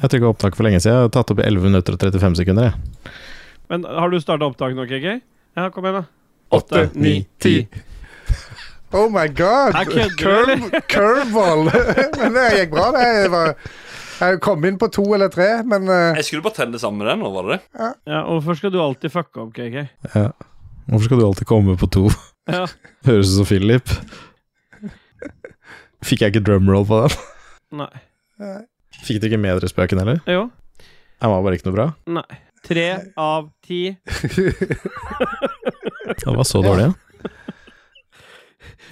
Jeg trykka opptak for lenge siden. Jeg har tatt opp i 11 minutter og 35 sekunder. jeg. Men har du starta opptaket nå, KK? Ja, kom igjen, da. Åtte, ni, ti. Oh my god! Her kødder du, Curve- Curveball! men det gikk bra, det. Jeg, var, jeg kom inn på to eller tre, men eh, Jeg skulle bare telle sammen med den nå, var det det? Ja, og Hvorfor skal du alltid fucke opp, KK? Ja. Hvorfor skal du alltid komme på to? Ja. Høres ut som Philip. Fikk jeg ikke drumroll på den? Nei. eh, Fikk du ikke med dere spøken heller? Jo. Den var bare ikke noe bra. Tre av ti. Den var så dårlig, ja.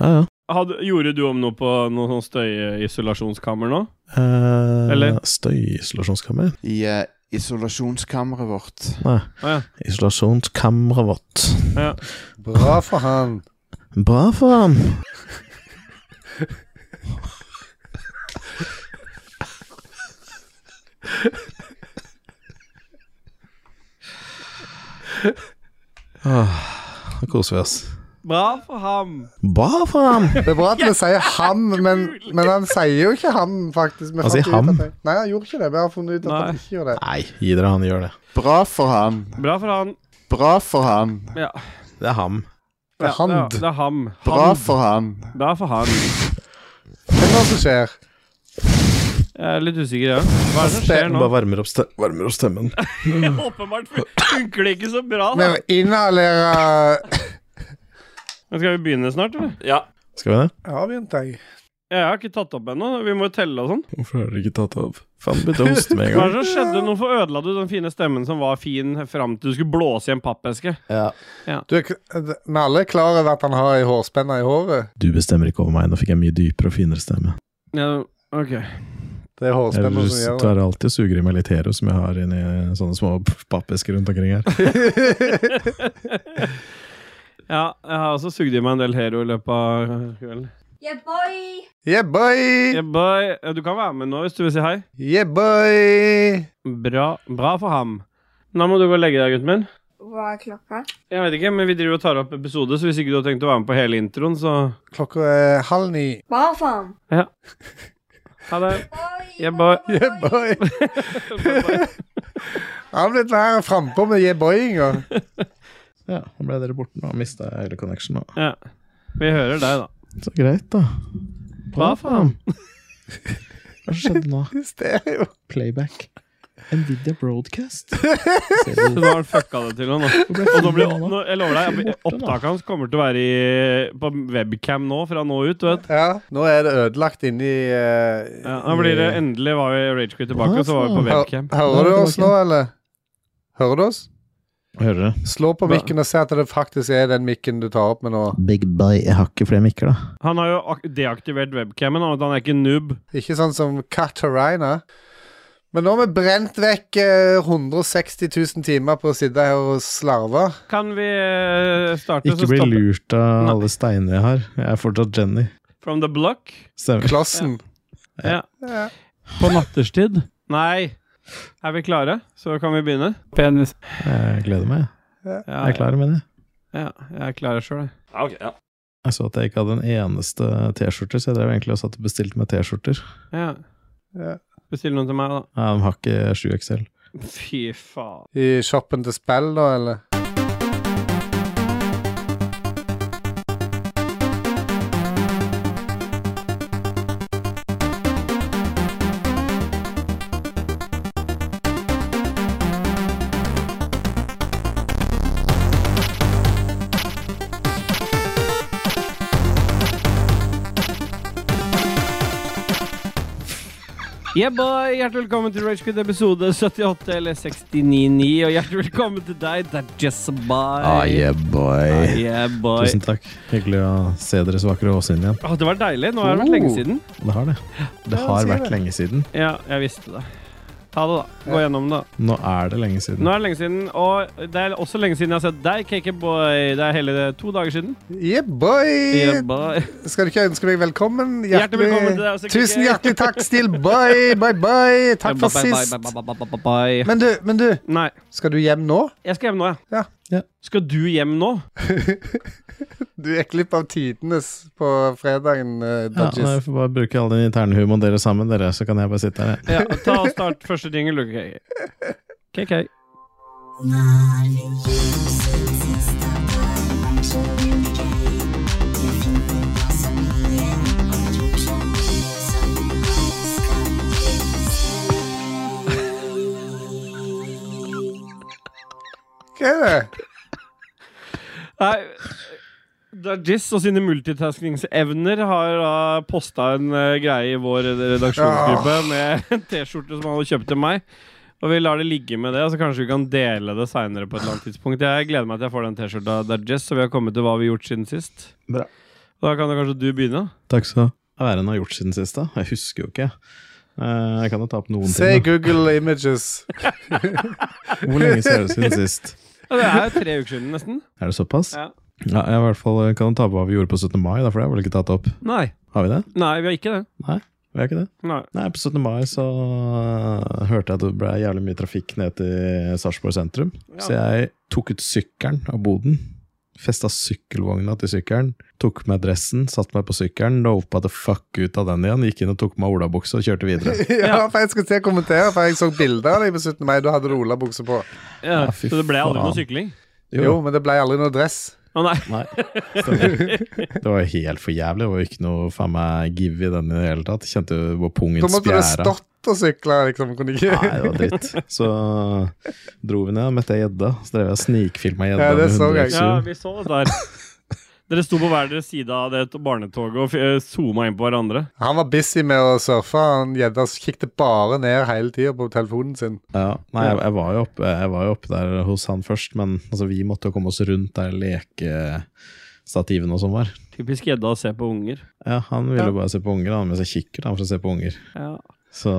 Ja, ja. Hadde, gjorde du om noe på noe sånn støyisolasjonskammer nå? Eh, Eller? Støyisolasjonskammer? I eh, isolasjonskammeret vårt. Nei. Å ja. Isolasjonskammeret vårt. bra for han. Bra for ham. Åh, Nå Ah, koser vi oss. Bra for ham! Bra for ham! Det er bra at vi sier ham, men, men han sier jo ikke ham, faktisk. Vi Han fant sier ut at ham? han- Nei, han gjorde ikke det. Vi har funnet ut at Nei. han ikke gjorde det. Nei, gi dere, han gjør det. Bra for han. Bra for han. Bra for han. Ja. Det er ham. Det er Ja, han. ja, det er ham. Bra Han. for han. Bra for han. Hva er det som skjer? Jeg er litt usikker, jeg òg. Hva er det som skjer Den nå? bare varmer opp, ste varmer opp stemmen. Åpenbart funker det ikke så bra. Med å inhalere Men skal vi begynne snart, eller? Ja. Skal vi det? Ja, begynte jeg. Jeg har ikke tatt opp ennå. Vi må jo telle og sånn. Hvorfor har dere ikke tatt det opp? Faen, begynte å hoste med en Hva gang. er det som skjedde? Hvorfor ødela du den fine stemmen som var fin fram til du skulle blåse i en pappeske? Du, er k- vi er alle er klar over at han har ei hårspenne i håret. Du bestemmer ikke over meg. Nå fikk jeg mye dypere og finere stemme. Ja, ok. Det er Jeg hårspenna som du gjør det. er alltid og suger i meg litt hero som jeg har inni sånne små pappesker rundt omkring her. Ja, jeg har også sugd i meg en del Hero i løpet av kvelden. Yeah, boy! Yeah, boy! Yeah, boy. Ja, Du kan være med nå hvis du vil si hei. Yeah, boy! Bra, bra for ham. Nå må du gå og legge deg, gutten min. Hva er klokka? Jeg vet ikke, men vi driver og tar opp episode, så hvis ikke du har tenkt å være med på hele introen, så Klokka er halv ni. Hva faen? ha det. Boy, Yeah, boy. Yeah, boy! Han har blitt mer frampå med yeah, boyinga. Ja, nå ble dere borte nå og mista hele connection nå. Ja. Vi hører deg, da. Så greit, da. Hva faen? Hva skjedde nå? Stereo. Playback. Nvidia Broadcast? Så nå har han fucka det til nå. nå. Og nå blir, nå, jeg lover deg, Borte, da. opptaket hans kommer til å være i, på webcam nå, fra nå ut, du vet. Ja, nå er det ødelagt inni uh, Ja, nå blir Eh, det endelig var vi Ragequit tilbake, og så var vi på webcam. Hører du oss nå, eller? Hører du oss? Hører dere? Slå på Hva? mikken og se at det faktisk er den mikken du tar opp med nå. Big Bye. Jeg har ikke flere mikker, da. Han har jo ak- deaktivert webcamen, og han er ikke noob. Ikke sånn som Katarina. Men nå har vi brent vekk eh, 160 000 timer på å sitte her og slarve. Kan vi eh, starte, Ikke så bli stopper lurt av alle steinene jeg har. Jeg er fortsatt Jenny. From the block? Stemmer. Klossen. Ja. Ja. På natterstid? Nei. Er vi klare? Så kan vi begynne. Penis. Jeg gleder meg. Ja, Jeg er klar, mener jeg. Ja, jeg er klar sjøl, jeg. ja ok, ja. Jeg så at jeg ikke hadde en eneste T-skjorte, så jeg drev egentlig og satt og bestilte meg T-skjorter. Ja. Ja. Bestill noen til meg, da. Nei, De har ikke 7XL. Fy faen. I shoppen til spill, da, eller? Yeah, boy! Hjertelig velkommen til Ragequit episode 78 eller 69.9. Og hjertelig velkommen til deg, det er Jessabai. Ah, boy. yeah, boy. Tusen takk. Hyggelig å se deres vakre åsyn igjen. Å, det var deilig. Nå har det vært Oh. lenge siden. Det har det. Det Ja, har si vært det. lenge siden. Ja, jeg visste det. Ta det, da. Gå gjennom det. da. Nå er det lenge siden. Nå er det lenge siden, og det er også lenge siden jeg har sett deg, KK-boy. Det er hele to dager siden. Yeah, boy! Yeah, boy. Skal du ikke ønske deg velkommen? Hjertelig velkommen til deg også, Kiki. Tusen hjertelig takk, Still. Bye, bye, bye. Takk for Bye, bye, sist. bye, bye, bye, bye, bye, bye. Men du, men du, Nei, skal du hjem nå? jeg skal hjem nå, jeg. Ja. Ja. Skal du hjem nå? Du gikk glipp av tidenes på fredagen, eh, Ja, nei, Dodges. jeg får bare bruke all den interne humoren dere sammen, dere, så kan jeg bare sitte her. jeg. Ja, ta og start første jingle, okay. KK. Hva er det? Nei, Dajis og sine multitaskingsevner har da posta en eh, greie i vår redaksjonsgruppe med en T-skjorte som han hadde kjøpt til meg. Og vi lar det ligge med det, så kanskje vi kan dele det seinere på et eller annet tidspunkt. Jeg gleder meg til jeg får den T-skjorta, Dajis, så vi har kommet til hva vi har gjort siden sist. Bra. Da kan da kanskje du begynne. Takk skal du ha. Hva er det han har gjort siden sist, da? Jeg husker jo ikke. Eh, Jeg kan jo ta opp noen Se i ting. da. Google Images. Hvor lenge ser det ut siden sist? Ja, det er jo tre uker siden, nesten. Er det såpass? Ja. Ja, jeg i hvert fall eh, kan ta opp hva vi gjorde på 17. mai, da, for det har vel ikke tatt opp. Nei. Har vi det? Nei, vi har ikke det. Vi har ikke det? Nei. Nei, på 17. mai så øh, hørte jeg at det ble jævlig mye trafikk ned til Sarpsborg sentrum. Ja. Så jeg tok ut sykkelen av boden. Festa sykkelvogna til sykkelen. Tok med dressen, satte meg på sykkelen, dopa the fuck ut av den igjen. Gikk inn og tok på meg olabukse og kjørte videre. Ja, for jeg skal til å kommentere, for jeg så bilder av deg på 17. mai. Da hadde du olabukse på. Ja, Ja, fy så det ble aldri noe faen. sykling? Jo, men det ble aldri noe dress. Å nei. Nei. Stemmer. Det var jo helt for jævlig. Det var jo ikke noe faen meg give i den i det hele tatt. Kjente jo hvor pungen Da måtte du spjæra. stått og sykla, liksom. Kunne ikke Nei, det var dritt. Så dro vi ned og møtte ei gjedde. Så drev jeg og snikfilma gjedda. Ja, det med så jeg. hundreøkser. Ja, vi så det der. Dere sto på hver deres side av det barnetoget og f- eh, zooma inn på hverandre. Han var busy med å surfe. Han gjedda kikket bare ned hele tida på telefonen sin. Ja, nei, jeg, jeg, var jo oppe, jeg var jo oppe der hos han først, men altså, vi måtte jo komme oss rundt der lekestativene og sånn var. Typisk gjedda å se på unger. Ja, han ville jo bare se på unger, han med seg kikkert han for å se på unger. Ja. Så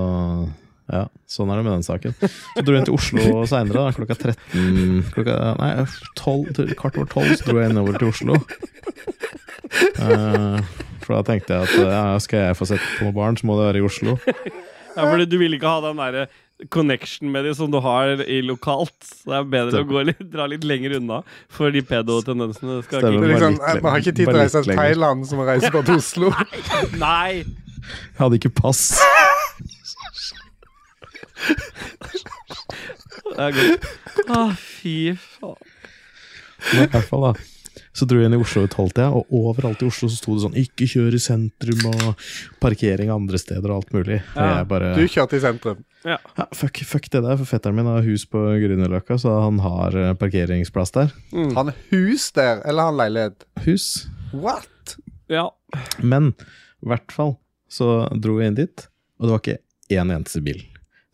ja, sånn er det med den saken. Så dro jeg inn til Oslo seinere, klokka 13 klokka, Nei, 12, kvart over 12 så dro jeg innover til Oslo. Eh, for da tenkte jeg at ja, skal jeg få sett på noen barn, så må det være i Oslo. ja, fordi du vil ikke ha den derre connection med de som du har i lokalt. Så det er bedre å gå litt, dra litt lenger unna, for de pedo-tendensene skal Det Stemmer. Bare ikke er liksom, litt lenger. Vi har ikke tid til å Bare reise litt til lenger. Thailand, som å reise bare til Oslo. Nei! Jeg hadde ikke pass. Det er godt. Å, fy faen. Men i hvert fall da Så dro jeg inn i Oslo i tolvtida, og overalt i Oslo så sto det sånn 'ikke kjør i sentrum' og parkering andre steder og alt mulig. Og Ja, jeg bare Du kjørte i sentrum. ja, fuck, fuck det der, for fetteren min har hus på Grünerløkka, så han har eh, parkeringsplass der. Har han hus der, eller har han leilighet? Hus. What? Ja. Men i hvert fall så dro jeg inn dit, og det var ikke én eneste bil.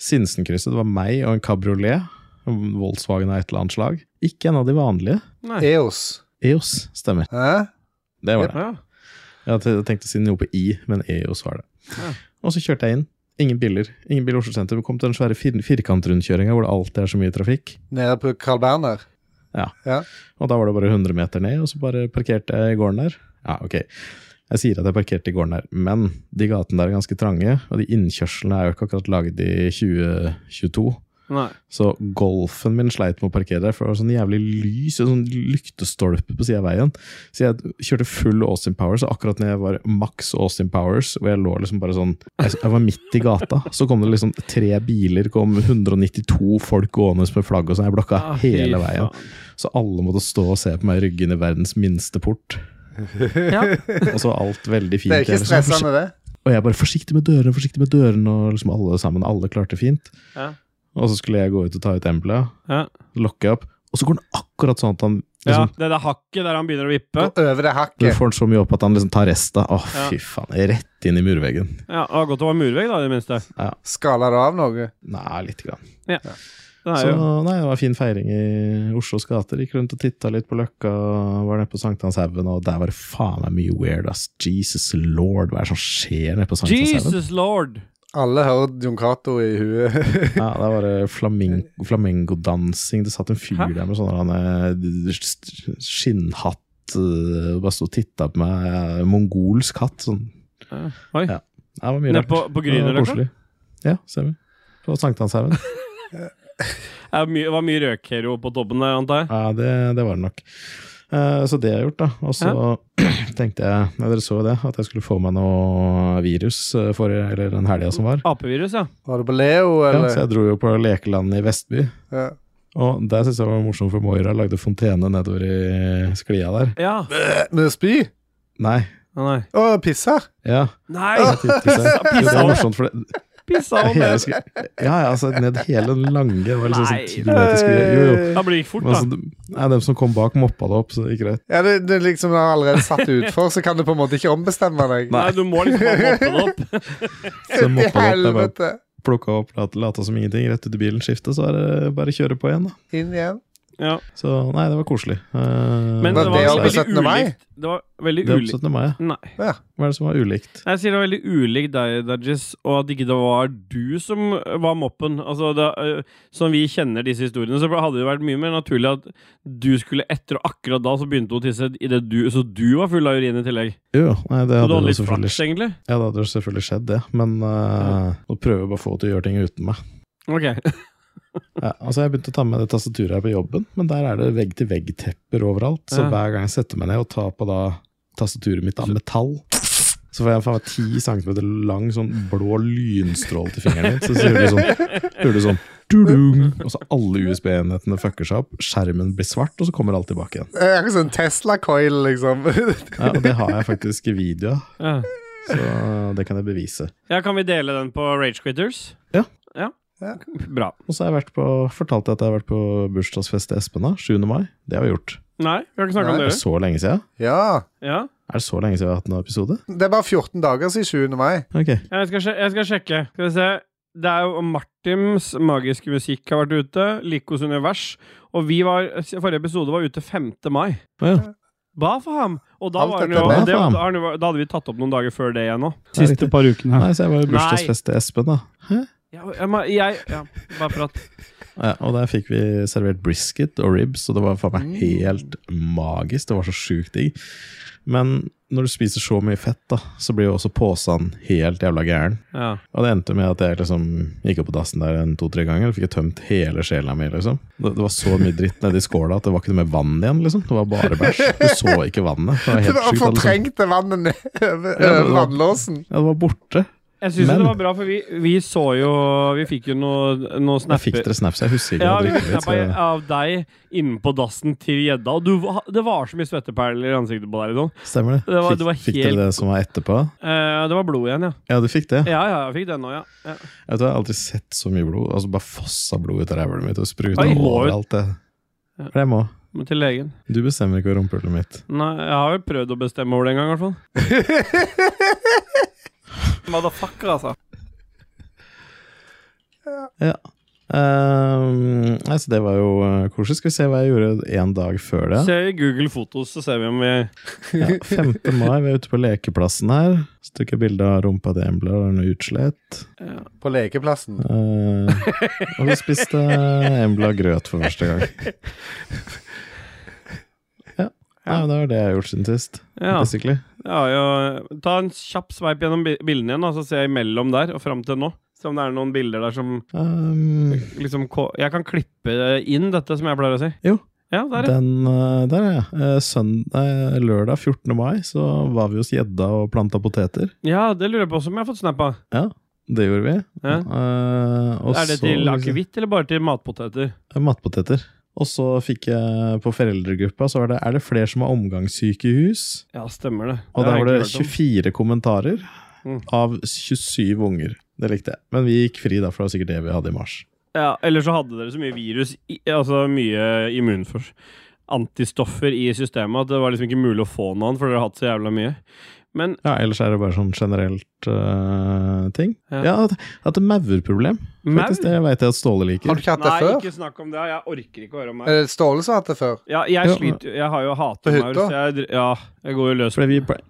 Sinsenkrysset, det var meg og en kabriolet. en Volkswagen av et eller annet slag. Ikke en av de vanlige. Nei. EOS. EOS, stemmer. Hæ? Det var det. Ja. Jeg hadde tenkt å si noe på I, men EOS var det. Ja. Og så kjørte jeg inn. Ingen biler. Ingen bil i Oslo sentrum. Kom til den svære fir firkantrundkjøringa hvor det alltid er så mye trafikk. Nede på Carl Berner? Og da var det bare 100 meter ned, og så bare parkerte jeg i gården der. Ja, ok. Jeg sier at jeg parkerte i gården der, men de gatene der er ganske trange, og de innkjørslene er jo ikke akkurat lagd i 2022. Nei. Så golfen min sleit med å parkere der, for det var sånn jævlig lys og sånn lyktestolpe på sida av veien. Så jeg kjørte full Austin Powers, og akkurat når jeg var maks Austin Powers, og jeg lå liksom bare sånn Jeg jeg var midt i gata, så kom det liksom tre biler, kom 192 folk gående med flagg og sånn. Jeg blokka Å, Ah, fy hele veien. faen. Så alle måtte stå og se på meg rygge inn i verdens minste port. Ja. Og så var alt veldig fint. Det er ikke Jeg liksom, stressende, det. og jeg bare 'forsiktig med dørene', 'forsiktig med dørene', og liksom alle sammen. Alle klarte fint. Ja. Og så skulle jeg gå ut og ta ut embelet, Ja. lokke opp, og så går den akkurat sånn at han ja. liksom, Det der hakket der han begynner å Gå vippe. over det Du hakket. får den så mye opp at han liksom tar resten. Å, Ja. fy faen. Rett inn i murveggen. Ja, det var Godt det var murvegg, da, i det minste. Skala det av noe? Nei, lite grann. Den er Så jo nei, det var fin feiring i Oslos gater. Gikk rundt og titta litt på Løkka, og var nede på Sankthanshaugen, og der var det faen meg mye weird, ass. Jesus lord, hva er sånn det som skjer nede på Sankthanshaugen? Jesus lord! Alle hører Jon Cato i huet. Ja, der var det flaming flamengodansing. Det satt en fyr Hæ? der med sånn han, eh, skinnhatt, eh, bare stod og titta på meg. eh, Mongolsk hatt, sånn Ja. Oi. Ja, Ja, Det var mye Nede rart. på, på Grünerløkka? Det var koselig. Ja, ser vi. På Sankthanshaugen. Eh, Det er mye- det var mye røkhero på toppen der, antar jeg. Ja, det, det var det nok. Eh, så det har jeg gjort, da. Og så tenkte jeg, ja, dere så jo det, at jeg skulle få meg noe virus eh, for, eller den helga som var. Apevirus, ja. Var det på Leo, Ja, eller? så jeg dro jo på lekelandet i Vestby, Ja. og der syntes jeg det var morsomt, for Moira lagde fontene nedover i sklia der. Ja. Med Eh, spy? Nei. Å, Nei. Å, pisser? ja. Nei! jeg tippet seg. Jo, Det var morsomt, for det, Pissa han hele, ned. skli- ja, ja, altså ned hele den lange, det var liksom sånn Nei. ti meter sklie. Jo, jo. Eh, Da blir det gikk fort, Men da. altså, de- nei, dem som kom bak, moppa det opp, så det gikk greit. Ja, det, det liksom er allerede satt utfor, så kan du på en måte ikke ombestemme deg. Nei, du må liksom bare måtte det opp. Så de moppa det opp, jeg bare Helvete. plukka opp, lat- lata som ingenting, rett ut i bilen, skifte, så er det bare å kjøre på igjen, da. Inn igjen. Ja. Så nei, det var koselig. Eh, Men det Var så var altså det alt på er- veldig 17. mai? ulikt. Det var veldig det er ulikt. 17. mai. Nei. Ja. Hva er det som var ulikt? Nei, Jeg sier det var veldig ulikt deg, Dajis, og at ikke det var du som var moppen. Altså, det, øh, Som vi kjenner disse historiene, så hadde det vært mye mer naturlig at du skulle etter, og akkurat da så begynte hun å tisse, i det du, så du var full av urin i tillegg. Jo, nei, det hadde Så du hadde jo litt flaks, selvfølgelig, egentlig. ja, det hadde jo selvfølgelig skjedd, det. Men eh, nå prøver jeg bare å få henne til å gjøre ting uten meg. Ok. Ja, altså Jeg begynte å ta med det tastaturet her på jobben, men der er det vegg-til-vegg-tepper overalt. Så Ja. hver gang jeg setter meg ned og tar på da tastaturet mitt av metall, så får jeg faen meg ti centimeter lang sånn blå lynstråle til fingeren min. Så så hører du sånn, hører du sånn tudung, Og så alle USB-enhetene fucker seg opp, skjermen blir svart, og så kommer alt tilbake igjen. Det er Akkurat sånn Tesla-coil, liksom. Ja, og det har jeg faktisk i video av, Ja. så det kan jeg bevise. ja, kan vi dele den på Rage Quitters? Ja. ja. Ja. Bra. Og så har jeg vært på, fortalte jeg at jeg har vært på bursdagsfest til Espen da, 7. mai. Det har vi gjort. Nei, vi har ikke snakka om Det dere. er så lenge siden. ja. Ja. Er det så lenge siden vi har hatt en episode? Det er bare 14 dager siden 20. mai. Ok. Ja, Jeg skal, sje- jeg skal sjekke. Skal vi se. Det er jo Martims magiske musikk har vært ute. Likos univers. Og vi var, forrige episode var ute 5. mai. Ja, ja. Ba for ham! Og da, Alt var han dette jo, er bra det, for ham. da, har han jo- da hadde vi tatt opp noen dager før det igjen òg. riktig. Siste par ukene. Nei, så jeg var i Nei. bursdagsfest til Espen, da. Hæ? Ja, jeg, må- jeg, ja, bare prat. Ja, og der fikk vi servert brisket og ribs, og det var faen Mm. meg helt magisk. Det var så sjukt digg. Men når du spiser så mye fett, da, så blir jo også posen helt jævla gæren. Ja. Og det endte med at jeg liksom gikk opp på dassen der en to-tre ganger og fikk jeg tømt hele sjela mi, liksom. Det, det var så mye dritt nedi skåla at det var ikke noe mer vann igjen, liksom. Det var bare bæsj. Du så ikke vannet. Det var Det helt var sjukt. Det var liksom- fortrengte vannet ned over Ja, det over var- vannlåsen. Ja, det var borte. Jeg syns Men- det var bra, for vi, vi så jo Vi fikk jo noe, noe Jeg fikk snapper. dere snaps, jeg husker ikke. Ja, hva vi dere fikk fikk, så- snappa av deg inne på dassen til gjedda, og du, var- det var så mye svetteperler i ansiktet på deg. Liksom. Stemmer det. Det var- det var fikk, fikk helt- dere det som var etterpå? Eh, det var blod igjen, ja. Ja, du fikk det? Ja, ja, jeg fikk den òg, ja. ja. Jeg, vet, jeg har aldri sett så mye blod. Altså Bare fossa blod ut av ræva mitt og spruta Oi. overalt. Det. Ja. For jeg må. Må til legen. Du bestemmer ikke over rumpehullet mitt. Nei, jeg har jo prøvd å bestemme over det en gang, i hvert fall. Motherfucker, altså. Ehm, nei, så det var jo eh, koselig. Skal vi se hva jeg gjorde en dag før det. Se i Google Fotos, så ser vi om vi Ja, 5. mai, vi er ute på lekeplassen her. Så tok jeg bilde av rumpa til Embla, og den er utslett. På lekeplassen. Eh, og vi spiste Embla grøt for første gang. Ja, nei, men det var det jeg har gjort siden sist. Ja. Basically. ja, ja. Ta en kjapp sveip gjennom bi- bildene igjen, da, så ser jeg imellom der og fram til nå. Se om det er noen bilder der som Ehm, liksom ko- Jeg kan klippe inn dette, som jeg pleier å si. Jo. Ja, der, ja. Den, eh, der, ja. Eh, sønd- nei, lørdag 14. mai så var vi hos gjedda og planta poteter. ja, det lurer jeg på også om jeg har fått snap av. Det gjorde vi. Ja. Eh, og Er så- det til akevitt eller bare til matpoteter? Eh, Matpoteter. Og så fikk jeg på foreldregruppa så var det, er det flere som har omgangssyke i hus. Ja, stemmer det. Og Det der var har jeg det ikke hørt om. 24 kommentarer Mm. av 27 unger. Det likte jeg. Men vi gikk fri, da, for det var sikkert det vi hadde i mars. Ja, Eller så hadde dere så mye virus, i, altså mye immunfors... Antistoffer i systemet at det var liksom ikke mulig å få noen, for dere har hatt så jævla mye. Men Ja, Ellers er det bare sånn generelt eh, ting. Ja. Ja, at, at det er maurproblem. Maur? Faktisk, det veit jeg at Ståle liker. Har du ikke hatt det Nei, før? ikke snakk om det. Jeg orker ikke å høre om det. Er det Ståle som har hatt det før? Ja, jeg Eh, Ja. sliter Jeg har jo På hata hytta? maur, så jeg, dr- ja, jeg går jo løs på Fordi vi ple-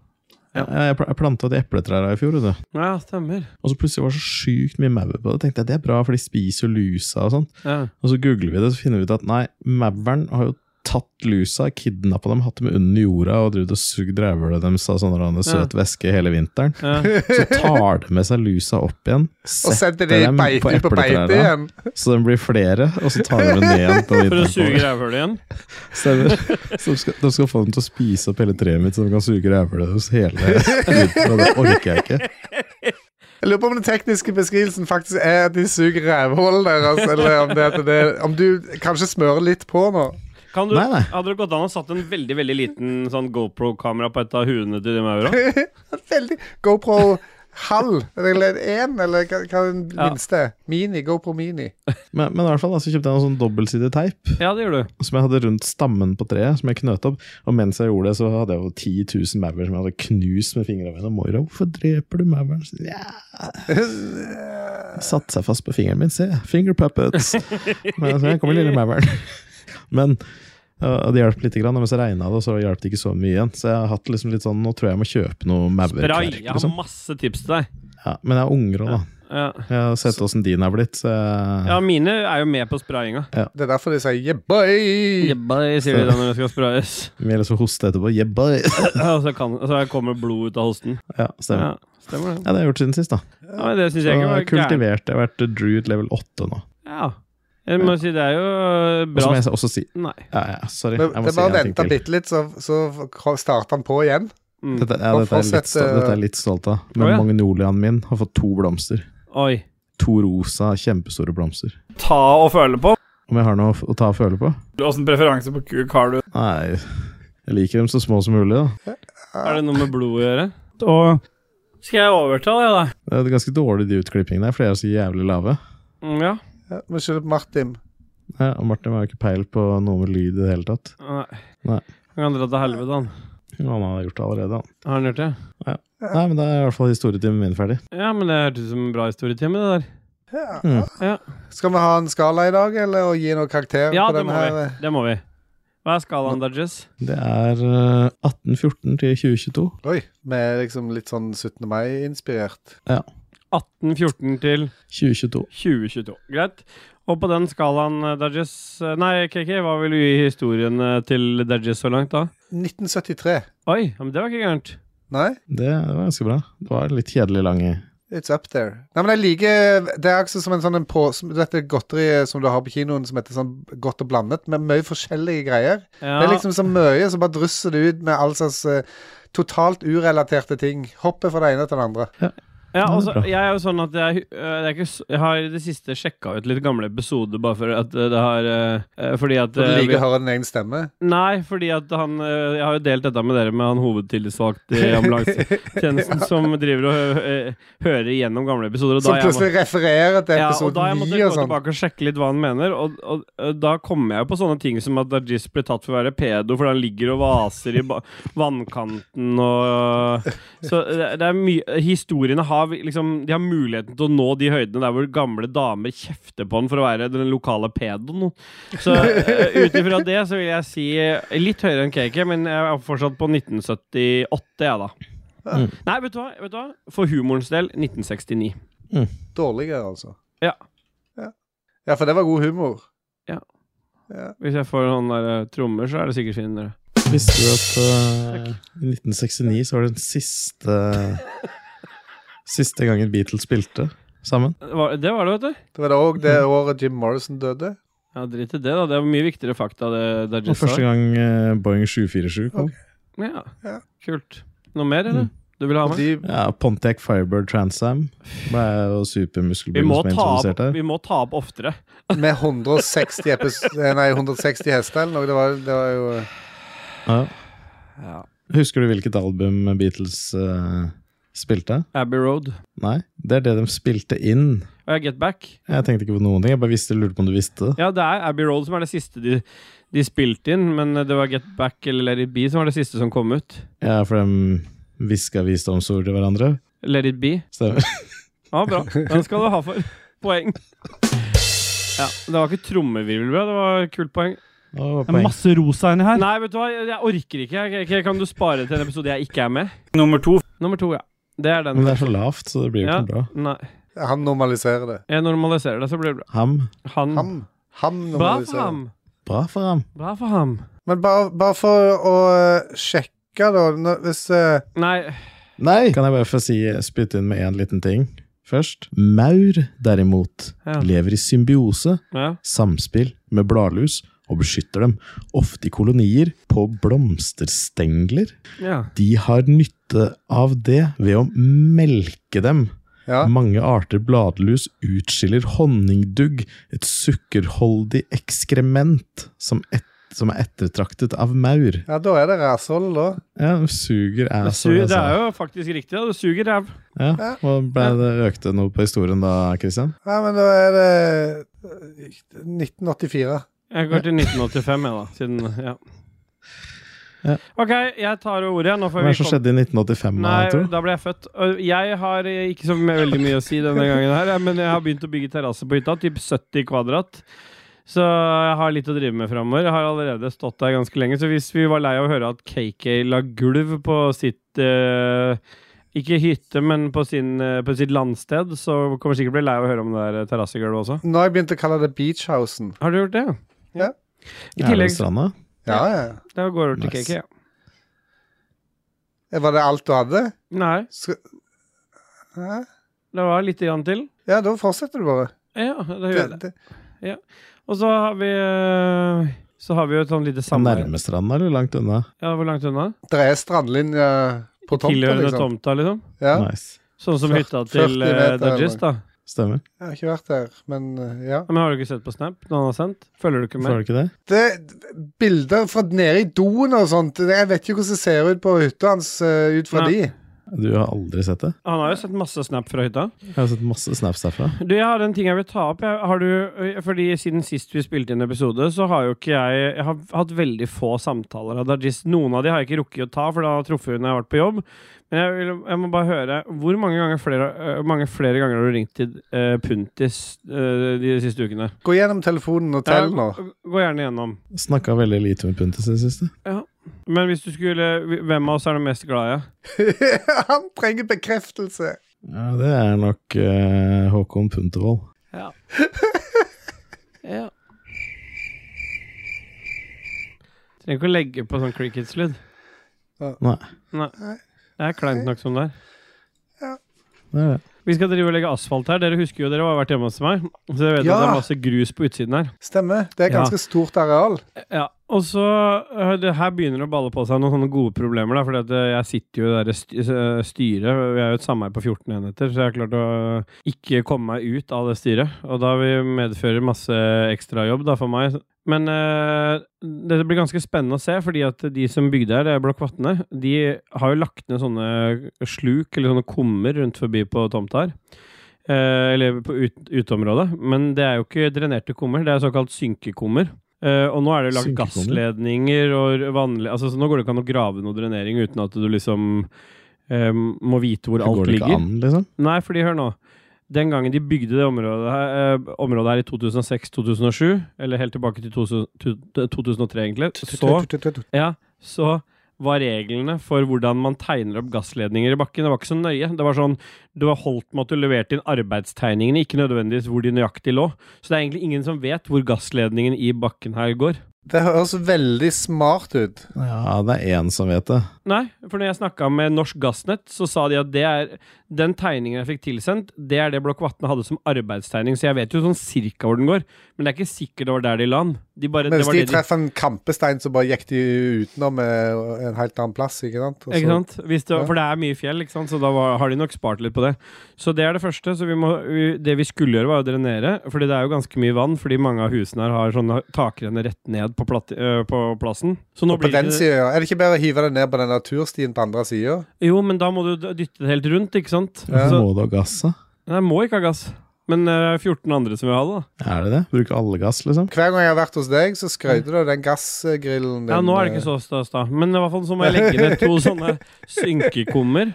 ja. Jeg pla- jeg planta et epletre her i fjor, vet du. Ja, stemmer. og så plutselig var det så sjukt mye maur på det. tenkte jeg, Det er bra, for de spiser jo lusa og sånn. Ja. Og så googler vi det, så finner vi ut at nei, mauren har jo tatt lusa, kidnappa dem, hatt dem under jorda og drevet og sugd rævhølet deres av sånn eller annen søt væske hele vinteren. Ja. Så tar de med seg lusa opp igjen, Og sendte de dem beite, på på beite epletrærne. igjen. så de blir flere, og så tar de dem ned igjen. på For å vinteren. suge rævhølet igjen. Stemmer. Så de, skal, de skal få dem til å spise opp hele treet mitt, så de kan suge rævhølet deres hele vinteren. og Det orker jeg ikke. Jeg lurer på om den tekniske beskrivelsen faktisk er at de suger rævhullet deres, eller om, det, er at det, om du kanskje smører litt på nå. Kan du, Nei, nei. Hadde det gått an å satt en veldig veldig liten sånn GoPro-kamera på et av huene til de maura? Veldig GoPro halv, eller én, eller hva hva er den Ja. minste? Mini, GoPro Mini. Men, men i hvert fall da, så kjøpte jeg en sånn dobbeltsidig teip Ja, det gjør du. som jeg hadde rundt stammen på treet, som jeg knøt opp. Og mens jeg gjorde det, så hadde jeg jo 10 000 maur som jeg hadde knust med fingrene mine. Og Moira, hvorfor dreper du mauren? Så, Ja, satt seg fast på fingeren min, se. Finger puppets. Men så her kommer lille mauren. Men øh, det hjalp lite grann, og mens jeg regna det, så hjalp det ikke så mye igjen. Så jeg har hatt liksom litt sånn Nå tror jeg jeg må kjøpe noe Brai, maurkverk. jeg har Liksom. masse tips til deg. Ja, men jeg er unger òg, da. Ja. Jeg har sett åssen din er blitt. Så jeg, ja, mine er jo med på sprayinga. Det er derfor de sier yeah, boy! Jebba, sier de da når det skal sprayes. Vi er liksom hoste etterpå. Yeah, boy. Og så, kan, så kommer blod ut av hosten. ja, stemmer. Ja. Ja, stemmer det. det har jeg gjort siden sist, da. Ja, men det syns Så jeg jeg ikke har var jeg gærent. kultivert. Jeg har vært druid level 8 nå. Ja. Jeg må si det er jo eh, Og så bra må jeg også si Nei. ja, ja, Sorry. Men Jeg må det er si bare å en ting vente til. bitte litt, så, så starter han på igjen. Mm. Dette, ja, Bare dette, er jeg litt fortsett, stolt, eh, dette er jeg litt stolt av. Men Å, ja. magnoliaen min har fått to blomster. Oi. To rosa, kjempestore blomster. Ta og føle på. Om jeg har noe å ta og føle på? Åssen preferanse på kuk har du? Nei, jeg liker dem så små som mulig, da. Er det noe med blod å gjøre? Og skal jeg overta det, da? Det er ganske dårlig de utklippingene her, for de er så jævlig lave. Mm, Ja. Ja, Må skylde på Martin. Ja, og Martin har jo ikke peil på noe med lyd i det hele tatt. Nei. Nei. Han kan dra til helvete, han. Han har gjort det allerede, han. Har han gjort det? Nei, men da er i hvert fall historietimen min ferdig. Ja, men det hørtes ut som en bra historietime, det der. Ja. Mm. Ja. Skal vi ha en skala i dag, eller og gi noen karakterer Ja, på det den må her? eh, vi. Det må vi. Hva er skalaen, Dodges? Det er eh, 1814 til 2022. Oi, vi er liksom litt sånn 17. mai-inspirert. 1814 til 2022. 2022. Greit. Og på den skalaen, eh, Dodges Nei, KK, hva vil du gi historien eh, til Dodges så langt, da? 1973. Oi, ja, men det var ikke gærent. Nei? Det var ganske bra. Det var litt kjedelig lang i. It's up there. Nei, men jeg liker Det er også som en sånn en på, som, Dette godteriet som du har på kinoen som heter sånn godt og blandet, med mye forskjellige greier. Ja, Det er liksom så mye, så bare drysser det ut med all slags eh, totalt urelaterte ting. Hopper fra det ene til det andre. ja Ja, det altså, er bra. jeg er jo sånn at jeg, eh, det er ikke, s- jeg har i det siste sjekka ut litt gamle episoder, bare for at eh, det har eh, eh, Fordi at Og du eh, liker vi- å høre din egen stemme. Nei, fordi at han eh, Jeg har jo delt dette med dere med han hovedtillitsvalgt i ambulansetjenesten som driver og hø eh, hører igjennom gamle episoder. Og da Som har jeg må- plutselig refererer til ja, og episode da har jeg 9 måttet gå og sånn. tilbake og sjekke litt hva han mener, og, og, eh, da kommer jeg jo på sånne ting som at Dajis ble tatt for å være pedo fordi han ligger og vaser i ba vannkanten og Så det, det er mye Historiene har vi- liksom De har muligheten til å nå de høydene der hvor gamle damer kjefter på han for å være den lokale pedoen. Så uh, ut ifra det så vil jeg si eh, litt høyere enn KK, men jeg er fortsatt på 1978, jeg, da. Mm. Nei, vet du, hva, vet du hva? For humorens del 1969. Dårligere, altså. Ja. ja. Ja, for det var god humor. Hvis jeg får noen der eh, trommer, så er det sikkert fint. dere. Visste du at eh, i 1969 så var det den siste Siste gangen Beatles spilte sammen? Det var- Det var det, vet du. Det var da òg Mm. det året Jim Morrison døde. Ja, Drit i det, da. Det er mye viktigere fakta. det Og Dajis første sa. gang eh, Boeing 747 kom. Ja. Ja. Kult. Noe mer, eller? Mm. Du vil ha med? Og de Ja, Pontiac Firebird Transam ble jo Vi må, supermuskelbilen som er ta liksom introdusert opp, her. vi må ta opp oftere. med 160, epis eh, nei, 160 hester eller noe. Det var, det var jo Ja. Husker du hvilket album Beatles eh, spilte? Abbey Road. Nei, det er det de spilte inn. Og jeg Get Back. Jeg tenkte ikke på noen ting, jeg bare visste, lurte på om du visste det. Ja, det er Abbey Road som er det siste de, de spilte inn, men eh, det var Get Back eller Let It Be som var det siste som kom ut. Ja, for de hviska visdomsord til hverandre. Let It Be. Stemmer. Ja, bra. Den skal du ha for poeng. Ja, Det var ikke trommevirvel, bra. Det var kult poeng. Det var Det er poeng. masse rosa inni her. Nei, vet du hva, jeg, jeg orker ikke. Jeg, jeg, kan du spare til en episode jeg ikke er med? Nummer to. Nummer to, ja. Det er den. Men det er så lavt, så det blir jo Ja. ikke bra. Nei. eh, Han normaliserer det. Jeg normaliserer det, så blir det bra. Ham. Han. Ham. Ham Bra for normaliserer. ham! Bra for ham. Bra for ham. Men bare, bare for å eh, sjekke, da nå- Hvis eh, Nei, Nei! Kan jeg bare få si, spytte inn med én liten ting først? Maur, derimot, Ja. lever i symbiose, ja. samspill med bladlus, og beskytter dem, ofte i kolonier, på blomsterstengler. ja. De har nytte av det ved å melke dem. Ja. Mm. Mange arter bladlus utskiller honningdugg, et sukkerholdig ekskrement som, et, som er ettertraktet av maur. Ja, da er det ræshold, da. Ja, suger Det, ass, su som jeg det sa. er jo faktisk riktig. da. Det suger ræv. altså. Ja, og ble det økte noe på historien da, Christian? Ja, men da er det eh, 1984. Jeg går til 1985, jeg, da. Siden, ja. Ja. OK, jeg tar ordet. jeg. Nå Hva får er vi det som komme- skjedde i 1985? da, Nei, tror du? da ble jeg født. Og Jeg har eh, ikke så veldig mye å si denne gangen, her, jeg, men jeg har begynt å bygge terrasse på hytta. Typ 70 kvadrat. Så jeg har litt å drive med framover. Jeg har allerede stått der ganske lenge. Så hvis vi var lei av å høre at KK la gulv på sitt eh, Ikke hytte, men på, sin, eh, på sitt landsted, så kommer vi sikkert bli lei av å høre om det der eh, terrassegulvet også. Nå har jeg begynt å kalle det Beachhousen. Har du gjort det? Ja. I Er det tillegg stranda? Ja, ja. Da går det til Nice. KK. ja. Eh, Var det alt du hadde? Nei, Sk- Hæ? det var litt grann til. Ja, da fortsetter du bare. Ja, det gjør jeg Det, det. det, Og så har vi eh, Så har vi jo et sånn lite samarbeid. Nærme stranda, eller langt unna? Ja, hvor langt unna? det er strandlinje på tomta, Tilhørende liksom. tomta, liksom? Ja. Nice. Sånn som Fyr- hytta 40 til uh, meter, Dodges, eller? da. Stemmer. Jeg har ikke vært der, men eh, ja. Ja, Men har du ikke sett på Snap når han har sendt? Følger du ikke Får med? du ikke det? det, bilder fra nede i doen og sånt det- Jeg vet ikke hvordan det ser ut på hytta hans eh, ut fra Nei. de. Du har aldri sett det? Han har jo sett masse Snap fra hytta. Jeg har sett masse snaps derfra. Du, jeg har en ting jeg vil ta opp. Jeg, har du, ø, fordi Siden sist vi spilte inn episode, så har jo ikke jeg Jeg har hatt veldig få samtaler av Dajis. Noen av de har jeg ikke rukket å ta, for da har jeg truffet henne når jeg har vært på jobb. Men jeg, vil, jeg må bare høre Hvor mange ganger flere, ø, mange flere ganger har du ringt til ø, Puntis ø, de siste ukene? Gå gjennom telefonen og tell nå. Ja, Gå gjerne gjennom. Snakka veldig lite med Puntis i det siste. Men hvis du skulle Hvem av oss er du mest glad i? Han trenger bekreftelse. Ja, det er nok eh, Håkon Puntervold. Ja. Trenger ikke å legge på sånn cricketslyd. Nei. Nei. Det er kleint nok som det er. Det er det. Vi skal drive og legge asfalt her. Dere husker jo dere har vært hjemme hos meg. Så dere vet Ja. at det er masse grus på utsiden her. Stemmer. Det er Ja. ganske stort areal. Ja, og så øh, det Her begynner det å balle på seg noen sånne gode problemer. For jeg sitter jo i det der sty- øh, styret. Vi er jo et sameie på 14 enheter, så jeg har klart å ikke komme meg ut av det styret. Og da vil medføre masse ekstrajobb da, for meg. Men øh, det blir ganske spennende å se, fordi at de som bygde her, det er Blokk Vatne, de har jo lagt ned sånne sluk, eller sånne kummer, rundt forbi på tomta her. Eh, eller på ut, uteområdet. Men det er jo ikke drenerte kummer, det er såkalt synkekummer. Eh, og nå er det jo lagt Synkekummer? gassledninger og vannle... Altså, så nå går det ikke an å grave noe drenering uten at du liksom eh, må vite hvor Det alt går det ikke ligger. an, liksom? Nei, fordi hør nå. Den gangen de bygde det området her, eh, området her i 2006-2007, eller helt tilbake til 2000, to- 2003, egentlig, så ja, så var reglene for hvordan man tegner opp gassledninger i bakken, det var ikke så nøye. Det var sånn, det var holdt med at du leverte inn arbeidstegningene, ikke nødvendigvis hvor de nøyaktig lå. Så det er egentlig ingen som vet hvor gassledningen i bakken her går. Det høres veldig smart ut. Ja, det er én som vet det. Nei, for når jeg snakka med Norsk Gassnett, så sa de at det er, den tegningen jeg fikk tilsendt, det er det Blokk Vatne hadde som arbeidstegning, så jeg vet jo sånn cirka hvor den går. Men det er ikke sikkert det var der de la den. De bare, Men det hvis var de det de, treffer en kampestein, så bare gikk de utenom eh, en helt annen plass, ikke sant? Og så- ikke sant? Hvis det, Ja. For det er mye fjell, ikke sant? så da var, har de nok spart litt på det. Så det er det første. Så vi må, vi- det vi skulle gjøre, var å drenere. Fordi det er jo ganske mye vann, fordi mange av husene her har sånne takrenner rett ned på, platt, øh, på plassen. Så nå Og på blir det den ikke- siden, Er det ikke bedre å hive det ned på den naturstien på andre sida? Jo, men da må du d- dytte det helt rundt, ikke sant? Ja. Så, Må du ha gass, da? nei, må ikke ha gass. Men øh, 14 andre som vil ha det, da. Er det det? Bruke alle gass, liksom? Hver gang jeg har vært hos deg, så skrøyter du av den gassgrillen din. Mm. Ja, nå er det ikke så stas, da. Men i hvert fall så må jeg legge ned to sånne synkekummer.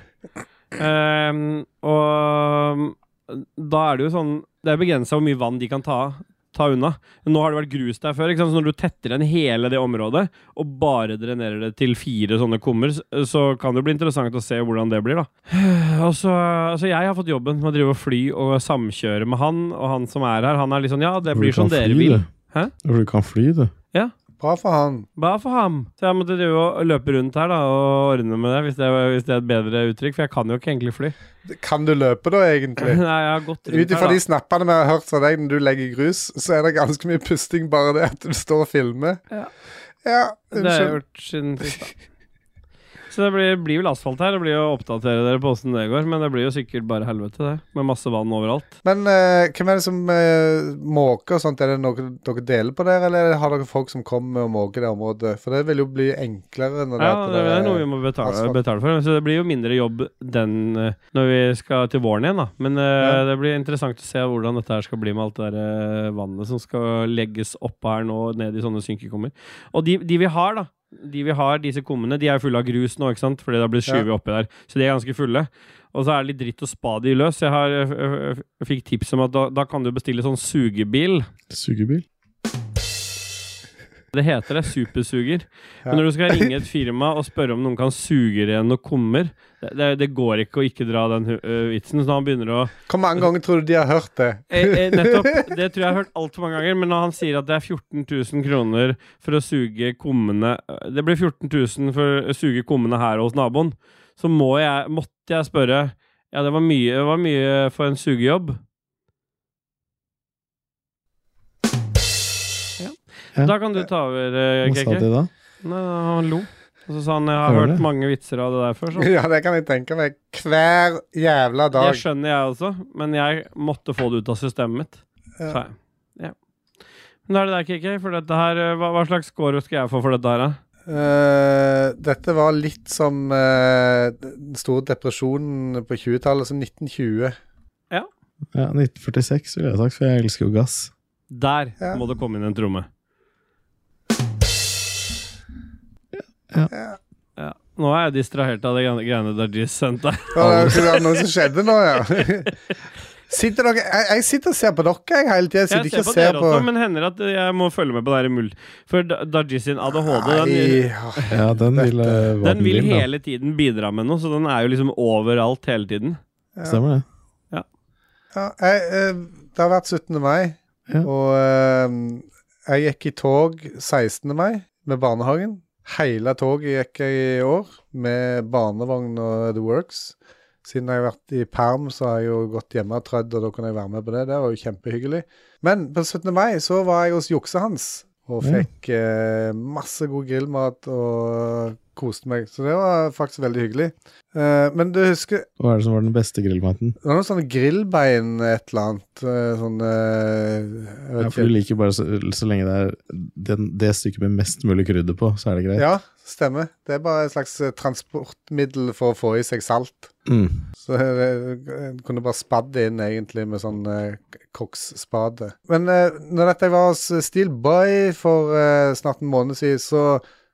Ehm, og mm, da er det jo sånn Det er begrensa hvor mye vann de kan ta, ta unna. Nå har det vært grus der før, ikke sant? så når du tetter igjen hele det området og bare drenerer det til fire sånne kummer, s- så kan det bli interessant å se hvordan det blir, da. Og så, så jeg har fått jobben med å drive og fly og samkjøre med han, og han som er her, han er litt sånn Ja, det blir som dere vil. Hæ? Hæ? For du kan fly, du. eh, Bra for han. Bra for ham. Så jeg måtte drive og løpe rundt her da, og ordne med det, hvis det, hvis det er et bedre uttrykk. For jeg kan jo ikke egentlig fly. Kan du løpe, da, Nei, egentlig? jeg har gått Ut rundt ifra her, de da. snappene vi har hørt fra deg når du legger grus, så er det ganske mye pusting bare det at du står og filmer. Ja. ja Det har jeg unnskyld. gjort siden sist, da. Så det blir, blir vel asfalt her. Det blir jo å oppdatere dere på åssen det går. Men det blir jo sikkert bare helvete, det. Med masse vann overalt. Men eh, hvem er det som eh, måker og sånt? Er det noe dere deler på der, eller har dere folk som kommer og måker det området? For det vil jo bli enklere når det, Ja, at det er noe vi må betale, asfalt. betale for. Så det blir jo mindre jobb den eh, når vi skal til våren igjen, da. Men eh, det blir interessant å se hvordan dette her skal bli med alt det der eh, vannet som skal legges oppå her nå, ned i sånne synkekummer. Og de, de vi har, da. De vi har, disse kummene, de er fulle av grus nå, ikke sant? Fordi det har blitt skyvet oppi der. Så de er ganske fulle. Og så er det litt dritt å spa de løs. Jeg har, eh, f- f- fikk tips om at da, da kan du bestille sånn sugebil. Sugebil. Det heter det, supersuger. Ja. Men når du skal ringe et firma og spørre om noen kan suge igjen noen kummer, det, det, det går ikke å ikke dra den hu- ø, vitsen. Så når han begynner å Hvor mange ganger tror du de har hørt det? eh, eh, Nettopp! Det tror jeg jeg har hørt altfor mange ganger, men når han sier at det er 14 000 kroner for å suge kummene ø, Det blir 14 000 for å suge kummene her hos naboen. Så må jeg, måtte jeg spørre Ja, det var mye, det var mye for en sugejobb. Ja. Ja. Da kan du ta over, eh, Hva sa Keke. de da? Nei, han lo. Og så sa han 'jeg har Hører hørt det. mange vitser av det der før', så. Ja, det kan jeg tenke meg. Hver jævla Det dag. skjønner jeg også, men jeg måtte få det ut av systemet mitt. Ja. Så jeg, ja. Men da er det der, KK. For dette her, eh, hva, hva slags score skal jeg få for dette her, da? Eh, dette var litt som eh, den store depresjonen på 20-tallet, altså 1920. Ja, 1946 ville jeg sagt, for jeg elsker jo gass. Der Ja. må det komme inn en tromme. Ja. Ja. Ja. Nå er jeg distrahert av de greiene- greiene Dajis sendte. Å, det var noe som skjedde nå, ja. Sitter dere, jeg, jeg sitter og ser på dere jeg, hele tida. Jeg sitter Jeg ser ikke på og ser dere på også, men hender at jeg må følge med på det her i mul... For Da- Dajis sin ADHD, den, Nei, ja. Ja, den vil, eh, hva den vil da. hele tiden bidra med noe, så den er jo liksom overalt hele tiden. Stemmer det. Ja, jeg, eh, det har vært 17. mai, Ja. og eh, jeg gikk i tog 16. mai med barnehagen. Hele toget gikk jeg i år med barnevogn og The Works. Siden jeg har vært i perm, så har jeg jo gått hjemme og trødd, og da kunne jeg være med på det. Det var jo kjempehyggelig. Men på 17. mai så var jeg hos juksa hans og Ja. fikk eh, masse god grillmat og koste meg. Så det var faktisk veldig hyggelig. Eh, men du husker Hva er det som var den beste grillmaten? det var noen sånne grillbein et eller annet. eh, Sånne eh, Ja, jeg vet for du ikke. liker bare så, så lenge det er den, det stykket med mest mulig krydder på, så er det greit. Ja, stemmer. Det er bare et slags eh, transportmiddel for å få i seg salt. Mm. Så eh, en kunne bare spadd det inn, egentlig, med sånn eh, k- koksspade. Men eh, når dette var hos Steel Boy for eh, snart en måned siden, så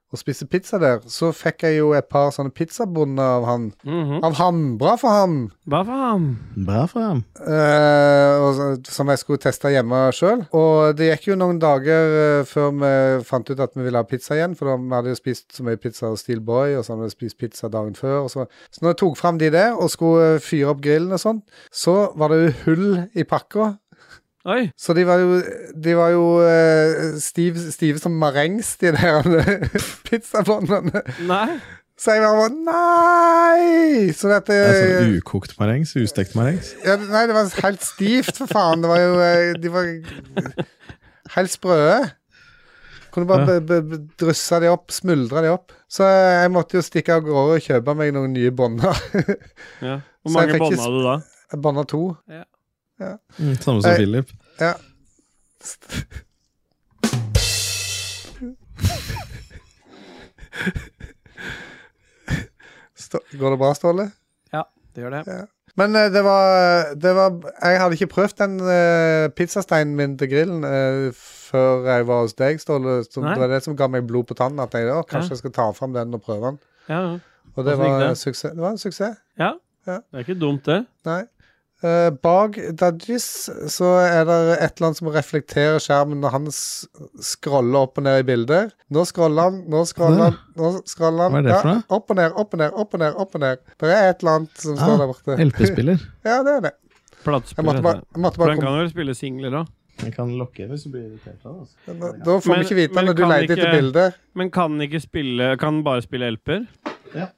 og spiste pizza der, så fikk jeg jo et par sånne pizzabonder av han. Mhm. Av ham! Bra for ham! Hva faen? Bra for ham. Eh, og, så- som jeg skulle teste hjemme sjøl. Og det gikk jo noen dager eh, før vi fant ut at vi ville ha pizza igjen, for da, vi hadde jo spist så mye pizza hos Steel Boy, og så hadde vi spist pizza dagen før. Og så. så når jeg tok fram de der og skulle eh, fyre opp grillen og sånn, så var det jo hull i pakka. Oi! Så de var jo, de var jo eh, stiv, stive som marengs, de der pizzabåndene. Nei. Så jeg bare Nei! Så dette Det er sånn ukokt marengs, ustekt marengs. ja, nei, det var helt stivt, for faen. Det var jo eh, De var helt sprø. Kunne bare be- be- be- drysse de opp, smuldre de opp. Så eh, jeg måtte jo stikke av gårde og kjøpe meg noen nye bånder. Ja. Hvor Så jeg mange fikk ikke bånd hadde du da? Bånder to. Mm, samme som Eh, Philip. Ja. Stå, går det bra, Ståle? Det gjør det. Men eh, det var, det var Jeg hadde ikke prøvd den eh, pizzasteinen min til grillen eh, før jeg var hos deg, Ståle. Som, Nei. det var det som ga meg blod på tannen. At jeg, å, kanskje Ja. jeg skal ta fram den og prøve den. Ja, ja. Og det Hvordan gikk var, det? en suksess. det var en suksess. ja. Ja. Det er ikke dumt, det. Nei. Eh, bak Dudgies så er det et eller annet som reflekterer skjermen når han s- scroller opp og ned i bilder. Nå scroller han, nå scroller han, nå scroller han. Hva er det for noe? Ja, opp og ned, opp og ned, opp og ned. opp og ned. Det er et eller annet som Ah, står der borte. LP-spiller. Ja, det er det. Jeg Platespill. altså. måtte bare, jeg måtte For bare den kan vel spille singler òg. Jeg kan lokke hvis du blir irritert av det. altså. Men Da da får Men- vi ikke vite men når du kan leter etter ikke- bildet. Men kan den ikke spille Kan den bare spille LP-er?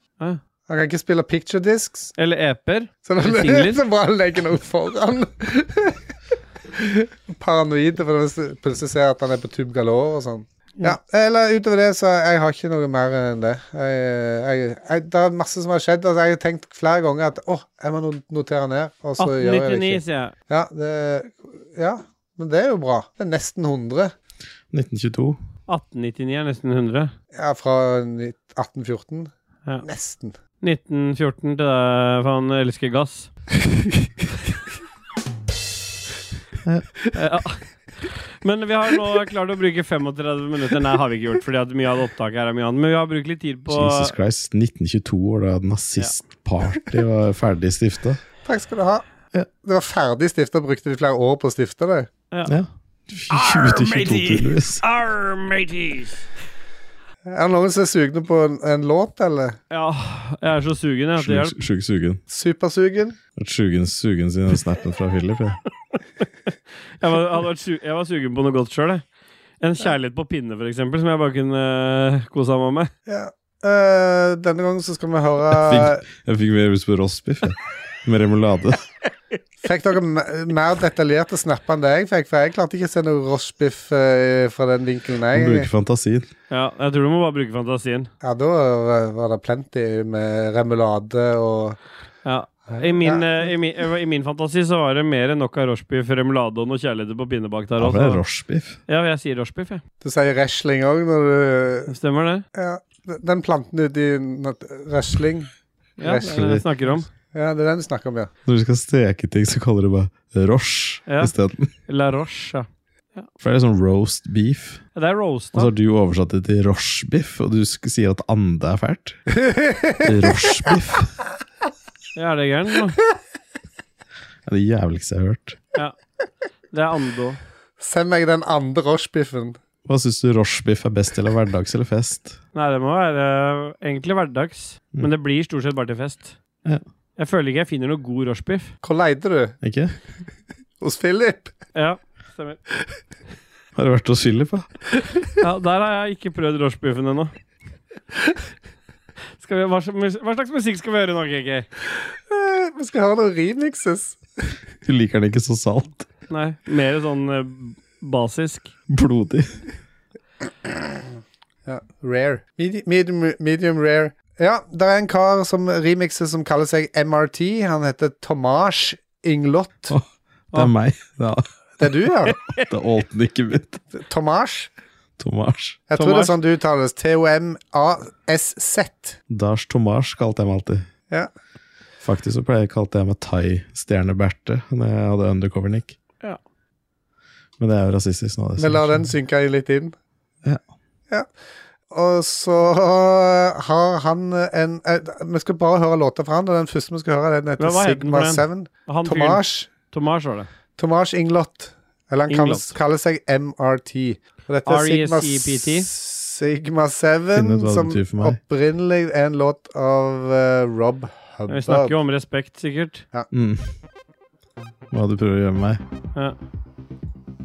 Han kan ikke spille picture discs. Eller E EP-er? Så Eller singler. det så bare legger noe foran. Paranoide, for hvis du plutselig ser at han er på Tube Galore og sånn. Ja, eller utover det, så jeg har ikke noe mer enn det. Jeg, jeg, jeg, det er masse som har skjedd. Altså, jeg har tenkt flere ganger at åh, jeg må no- notere ned, og så gjør jeg det 1899, ikke. sier jeg. Ja, det, ja, men det er jo bra. Det er nesten 100. 1922. 1899 er nesten 100. Ja, fra ni- 1814. Ja. Nesten. 1914 til deg, for han elsker gass. Eh, ah. Men vi har nå klart å bruke 35 minutter. Nei, har vi ikke gjort, fordi at mye av opptaket her er mye annet. Men vi har brukt litt tid på Jesus Christ. 1922 år da nazistparty var ferdig stifta. Takk skal du ha. Ja. Det var ferdig stifta, brukte de flere år på å stifte det. Ja. 2022, tydeligvis. Arr, mateys! Er det noen som er sugne på en, en låt, eller? Ja, jeg er så sugen, jeg. at det hjelper. Sjuk sjuk sugen. Supersugen? At Sugen sugen sin den snappen fra Philip. Ja. Jeg var, hadde vært su jeg var sugen på noe godt sjøl, jeg. En kjærlighet på pinne, for eksempel, som jeg bare kunne eh, kose meg med. Ja. Eh, denne gangen så skal vi høre Jeg fikk mer lyst på rostbiff jeg. med remulade. Fikk dere me- mer detaljerte snapper enn det jeg fikk? For jeg klarte ikke å se noe rochebiff fra den vinkelen. Man Jeg. bruker fantasien. Ja, jeg tror du må bare bruke fantasien. Ja, da eh, var det plenty med remulade og Ja. I min, eh, i, min, eh, I min fantasi så var det mer enn nok av rochebiff, remulade og noe kjærlighet på pinne bak der Ja, for det er også. rochebiff. Ja, jeg sier rochebiff, jeg. Du sier wrestling òg når du Stemmer det? Ja, d- den planten ute i nat- wrestling. Ja, det er det jeg snakker om. Ja, det er den du snakker om, ja. Når du skal steke ting, så kaller du bare roche Ja. isteden. La roche, ja. For det er sånn roast beef. Det er Og så roasta. har du oversatt det til rochebiff, og du sk- sier at ande er fælt. Rochebiff. Ja, er det gæren? nå? Det er det jævligste jeg har hørt. Det er ande òg. Send meg den andre rochebiffen. Hva syns du rochebiff er best til, av hverdags eller fest? Nei, det må være eh, egentlig hverdags. Men det blir stort sett bare til fest. Mm. Ja. Jeg føler ikke jeg finner noe god rochebiff. Hvor leide du? Ikke? Hos Philip? Ja, stemmer. Har du vært hos Philip, da? Ja, der har jeg ikke prøvd rochebiffen ennå. Skal vi, hva, slags mus- hva slags musikk skal vi høre nå, KK? Eh, Vi skal høre noen remixes. Du liker den ikke så salt. Nei, mer sånn eh, basisk. Blodig. Ja, rare. Medium, medium, medium rare. Ja, det er en kar som remixer som kaller seg MRT. Han heter Tomas Inglott. Å. Det Ah. er meg. Det er, Det er du, ja? det er altnicket mitt. Tomas? Tomas. Jeg tror det er sånn du uttales. T-O-M-A-S-Z. Dars Tomas kalte jeg meg alltid. Ja. Faktisk så pleier jeg kalte jeg meg Thai-stjerne-Berthe når jeg hadde undercover-nick. Ja. Men det er jo rasistisk nå. Det Vi lar den synke litt inn. Ja. Ja. Og så har han en eh, Vi skal bare høre låter fra han, og den første vi skal høre, den heter Hva het den for Sigma en? 7. Han fyren- Tomas. Tomas var det. Tomas Inglott. Eller han kaller, Inglott. kaller seg MRT. Og dette er Sigma, R.E.S.E.P.T.. Sigma Finn ut 7, hva det som betyr for meg. opprinnelig er en låt av eh, Rob Ja, Vi snakker jo Hubbard. om respekt, sikkert. Mm. Hva du prøver å gjøre med meg? Ja.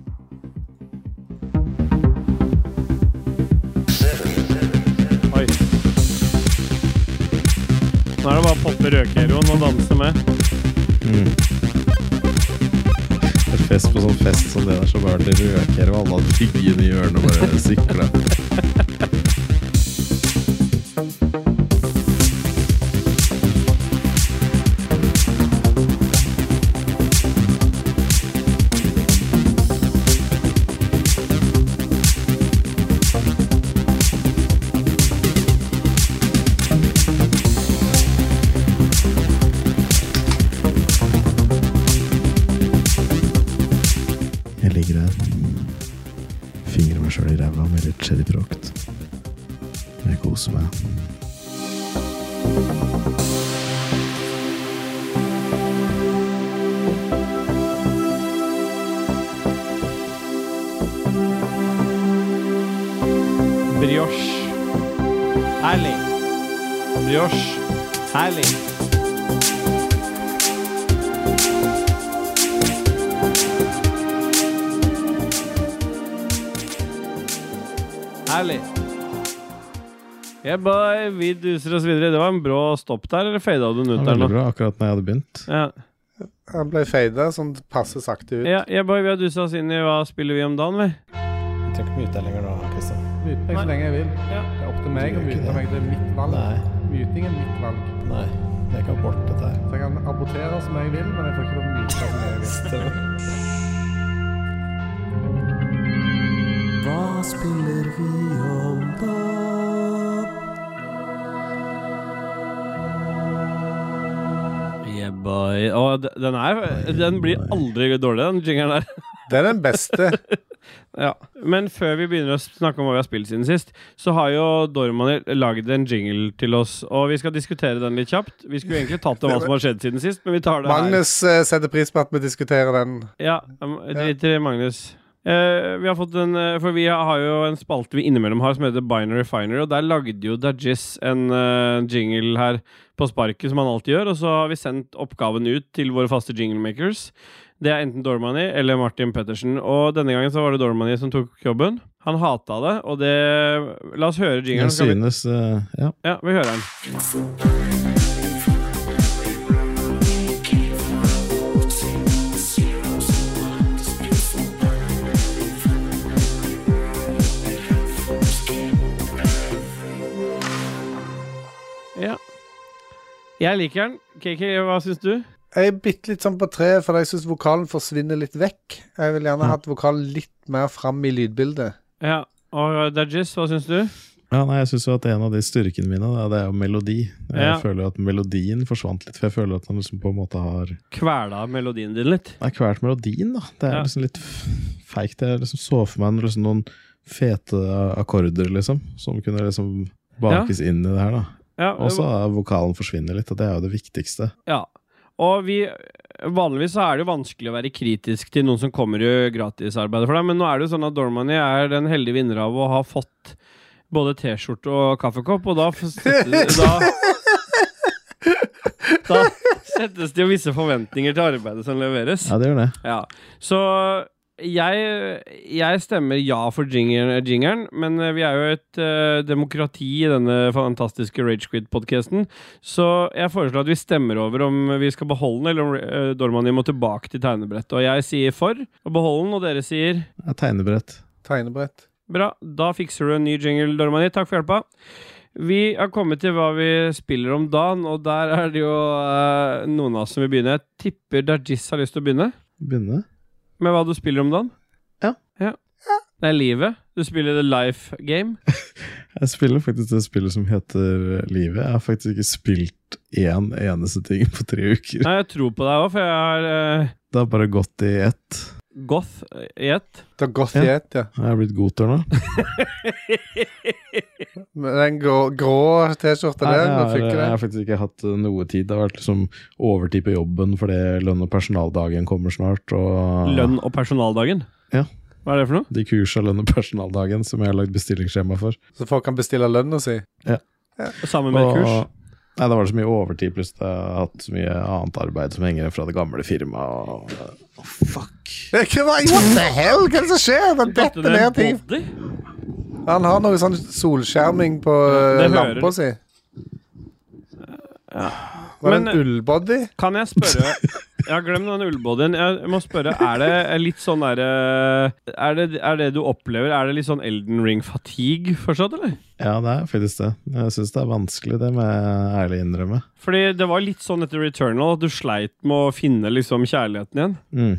Oi. Nå er det bare å poppe røkeroen og danse med. Et fest på sånn fest som det der, så bare det røker og alle har tyggen i ørene og bare sikler. Jeg ligger her. Fingrer meg sjøl i ræva med litt cherryprokt. Jeg koser meg. Brioche. Herlig. Brioche. Herlig. Herlig. Yeah, boy, vi duser oss videre. Det var en brå stopp der, eller fada du den Det ut var der veldig nå? bra, akkurat når jeg hadde begynt. Ja. Han ble fada sånn passe sakte ut. Ja, yeah, boy, vi har dusa oss inn i hva spiller vi om dagen, vi. Jeg trenger ikke mute deg lenger nå, Kristian. Mute meg så lenge jeg vil. Ja. Det er opp til meg Du å gjør ikke mute det. meg. Det er mitt valg. Nei, Muting er mitt valg. nei. Det er ikke abort, dette her. Så jeg kan abortere som jeg vil, men jeg får ikke lov til å mute som jeg vil. Hva spiller vi om da? Yeah, boy. Å, d- den her Den blir aldri dårlig, den jingeren der. Det er den beste. Ja. Men før vi begynner å snakke om hva vi har spilt siden sist, så har jo Dorman lagd en jingle til oss, og vi skal diskutere den litt kjapt. Vi skulle egentlig tatt om hva som har skjedd siden sist, men vi tar det her. Magnus eh, setter pris på at vi diskuterer den. Ja, um, drit i det, Magnus. Eh, vi har fått en, eh, for vi har jo en spalte vi innimellom har som heter Binary Finer, og der lagde jo Dajis en eh, jingle her på sparket, som han alltid gjør, og så har vi sendt oppgaven ut til våre faste jinglemakers. Det er enten Dormani eller Martin Pettersen, og denne gangen så var det Dormani som tok jobben. Han hata det, og det La oss høre jinglen. Jeg så kan vi- synes eh, Ja. ja, vi hører den. Ja. Jeg liker den. KK, hva syns du? Jeg er bitte litt sånn på treet, for jeg syns vokalen forsvinner litt vekk. Jeg vil gjerne hatt vokalen litt mer fram i lydbildet. Ja, og Dajis, hva syns du? Ja, nei, jeg synes jo at En av de styrkene mine da, det er jo melodi. Jeg Ja. føler jo at melodien forsvant litt. For jeg føler at han liksom på en måte har Kvela melodien din litt. Nei, hvert melodien, da. Det er Ja. liksom litt f- feigt. Jeg liksom så for meg liksom noen fete akkorder, liksom. Som kunne liksom bakes inn i det her, da. Ja, Og så er vokalen forsvinner litt, og det er jo det viktigste. Ja. Og vi Vanligvis så er det jo vanskelig å være kritisk til noen som kommer i gratisarbeidet for deg, men nå er det jo sånn at Dormany er den heldige vinner av å ha fått både T-skjorte og kaffekopp, og da f- settes, da, da settes det jo visse forventninger til arbeidet som leveres. Ja, det gjør det. Ja. Så jeg, jeg stemmer ja for jingeren, eh, jingeren, men vi er jo et eh, demokrati i denne fantastiske Ragequid-podkasten, så jeg foreslår at vi stemmer over om vi skal beholde den, eller om uh, Dormani må tilbake til tegnebrettet. Og jeg sier for å beholde den, og dere sier det er tegnebrett. Tegnebrett. bra. Da fikser du en ny jingle, Dormani. Takk for hjelpa. Vi har kommet til hva vi spiller om dagen, og der er det jo eh, noen av oss som vil begynne. Jeg tipper Dajis har lyst til å begynne Begynne. med hva du spiller om dagen? Ja. Det er livet. Du spiller the life game. Jeg spiller faktisk det spillet som heter Livet. Jeg har faktisk ikke spilt én eneste ting på tre uker. Nei, jeg tror på deg òg, for jeg har eh, Det har bare gått i ett. goth eh, i ett. Det er godt Ja. i ett, ja. Jeg er blitt goter nå. Men den grå, grå T-skjorta Nei, der, jeg, nå har, funker jeg det. har faktisk ikke hatt eh, noe tid. Det har vært liksom overtid på jobben fordi lønn- og personaldagen kommer snart. Og Lønn og personaldagen. Ah. Ja. Hva er det for noe? de kursa lønn- og personaldagen som jeg har lagd bestillingsskjema for. Så folk kan bestille lønna si. Sammen med Og- et kurs. Nei, det var så mye overtid, pluss jeg har hatt så mye annet arbeid som henger fra det gamle firmaet. Og, Å, fuck. What the hell? Hva er det som skjer? Den Datt detter det ned en ting. body? Han har noe sånn solskjerming på det eh, hører lampa du. si. Var det Men- eh, en ullbody? Kan jeg spørre Ja, glem den ullbodyen. Jeg må spørre, er det litt sånn derre er, det- er det du opplever, er det litt sånn Elden Ring-fatigue fortsatt, eller? Ja, det er faktisk det. Jeg syns det er vanskelig, det må jeg ærlig innrømme. Fordi det var litt sånn etter Returnal at du sleit med å finne liksom kjærligheten igjen. Mm.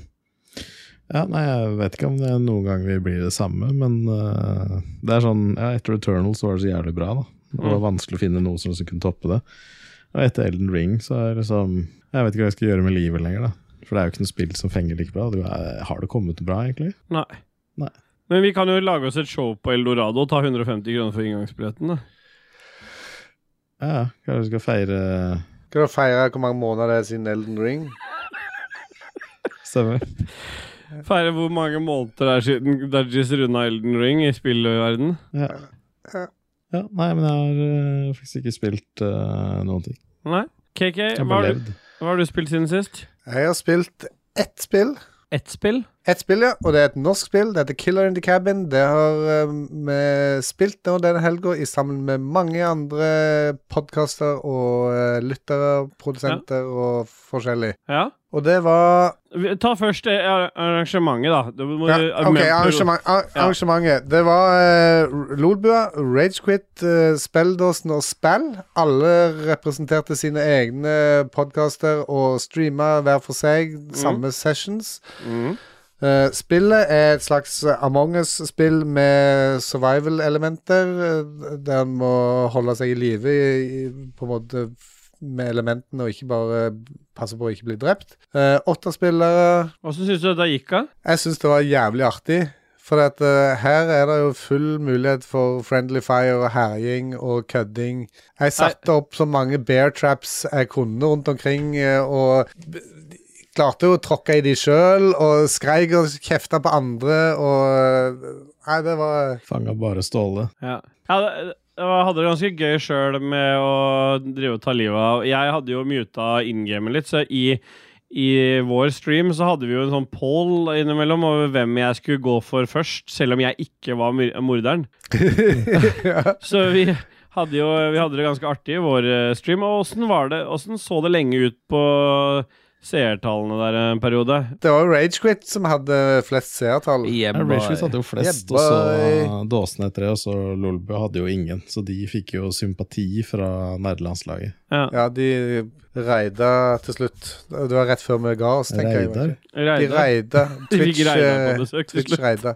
Ja, nei, jeg vet ikke om det noen gang vi blir det samme, men eh, det er sånn ja, Etter Returnal så var det så jævlig bra, da. Det var vanskelig å finne noe som kunne toppe det. Og etter Elden Ring så er det liksom Jeg vet ikke hva jeg skal gjøre med livet lenger, da. For det er jo ikke noe spill som fenger like bra. Du er, eh, har det kommet bra, egentlig? Nei. Nei. Men vi kan jo lage oss et show på Eldorado og ta 150 kroner for inngangsbilletten. da. Ja, ja. Kanskje vi skal feire Skal du feire hvor mange måneder det er siden Elden Ring? Stemmer. Feire hvor mange måneder det er siden Dajis runda Elden Ring i spillverden. Ja. ja. Nei, men jeg har eh, faktisk ikke spilt eh, noen ting. Nei. KK, Jeg har hva bare har, du, levd. hva har du spilt siden sist? Jeg har spilt ett spill. Ett spill? Ett spill, ja. Og det er et norsk spill. Det heter Killer in the Cabin. Det har eh, vi spilt nå denne helga i sammen med mange andre podkaster og eh, lyttere, produsenter og forskjellig. Ja. Og det var Vi- Ta først det ar- arrangementet, da. Du må, ja, OK, argumenter- arrangement, ar Ja. arrangementet. Det var uh, Lolbua, Ragequit, uh, Spelldåsen og Spell. Alle representerte sine egne podkaster og streama hver for seg, Mm. samme sessions. Mhm. Eh, spillet er et slags Among us-spill med survival-elementer, eh, der en må holde seg i live i- i- på en måte f- med elementene, og ikke bare passe på å ikke bli drept. Eh, åtte spillere. Hvordan syns du dette gikk, da? Jeg syns det var jævlig artig, for at, eh, her er det jo full mulighet for friendly fire og herjing og kødding. Jeg satte opp så mange bear traps jeg kunne rundt omkring, eh, og klarte jo å tråkke i de sjøl, og skreik og kjefta på andre, og eh, Nei, det var Fanga bare Ståle. Ja. ja det, jeg hadde det ganske gøy sjøl med å drive og ta livet av Jeg hadde jo muta in-gamet litt, så i, i vår stream så hadde vi jo en sånn poll innimellom over hvem jeg skulle gå for først, selv om jeg ikke var myr- morderen. Så vi hadde jo vi hadde det ganske artig i vår eh, stream. Og åssen var det? Åssen så det lenge ut på seertallene der en periode? Det var jo Ragequit som hadde flest seertall. Rashford hadde jo flest, Yeah, og så boy. Dåsen etter det, og så Lolbu hadde jo ingen. Så de fikk jo sympati fra nerdelandslaget. Ja, de reida til slutt. Det var rett før vi ga oss, tenker jeg. Reidar. De Reidar. reida. De fikk Twitch, Reidar eh, på besøk til Twitch slutt. reida.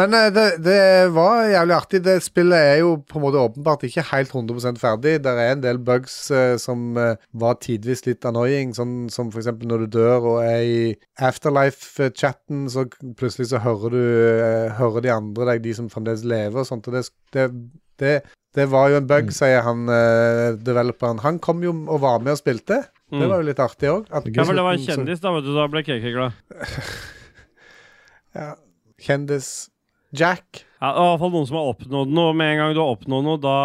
Men eh, det, det var jævlig artig. Det spillet er jo på en måte åpenbart ikke helt 100 ferdig. Der er en del bugs eh, som eh, var tidvis litt annoying, sånn som f.eks. når du dør og er i afterlife-chatten, så k- plutselig så hører du eh, hører de andre deg, de som fremdeles lever og sånt. Og det, det, det, det var jo en Mm. bug, sier han eh, developeren. Han kom jo og var med og spilte. eh, Det var jo litt artig òg. Mm. Ja, for det var en kjendis, da, vet du. Da ble KK glad. Ja. Kjendis Jack. Ja, det er i hvert fall noen som har oppnådd noe. Med en gang du har oppnådd noe, da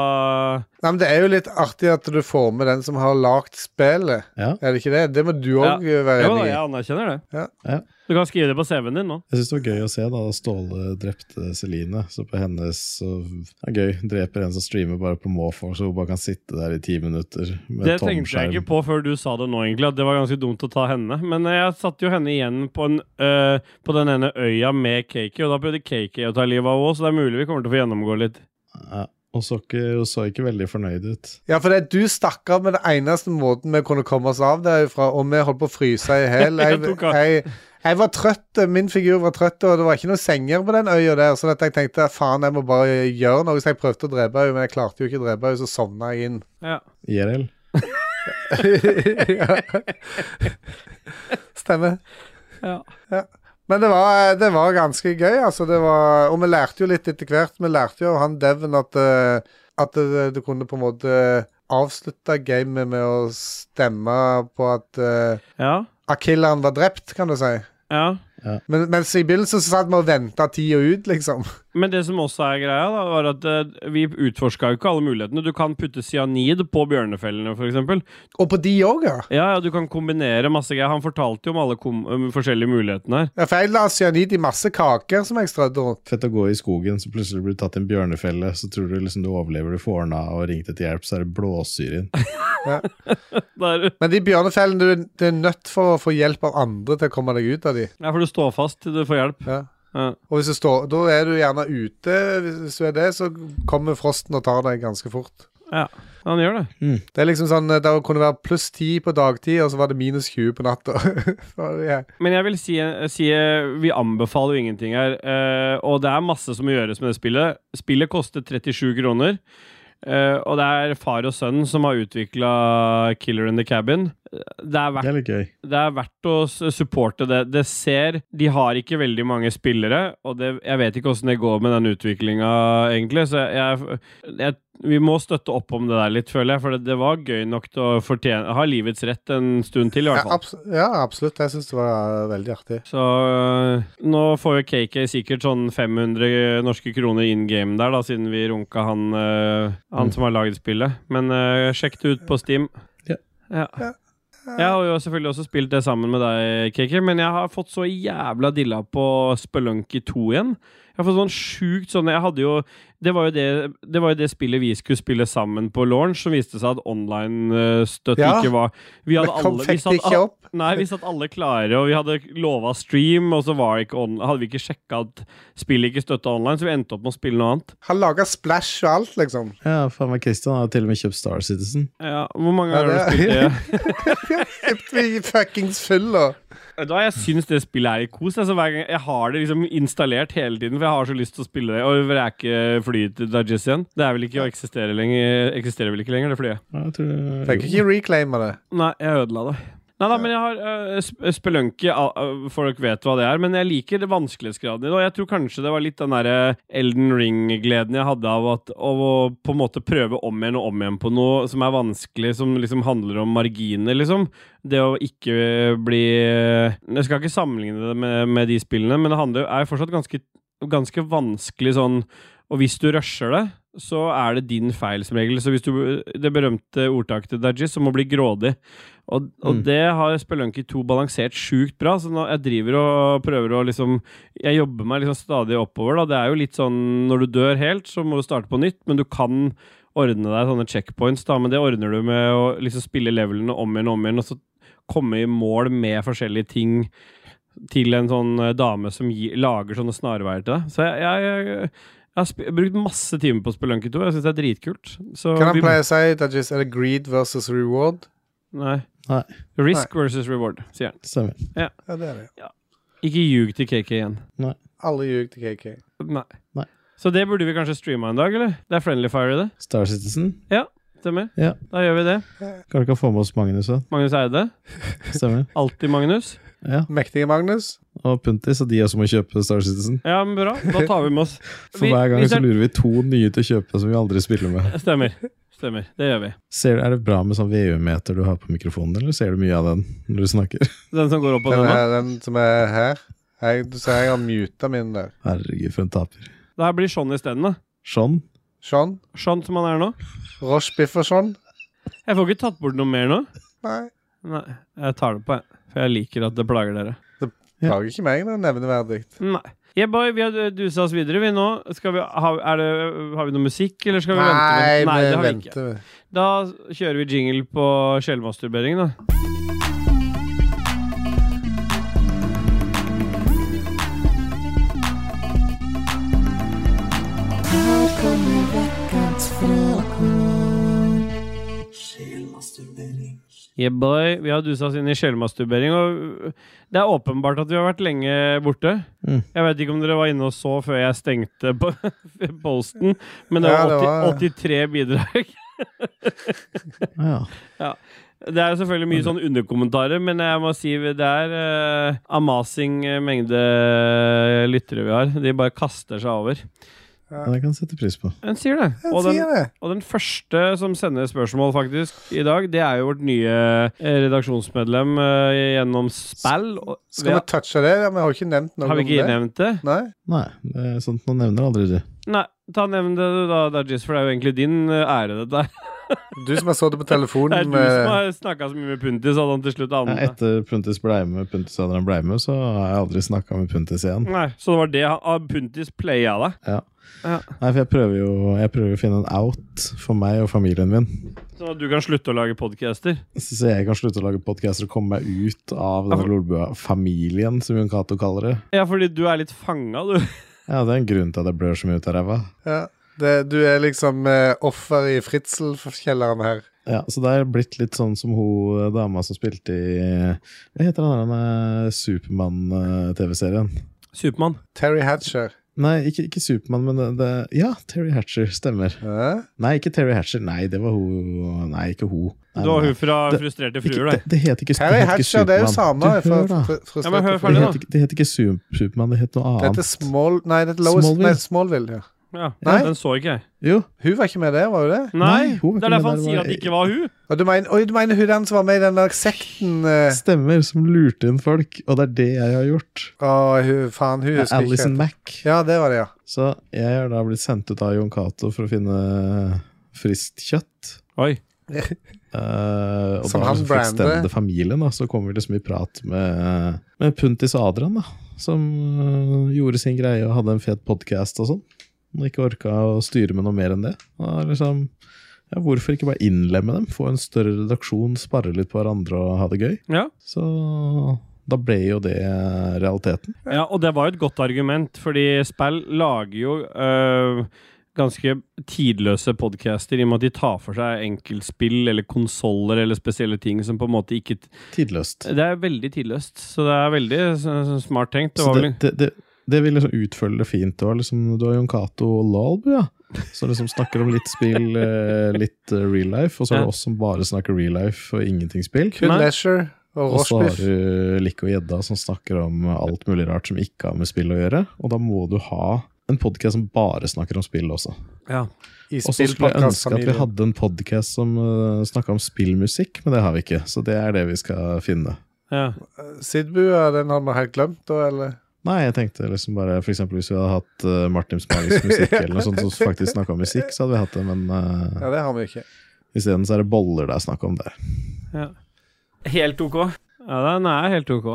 Nei, men Det er jo litt artig at du får med den som har lagd spillet. Ja. Er det ikke det? Det må du òg være Jo da, enig i. jeg anerkjenner det. Ja. Ja. Du kan skrive det på CV-en din nå. Jeg syns det var gøy å se da da Ståle drepte Celine. Så på hennes så ja, gøy. Dreper en som streamer bare på måfå, så hun bare kan sitte der i ti minutter med Det tom skjerm. tenkte jeg ikke på før du sa det nå, egentlig, at det var ganske dumt å ta henne. Men eh, jeg satte jo henne igjen på, en, øh, på den ene øya med KK, og da prøvde KK å ta livet av henne òg, så det er mulig vi kommer til å få gjennomgå litt. Ja, hun så, ikke, hun så ikke veldig fornøyd ut. Ja, for det er du stakk av med den eneste måten vi kunne komme oss av derifra, og vi holdt på å fryse i hjel. Jeg Jeg, tok av. jeg, jeg var trøtt, min figur var trøtt, og det var ikke noen senger på den øya der, så jeg tenkte faen, jeg må bare gjøre noe. Så jeg prøvde å drepe henne, men jeg klarte jo ikke å drepe henne, så sovna jeg inn. Ja. IRL. ja. Stemmer. Ja. Men det var, det var ganske gøy, altså. Det var, og vi lærte jo litt etter hvert. Vi lærte jo av han Devon at, eh, at eh, du kunne på en måte avslutte gamet med å stemme på at uh, Ja. Akillan var drept, kan du si. ja. Men, mens i begynnelsen så satt vi og venta tida ut, liksom. Men det som også er greia, da, var at eh, vi utforska jo ikke alle mulighetene. Du kan putte cyanid på bjørnefellene, f.eks. Og på de òg, ja. Ja, ja, du kan kombinere masse greier. Han fortalte jo om alle kom øh, forskjellige mulighetene her. Ja, For jeg la cyanid i masse kaker som jeg strødde rundt. Fett å gå i skogen, så plutselig blir du tatt i en bjørnefelle, så tror du liksom du overlever, du får ordna og ringt etter hjelp, så er det blåsyre inn. Der, Men de bjørnefellene, du, du er nødt for å få hjelp av andre til å komme deg ut av de. ja, for du står fast til du får hjelp. Ja. Ja. Og hvis du står, da er du gjerne ute. Hvis- Hvis du er det, så kommer frosten og tar deg ganske fort. Han gjør det. Det er liksom sånn, eh, Der kunne det være pluss 10 på dagtid, og så var det minus 20 på natta. Så var det- ja. Men jeg vil si, si vi anbefaler jo ingenting her. eh, og det er masse som må gjøres med det spillet. Spillet koster 37 kroner. eh, og det er far og sønn som har utvikla Killer in the Cabin. Det er verdt Det er litt gøy. det er verdt å s- supporte det. Det ser De har ikke veldig mange spillere, og det, jeg vet ikke åssen det går med den utviklinga, egentlig. Så jeg, jeg, vi må støtte opp om det der litt, føler jeg. For det, det var gøy nok til å fortjene Ha livets rett en stund til, i Ja, hvert fall. abs ja, absolutt. Jeg syns det var eh, veldig artig. Så øh, nå får jo KK sikkert sånn 500 norske kroner in game der, da, siden vi runka han, eh, øh, han som har laget spillet. Men øh, sjekk det ut på Steam. Ja. Ja. Jeg har jo selvfølgelig også spilt det sammen med deg, KK, men jeg har fått så jævla dilla på Spelunky 2 igjen. Jeg har fått sånn sjukt sånn Jeg hadde jo Det var jo det, det, var jo det spillet vi skulle spille sammen på launch, som viste seg at online-støtte Ja. ikke var Vi Det hadde kom alle vi fikk satt, det ikke opp. Nei, vi satt alle klare, og vi hadde lova stream, og så var det ikke on, hadde vi ikke sjekka at spillet ikke støtta online, så vi endte opp med å spille noe annet. Han laga splash og alt, liksom. Ja, faen meg Christian har jo til og med kjøpt Star Citizen. Ja, hvor mange Ja, ganger har du det- spilt det? Vi fuckings fyller. Da jeg syns det spillet er i kos. Altså, hver gang jeg har det liksom installert hele tiden, for jeg har så lyst til å spille det. Og vreke flyet til Dajis igjen. Det er vel ikke å eksistere lenger, eksisterer vel ikke lenger, det flyet. Ja, jeg tror, Fikk jo. ikke reclaima det. Nei, jeg ødela det. Nei da, men jeg har øh, sp- Spelunky al- øh, Folk vet hva det er, men jeg liker det vanskelighetsgraden i det. Og jeg tror kanskje det var litt den derre Elden Ring-gleden jeg hadde av, at, av å på en måte prøve om igjen og om igjen på noe som er vanskelig, som liksom handler om marginer, liksom. Det å ikke bli Jeg skal ikke sammenligne det med, med de spillene, men det handler, er fortsatt ganske, ganske vanskelig sånn Og hvis du rusher det, så er det din feil som regel. Så hvis du Det berømte ordtaket til Dajis om å bli grådig. Og, og Mm. det har Spelunky 2 balansert sjukt bra, så nå jeg driver og prøver å liksom Jeg jobber meg liksom stadig oppover, da. Det er jo litt sånn når du dør helt, så må du starte på nytt, men du kan ordne deg sånne checkpoints, da, men det ordner du med å liksom spille levelene om igjen og om igjen, og så komme i mål med forskjellige ting til en sånn eh, dame som gi, lager sånne snarveier til deg. Så jeg, jeg, jeg, jeg har sp brukt masse timer på Spelunky 2. Jeg syns det er dritkult. Så Kan han vi- pleie å si at det er greed versus reward? Nei. Nei. Risk versus reward, sier han. Stemmer. Ja, det er det. Ikke ljug til KK igjen. Alle ljug til KK. Nei. Nei. Så det burde vi kanskje streama en dag, eller? Det er Friendly Fire, i det. Star Citizen. Stemmer? Ja. Da gjør vi det. Kan du ikke få med oss Magnus òg? Magnus Eide. Stemmer. Alltid Magnus. Ja. Mektige Magnus. Og Puntis og de også må kjøpe Star Citizen. Ja, men bra. Da tar vi med oss For Vi- hver gang vi så ser- lurer vi to nye til å kjøpe som vi aldri spiller med. Stemmer. Stemmer. Det gjør vi. Ser, er det bra med sånn VU-meter du har på mikrofonen, eller ser du mye av den når du snakker? Den som går opp og Den, ned nå. er, den som er her. Jeg, du ser jeg har muta min der. Herregud, for en taper. Det her blir Sean isteden, da. Sånn. Sean. Sean som han er nå. Roche Biff og sånn? Sean. Jeg får ikke tatt bort noe mer nå. Nei. Nei, jeg tar det på, jeg. For jeg liker at det plager dere. Ja. Plager ikke meg det er nevneverdig. Nei. Yeah, boy, vi har dusa oss videre, vi nå. Skal vi ha, er det, har vi noe musikk, eller skal vi vente? med- Nei, det har vi ikke. venter. Da kjører vi jingle på sjelmasturbering, da. Yeah, boy. Vi har dusa oss inn i sjelmasturbering, og det er åpenbart at vi har vært lenge borte. Mm. Jeg vet ikke om dere var inne og så før jeg stengte på posten, men det Ja, var, det 80, 83 var- bidrag. Ja. Det er jo selvfølgelig mye sånn underkommentarer, men jeg må si det er eh, amazing mengde eh, lyttere vi har. De bare kaster seg over. ja, det kan jeg sette pris på. Den sier det. Jeg Og den, sier det. og den første som sender spørsmål faktisk i dag, det er jo vårt nye eh, redaksjondsmedlem eh, gjennom spill. Og, Skal vi touche det? Ja, Vi har ikke nevnt noe har vi om ikke det. nevnt det? Nei? Nei, det er sånt man nevner aldri du. Nei, ta nevn det du da, Dajis, for det er jo egentlig din eh, ære, dette her. Du som har sittet på Det telefonen eh, er du eh, som med har snakka så mye med Puntis, hadde han til slutt Ja, anet det. etter Puntis blei med Puntis og han blei med, så har jeg aldri snakka med Puntis igjen. Nei, så det var det han- han Puntis playa deg. Nei, for jeg prøver jo jeg prøver å finne en out for meg og familien min. Sånn at du kan slutte å lage podcaster. Så så jeg kan slutte å lage podkaster og komme meg ut av denne Lolbua-familien, som Jon Cato kaller det. Ja, fordi du er litt fanga, du. Ja, det er en grunn til at jeg blør så mye ut av ræva. ja. det, Du er liksom eh, offer i fritzelkjelleren her. Ja, så det er blitt litt sånn som hun eh, dama som spilte i eh, Hva heter den der Supermann-TV-serien? Supermann. Terry Hatcher. Nei, ikke, ikke Supermann, men det, det Ja, Terry Hatcher. Stemmer. Hæ? Nei, ikke Terry Hatcher. Nei, det var hun Nei, ikke hun. Nei, Du var nei, hun fra Det- Frustrerte Ikke, fruer, det, deg. det heter ikke, Terry det heter ikke Hatcher, det er jo Superman. samme. eh, Du, hør, da. fra- fra- Ja, men hør Det ferdig, da. heter, ikke- det heter ikke Su- Supermann, det heter noe Det heter annet. Small... Nei, det heter Lowest Smallville. Smallville. Smallville ja. Ja, Nei. Den så ikke jeg. Jo, Hun var ikke med der, var hun det? Nei, Nei, hun var det er ikke derfor han med der, sier var- at det ikke var hun. Og du mener, oi, du mener hun den som var med i den der sekten eh, stemmer, som lurte inn folk. Og det er det jeg har gjort. Å, hun, faen, hun husker Alison ikke. Mack. Ja, det var det, ja. Så jeg har da blitt sendt ut av Jon Cato for å finne friskt kjøtt. Oi. Eh, og Som da han liksom brander. fullstendig familien, da, så kom vi liksom i prat med, med Puntis og Adrian, da. Som eh, gjorde sin greie og hadde en fet podkast og sånn. Og ikke orka å styre med noe mer enn det. Og liksom, ja, hvorfor ikke bare innlemme dem? Få en større redaksjon, spare litt på hverandre og ha det gøy. Ja. Så da ble jo det realiteten. Ja, og det var jo et godt argument, fordi Spell lager jo øh, ganske tidløse podcaster i og med at de tar for seg enkeltspill eller konsoller eller spesielle ting som på en måte ikke Tidløst. Det er veldig tidløst, så det er veldig s- s- smart tenkt. Det Så var det, vel det, det, det vil liksom utfølge det fint. Og liksom, du har Jon Cato og Lalbu, ja. Som liksom snakker om litt spill, eh, litt eh, real life. Og så er Ja. det oss som bare snakker real life og ingenting spill. Kun Nei. Leisure og Og så har Rochebiff. du Likke og Gjedda som snakker om alt mulig rart som ikke har med spill å gjøre. Og da må du ha en podkast som bare snakker om spill også. I Og så skulle jeg ønske at vi spillpodkastfamilien. hadde en podkast som uh, snakka om spillmusikk, men det har vi ikke. Så det er det vi skal finne. ja. Sidbua, den har vi helt glemt, da, eller? Nei, jeg tenkte liksom bare for eksempel hvis vi hadde hatt eh, Martin Sparings musikk eller noe sånt som faktisk snakka om musikk, så hadde vi hatt det, men uh, Ja, det har vi ikke. isteden så er det boller det er snakk om der. Helt OK. ja, den er helt OK.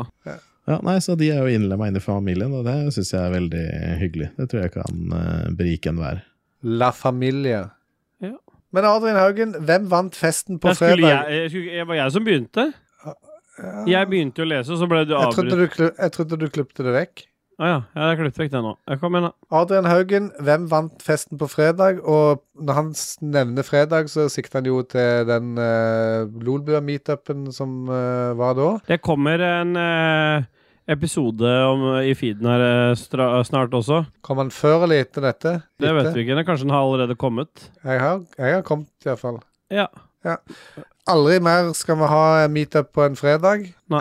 Ja, nei, så de er jo innlemma inn i familien, og det syns jeg er veldig hyggelig. Det tror jeg kan eh, berike enhver. La Familia. Ja. Men Adrian Haugen, hvem vant festen på Ja, skulle fredag? jeg, jeg, skulle- jeg, var jeg som begynte? Jeg begynte jo å lese, og så ble du Jeg trodde avbrutt. du, klu- jeg trodde du klippte det vekk. Å ja, ja, jeg har klippet vekk det nå. Ja, Kom igjen, da. Adrian Haugen, hvem vant festen på fredag? Og når han s- nevner fredag, så sikter han jo til den uh, Lolbua-meetupen som eh, var da. Det kommer en eh, episode om, i feeden her eh, stra snart også. Kom han før eller etter dette? Det vet vi ikke. eller Kanskje den har allerede kommet. Jeg har, jeg har kommet, iallfall. Ja. Aldri mer skal vi ha en meetup på en fredag. Nei.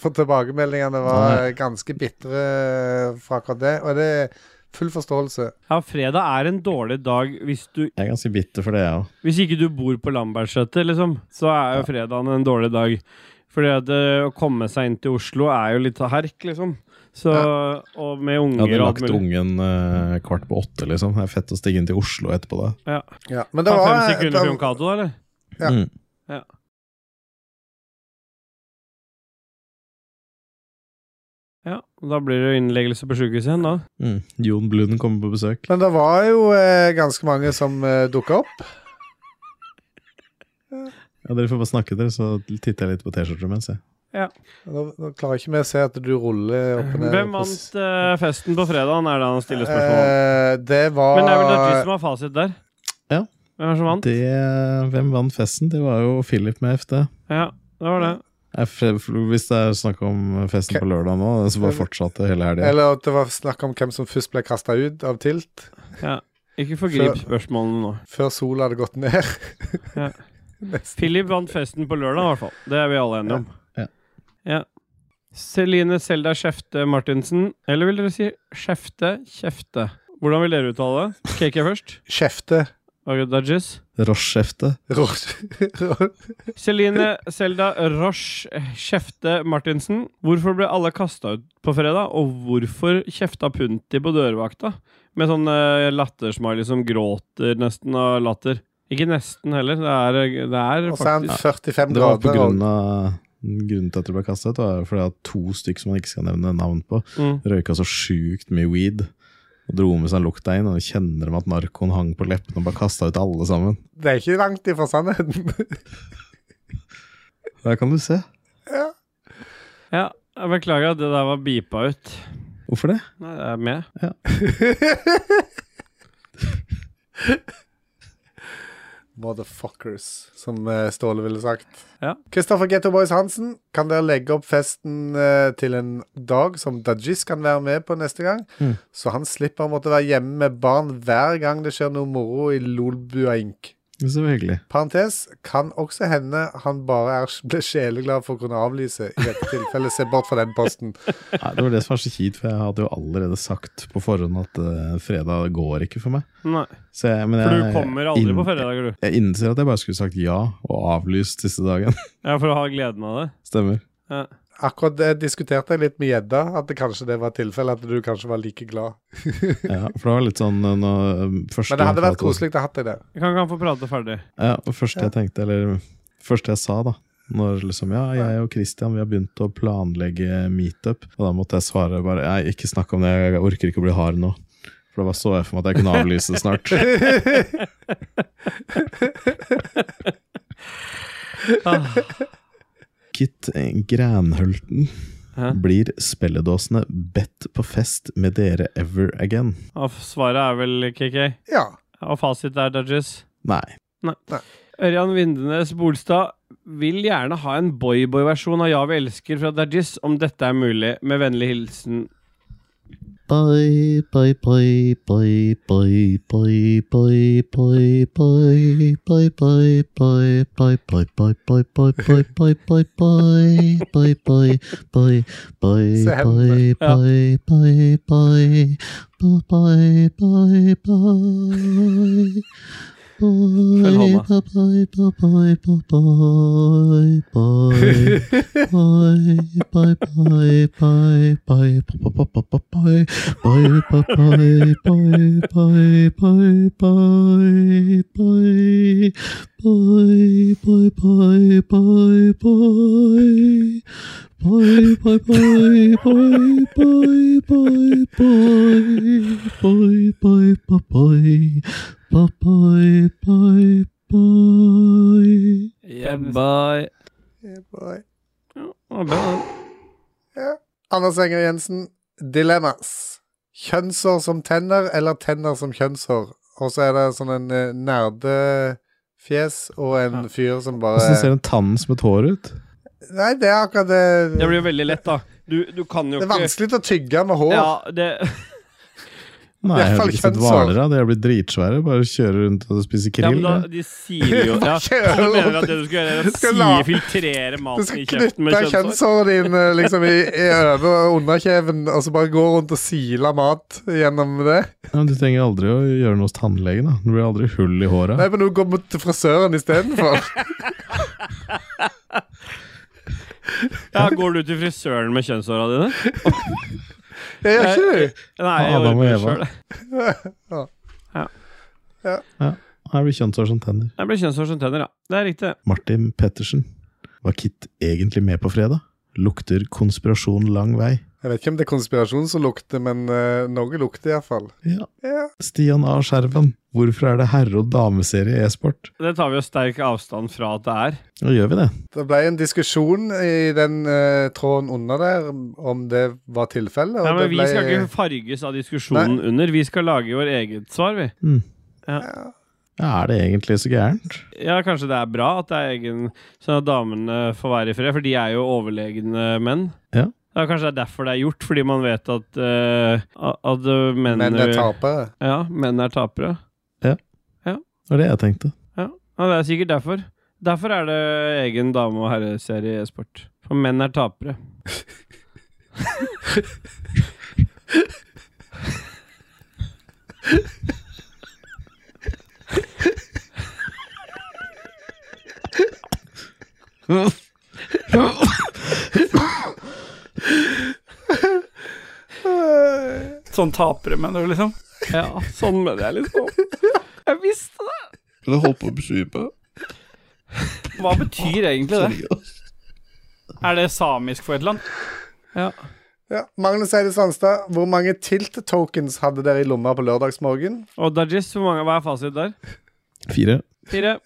For tilbakemeldingene var eh, ganske bitre eh, fra akkurat det. Og det er full forståelse. ja, fredag er en dårlig dag hvis, du, Jeg er ganske bitter for det, jeg òg. hvis ikke du bor på Lambertseter, liksom. Så er jo fredagen en dårlig dag. Fordi at eh, å komme seg inn til Oslo er jo litt av herk, liksom. Så, Og med Jeg unger hadde og lagt alt mulig. ungen eh, kvart på åtte, liksom. Det er fett å stige inn til Oslo etterpå da. Ja. Ja. Men det Ta fem var, eh, sekunder for Jon det, Cato, eller? Ja. Mm. Ja. Da blir det jo innleggelse på sjukehuset igjen, da. Mm. Jon Blund kommer på besøk. men det var jo eh, ganske mange som eh, dukka opp. Ja, Dere får bare snakke, dere, så titter jeg litt på T-skjorter mens, jeg. Nå, nå klarer ikke vi å se at du ruller opp og ned. Hvem vant eh, festen på fredagen, er det han stiller spørsmål om. Eh, det var Men det er vel Dargis som har fasit der? Ja. Hvem er det som vant? Det, eh, hvem vant festen? Det var jo Philip med FD. Ja, det var det. Jeg, f- hvis det er snakk om festen Ke- på lørdag nå, så bare fortsatte hele helga. Eller at det var snakk om hvem som først ble kasta ut av tilt, Ikke forgrip spørsmålene nå. før sola hadde gått ned. Ja. Nesten. Philip vant festen på lørdag, i hvert fall. Det er vi alle enige om. Ja. Ja. Celine Selda Skjefte Martinsen. Eller vil dere si Skjefte Kjefte? Hvordan vil dere uttale det? KK først? Kjefte. Og Dodges? Roche-hefte. Ror- Celine Selda Roche eh, Kjefte Martinsen. Hvorfor ble alle kasta ut på fredag, og hvorfor kjefta Punti på dørvakta? Med sånn eh, lattersmiley som gråter nesten av latter. Ikke nesten heller, det er, det er Og så er han faktisk 45 Det var på grader. grunn og- av Grunnen til at det ble kastet, var jo fordi at to stykker som man ikke skal nevne navn på, mm. røyka så sjukt mye weed og dro med seg lukta inn. Og kjenner de at narkoen hang på leppene og bare kasta ut alle sammen. Det er ikke langt ifra sannheten. Der kan du se. Ja, jeg beklager at det der var beepa ut. Hvorfor det? Nei, det er med. Motherfuckers, som eh, Ståle ville sagt. Ja. Kristoffer Getto Boys Hansen, kan dere legge opp festen eh, til en dag som Dajis kan være med på neste gang? Mm. Så han slipper å måtte være hjemme med barn hver gang det skjer noe moro i Lolbua Inc. Selvfølgelig. Parentes kan også hende han bare er, ble sjeleglad for å kunne avlyse. I dette tilfellet, se bort fra den posten. Nei, det var det som var så kjipt, for jeg hadde jo allerede sagt på forhånd at eh, fredag går ikke for meg. Nei. Så jeg, men For jeg, du kommer aldri inn- på fredager, du. Jeg innser at jeg bare skulle sagt ja og avlyst siste dagen. Ja, For å ha gleden av det. Stemmer. Ja. Akkurat det diskuterte jeg litt med gjedda, at det kanskje det var tilfellet at du kanskje var like glad. Ja, for det var litt sånn eh, nå, eh, første Men det hadde jeg vært pratet- koselig å ha hatt deg der. Kan ikke han få prate ferdig? Ja, og første jeg tenkte, eller første jeg sa da når liksom, ja, jeg og Christian vi har begynt å planlegge meetup, og da måtte jeg svare bare Nei, ikke snakk om det, jeg orker ikke å bli hard nå. For da var så jeg for meg at jeg kunne avlyse det snart. Ah, Kit Granhølten Hæ? blir spelledåsene bedt på fest med dere ever again? og svaret er vel KK. Ja. Og fasit er Dodges. Nei. Ørjan Vindenes Bolstad vil gjerne ha en boyboy-versjon av Ja, vi elsker fra Dajis, om dette er mulig. Med vennlig hilsen Bye, bye, bye, bye, bye, bye, bye, bye, bye, bye, bye, bye, bye, bye, bye, bye, bye, bye, bye, bye, bye, bye, bye, bye, bye, Sam. bye, Ja. bye, bye, bye, bye, bye, bye, bye. Følg hånda. Bye, bye, bye, bye, bye, bye, bye. Bye, bye, bye, bye, bye, bye, bye, bye, bye, bye. Bye, bye, bye, bye, bye, bye, bye, bye. Bye, bye, bye, bye, bye. Bye, bye, bye, bye, bye, bye, bye. Bye, bye, bye, bye. Bye, bye, bye, bye. yeah, bye. Yeah, boy. Å, bra. Anders Enger Jensen, dilemmas. Kjønnshår som tenner, eller tenner som kjønnshår? Og så er det sånn en eh, nerdefjes og en fyr som Hvordan bare ser en tann som et hår ut? Nei, det er akkurat det Det blir jo veldig lett, da. Du, du kan jo Det er ikke vanskelig å tygge med hår. Ja, det Nei, jeg har fall ikke sett kjønnshår. hvaler. da. De har blitt dritsvære. Bare kjører rundt og spiser ja, men krill. da, Ja, De sier jo ja. Hva Så du gjør du? mener at det du skal gjøre, er å Du skal si la- filtrere Du maten i skal kjeften med knytte kjønnshår? kjønnshåret dine liksom, i, i over og underkjeven, og så bare gå rundt og sile mat gjennom det. men du trenger aldri å gjøre noe hos tannlegen. da. Det blir aldri hull i håret. Nei, men du går mot til frisøren istedenfor. Ja, Går du til frisøren med kjønnshåra dine? Det gjør ikke du. Nei, jeg Adam og gjorde det Eva. sjøl. Her blir kjønnshår som tenner. Jeg ble kjønnshår som tenner, ja. Det er riktig. Martin Pettersen. Var Kit egentlig med på fredag? Lukter konspirasjon lang vei. Jeg vet ikke om det er konspirasjon som lukter, men eh, noe lukter iallfall. Ja. Ja. Stian A. Skjerven. Hvorfor er det herre- og dameserie i e-sport? Det tar vi jo sterk avstand fra at det er. Nå gjør vi det. Det ble en diskusjon i den eh, tråden under der om det var tilfellet. og Ja, men det ble, Vi skal ikke farges av diskusjonen under. Vi skal lage vår eget svar, vi. Ja, er det egentlig så gærent? Ja, Kanskje det er bra at det er egen Sånn at damene får være i fred, for de er jo overlegne menn. Ja. Ja, Kanskje det er derfor det er gjort, fordi man vet at, eh, at at, eh, menn, Men det er tapere. Ja, menn er tapere. Det var det jeg tenkte. Ja, Det er sikkert derfor. Derfor er det egen dame- og herreserie i e-sport. For menn er tapere. Sånn tapere, mener du, liksom? Ja, sånn mener jeg liksom. Jeg visste det! Det holdt på å besvipe. Hva betyr egentlig det? Er det samisk for et eller annet? Ja. Magnus Eide Sandstad, hvor mange tilt-tokens hadde dere i lomma på lørdagsmorgen? Og Dajis, hvor mange, hva er fasit der? Fire. Fire.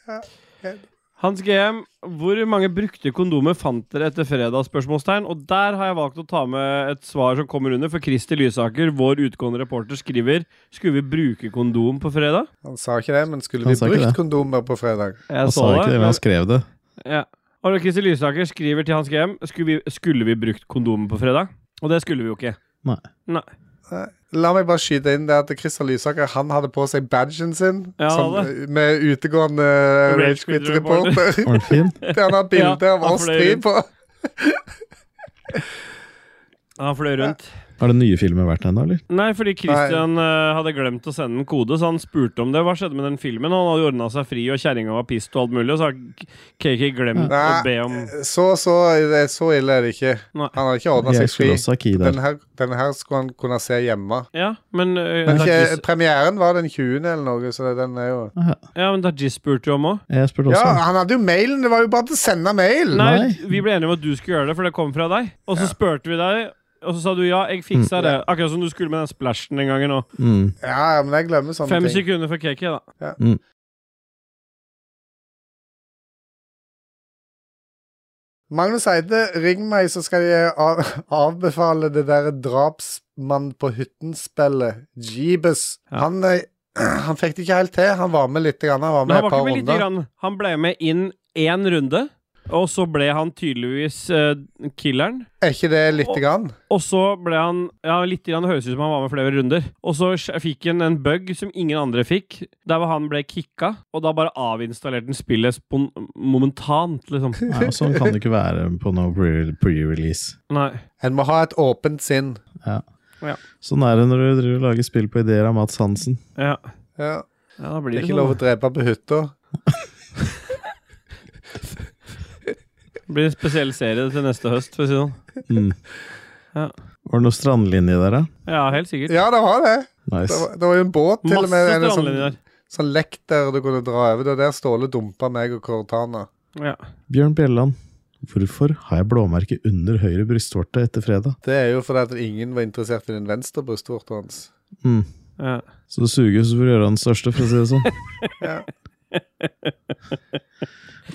Hans GM, hvor mange brukte kondomer fant dere etter fredag? Spørsmålstegn. Og der har jeg valgt å ta med et svar som kommer under, for Christer Lysaker, vår utgående reporter, skriver Skulle vi bruke kondom på fredag? Han sa ikke det, men skulle Han vi sa ikke brukt det. kondomer på fredag? Jeg Han sa ikke det, men han skrev det. Ja. Og Christer Lysaker skriver til Hans GM skulle vi, skulle vi brukt kondomer på fredag? Og det skulle vi jo ikke. La meg bare skyte inn det at Christer Lysaker han hadde på seg badgen sin Ja, som, eh, han med utegående eh, Rage Rage Quit Quit reporter Var den fin? Der han har bilde Ja, av han oss fløy tre rundt. på. Han fløy rundt. Har den nye filmen vært ennå, eller? Nei, fordi Christian eh, hadde glemt å sende en kode, så han spurte om det. Hva skjedde med den filmen? Og han hadde ordna seg fri, og kjerringa var pissed og alt mulig, og så har K- KK glemt å Nei. be om Så, så, det er så ille er det ikke. Nei. Han hadde ikke ordna Jeg seg fri. skulle også ha key der. Denne her, denne her skulle han kunne se hjemme. Ja, men, eh, Men Dajis- ikke, premieren var den 20. eller noe, så den er jo ja, men Dajis spurte jo om òg. Jeg spurte Ja, også. han hadde jo mailen! Det var jo bare til å sende mail! Nei, Nei. vi ble enige om at du skulle gjøre det, for det kom fra deg. Og så spurte vi deg, og så sa du ja, jeg fiksa Mm. det. Akkurat som du skulle med den splashen den gangen òg. Mm. Ja, men jeg glemmer sånne Fem ting. sekunder for KK, da. Magnus Eide, ring meg, så skal jeg av avbefale det der drapsmann på hytten-spillet. Jeebus. Ja. Han, eh, han fikk det ikke helt til. Han var med litt, grann. han var Men med han et var par ikke med lite runder. grann. Han ble med inn én runde, og så ble han tydeligvis eh, killeren. Er ikke det lite Og- grann? Og så ble han Ja, litt grann høres ut som han var med flere runder. Og så sj- fikk han en bug som ingen andre fikk, der hvor han ble kicka, og da bare avinstallerte han spillet spon momentant, liksom. Nei, og sånn kan det ikke være på noe pre- pre-release. Nei. En må ha et åpent sinn. Sånn er det når du driver og lager spill på ideer av Mats Hansen. Ja. Ja. ja da Det blir er det, ikke sånn. lov å drepe på hytta. da. Det blir en spesiell serie til neste høst, for å si det sånn. Mm. Ja. Var det noe strandlinje der, da? Ja, helt sikkert. Ja, det var det. Det Nice. var, det var jo en båt, til og Masse med. En sånn, strandlinjer. sånn lekk der du kunne dra over. Det var der Ståle dumpa meg og Cortana. Ja. Bjørn Bjelland. Hvorfor har jeg blåmerke under høyre brystvorte etter fredag? Det er jo fordi at ingen var interessert i den venstre brystvorten hans. Mm. Ja. Så det suger så får du gjøre den største, for å si det sånn. Ja.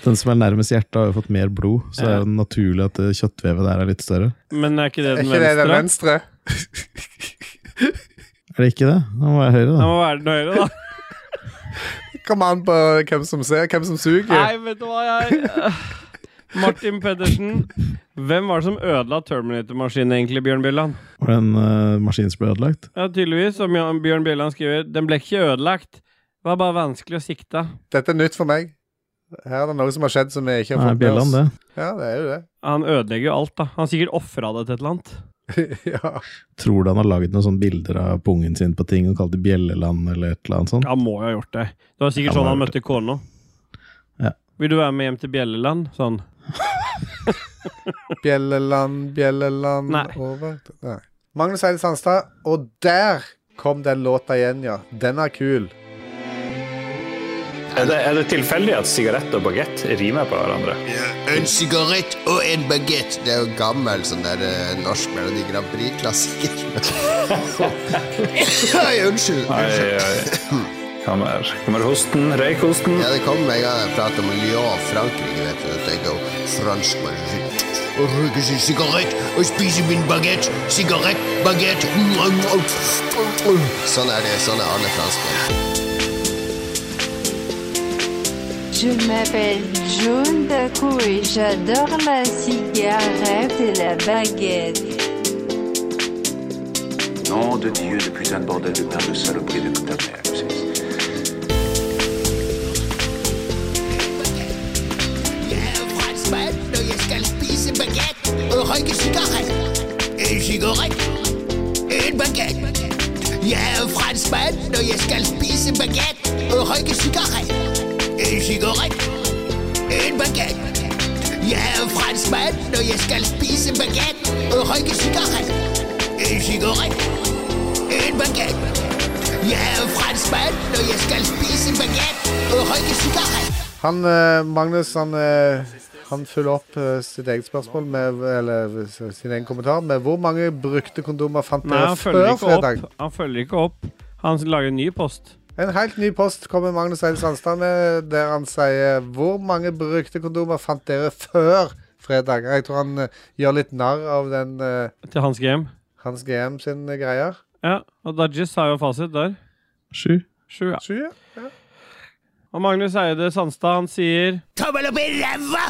Den som er nærmest hjertet, har jo fått mer blod, så det er jo naturlig at det kjøttvevet der er litt større. Men er ikke det Er den ikke det den venstre? venstre? Er det ikke det? Da må jeg høyre, Det da. må være den høyre, da. Kom an på hvem som ser, hvem som suger. Nei, vet du hva jeg Martin Pettersen. Hvem var det som ødela Terminator-maskinen, egentlig, Bjørn Bjelland? Var det en eh, maskin som ble ødelagt? Ja, tydeligvis, som Jan- Bjørn Bjelland skriver, den ble ikke ødelagt. Det var bare vanskelig å sikte. Dette er nytt for meg. Her er det noe som har skjedd som vi ikke har Nei, fått med Bjelland, oss. det. Ja, det er jo det. Han ødelegger jo alt, da. Han har sikkert ofra det til et eller annet. ja. Tror du han har laget noen sånne bilder av pungen sin på ting og kalt det Bjelleland eller et eller annet sånt? Han må jo ha gjort det. Det var Han sikkert må sånn han ha møtte kona. Ja. Vil du være med hjem til Bjelleland? Sånn. Bjelleland, Bjelleland Nei. over Nei. Magnus Eide Sandstad. Og der kom den låta igjen, ja. Den er kul. Er det, er det tilfeldig at sigarett og bagett rimer på hverandre? En sigarett og en baguette. Det er jo gammel sånn der eh, norsk Melodi Grand Prix-klassiker. Oi, unnskyld. Oi, oi. Kommer, kommer hosten, røykosten? Ja, det kom en gang jeg pratet om Lyon, Frankrike, vet du. At jeg går fransk med og røyker sin sigarett og spiser min baguette. Sigarett, baguette. Mm, mm, mm, mm. Sånn er det. Sånn er alle franskmenn. Je m'appelle June Daku et j'adore la cigarette et la baguette. Nom de Dieu, de putain de bordel de merde, de saloperie de ta mère. C'est- Jeg er franskmann, og jeg skal spise baguette og røyke sigarett. En sigarett. En baguette. Jeg er franskmann, og jeg skal spise baguette og røyke sigarett. En sigarett. En baguette. Jeg er franskmann, og jeg skal spise baguette og røyke sigarett. En sigarett. En baguette. Jeg er franskmann, og jeg skal spise baguette og røyke sigarett. Han, eh, Magnus han, eh, han følger opp eh, sitt eget spørsmål med, eller eh, sin egen kommentar med hvor mange brukte kondomer fant Nei, dere han følger før ikke fredag? opp. Han følger ikke opp. Han lager en ny post. En helt ny post kommer Magnus Eide Sandstad med, der han sier hvor mange brukte kondomer fant dere før fredag? Jeg tror han eh, gjør litt narr av den eh, Til hans game. hans GM sin eh, greier. Ja, og Dajis har jo fasit der. Sju? Sju, ja. Sju, ja. Og Magnus Eide Sandstad, han sier Tommel opp i ræva!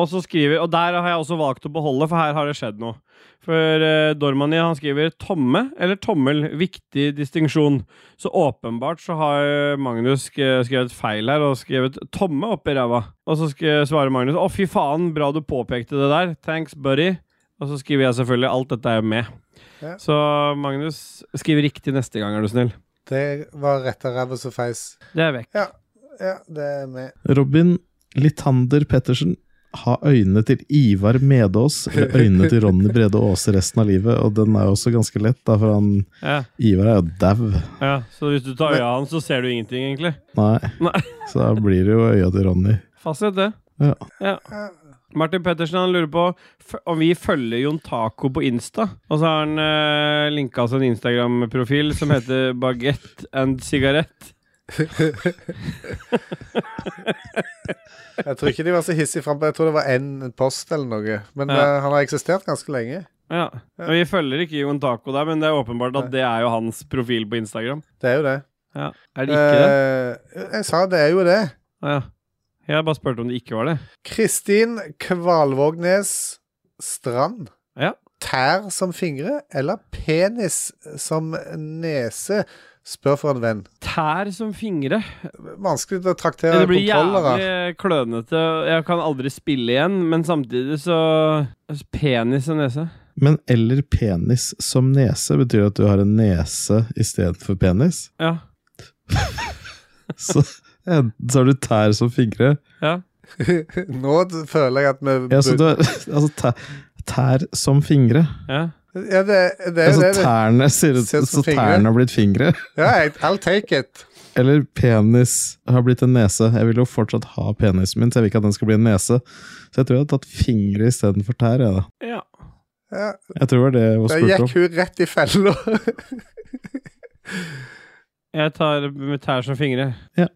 Og så skriver, og der har jeg også valgt å beholde, for her har det skjedd noe. For eh, Dormani han skriver 'tomme' eller 'tommel'. Viktig distinksjon. Så åpenbart så har eh, Magnus sk- skrevet feil her og skrevet 'tomme' oppi ræva. Og så sk- svarer Magnus 'Å, fy faen, bra du påpekte det der. Thanks, buddy'. Og så skriver jeg selvfølgelig 'alt dette er jo med'. Ja. Så Magnus, skriv riktig neste gang, er du snill. Det var retta ræva som feis. Det er vekk. Ja, ja, det er med. Robin Litander Pettersen. Ha øynene til Ivar Medås, eller øynene til Ronny Brede Aase resten av livet. Og den er jo også ganske lett, da, for han Ja. Ivar er jo dau. Ja, Så hvis du tar øya hans, så ser du ingenting, egentlig. Nei. Nei. Så da blir det jo øya til Ronny. Fasit, det. Ja. Ja. Martin Pettersen han lurer på f- om vi følger Jon Taco på Insta. Og så har han eh, linka oss en Instagram-profil som heter Baguette and Sigarett. Jeg tror ikke de var så hissige frampå. Jeg tror det var én post eller noe. Men Ja. eh, han har eksistert ganske lenge. Ja. Og vi følger ikke Jon Taco der, men det er åpenbart at det er jo hans profil på Instagram. Det er jo det. Ja. Er det ikke det? Eh, Jeg sa det er jo det. Å ja. Jeg bare spurte om det ikke var det. Kristin Kvalvågnes Strand. Ja. Tær som fingre eller penis som nese? Spør for en venn. Tær som fingre? Vanskelig å traktere Det blir kontrollere. jævlig klønete. Jeg kan aldri spille igjen, men samtidig så altså, Penis og nese. Men eller penis som nese betyr at du har en nese istedenfor penis. Ja. Så enten så har du tær som fingre Ja. Nå føler jeg at vi Ja, så du har altså tær, tær som fingre. Ja. Ja, det, det er Altså jo det. det. tærne ser ut Ser ut som Så fingre. tærne har blitt fingre. Ja, jeg- I'll take it. Eller penis har blitt en nese. Jeg vil jo fortsatt ha penisen min, så jeg vil ikke at den skal bli en nese. Så jeg tror jeg hadde tatt fingre istedenfor tær. Jeg, da. Ja. Ja. jeg tror det var det hun Da spurte gikk om. hun rett i fella. Jeg tar med tær som fingre. Ja.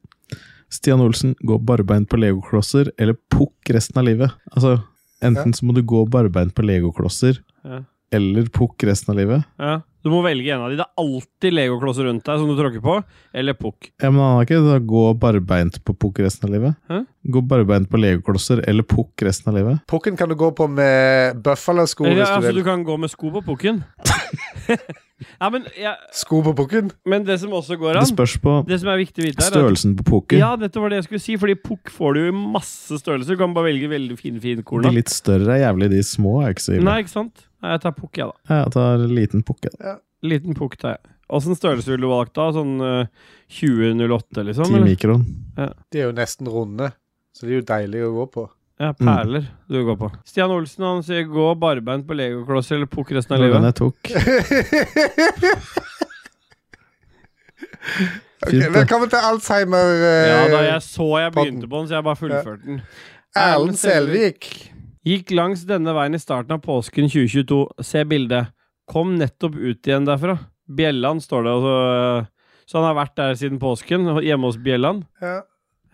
Stian Olsen, gå barbeint på legoklosser eller pukk resten av livet. Altså, enten Ja. så må du gå barbeint på legoklosser Ja. eller pukk resten av livet. Ja. Du må velge en av de. Det er alltid legoklosser rundt deg som du tråkker på, eller pukk. Ja, men han har ikke da gå barbeint på pukk resten av livet. Hæ? Gå barbeint på legoklosser eller pukk resten av livet. Pukken kan du gå på med buffalo-sko Eller, hvis du altså, vil. du kan gå med sko på pukken. ja, men, jeg- Sko på pukken? men det som også går an Det spørs på Det som er viktig å vite her, er at- størrelsen på pukken. Ja, dette var det jeg skulle si, fordi pukk får du jo i masse størrelser. Du kan bare velge veldig fin, fin korn. De litt større er jævlig, de små er ikke så ille. Nei, ikke sant? Nei, jeg tar pukk, jeg, da. Jeg tar liten pukke. Liten pukk tar jeg. Åssen størrelse ville du valgt da? Sånn eh, 2008, liksom? 10 eller? mikron. Ja. De er jo nesten runde, så de er jo deilige å gå på. Ja, perler du går på. Stian Olsen han sier 'gå barbeint på legoklosser eller pukk resten av Det var livet'. den jeg tok. Ok, Fint, det. velkommen til Alzheimer. eh, Ja, da jeg så jeg podden. begynte på den, så jeg bare fullførte den. Erlend Selvik. Gikk langs denne veien i starten av påsken 2022. Se bildet. Kom nettopp ut igjen derfra. Bjelland står det, og så Så han har vært der siden påsken, hjemme hos Bjelland. Ja.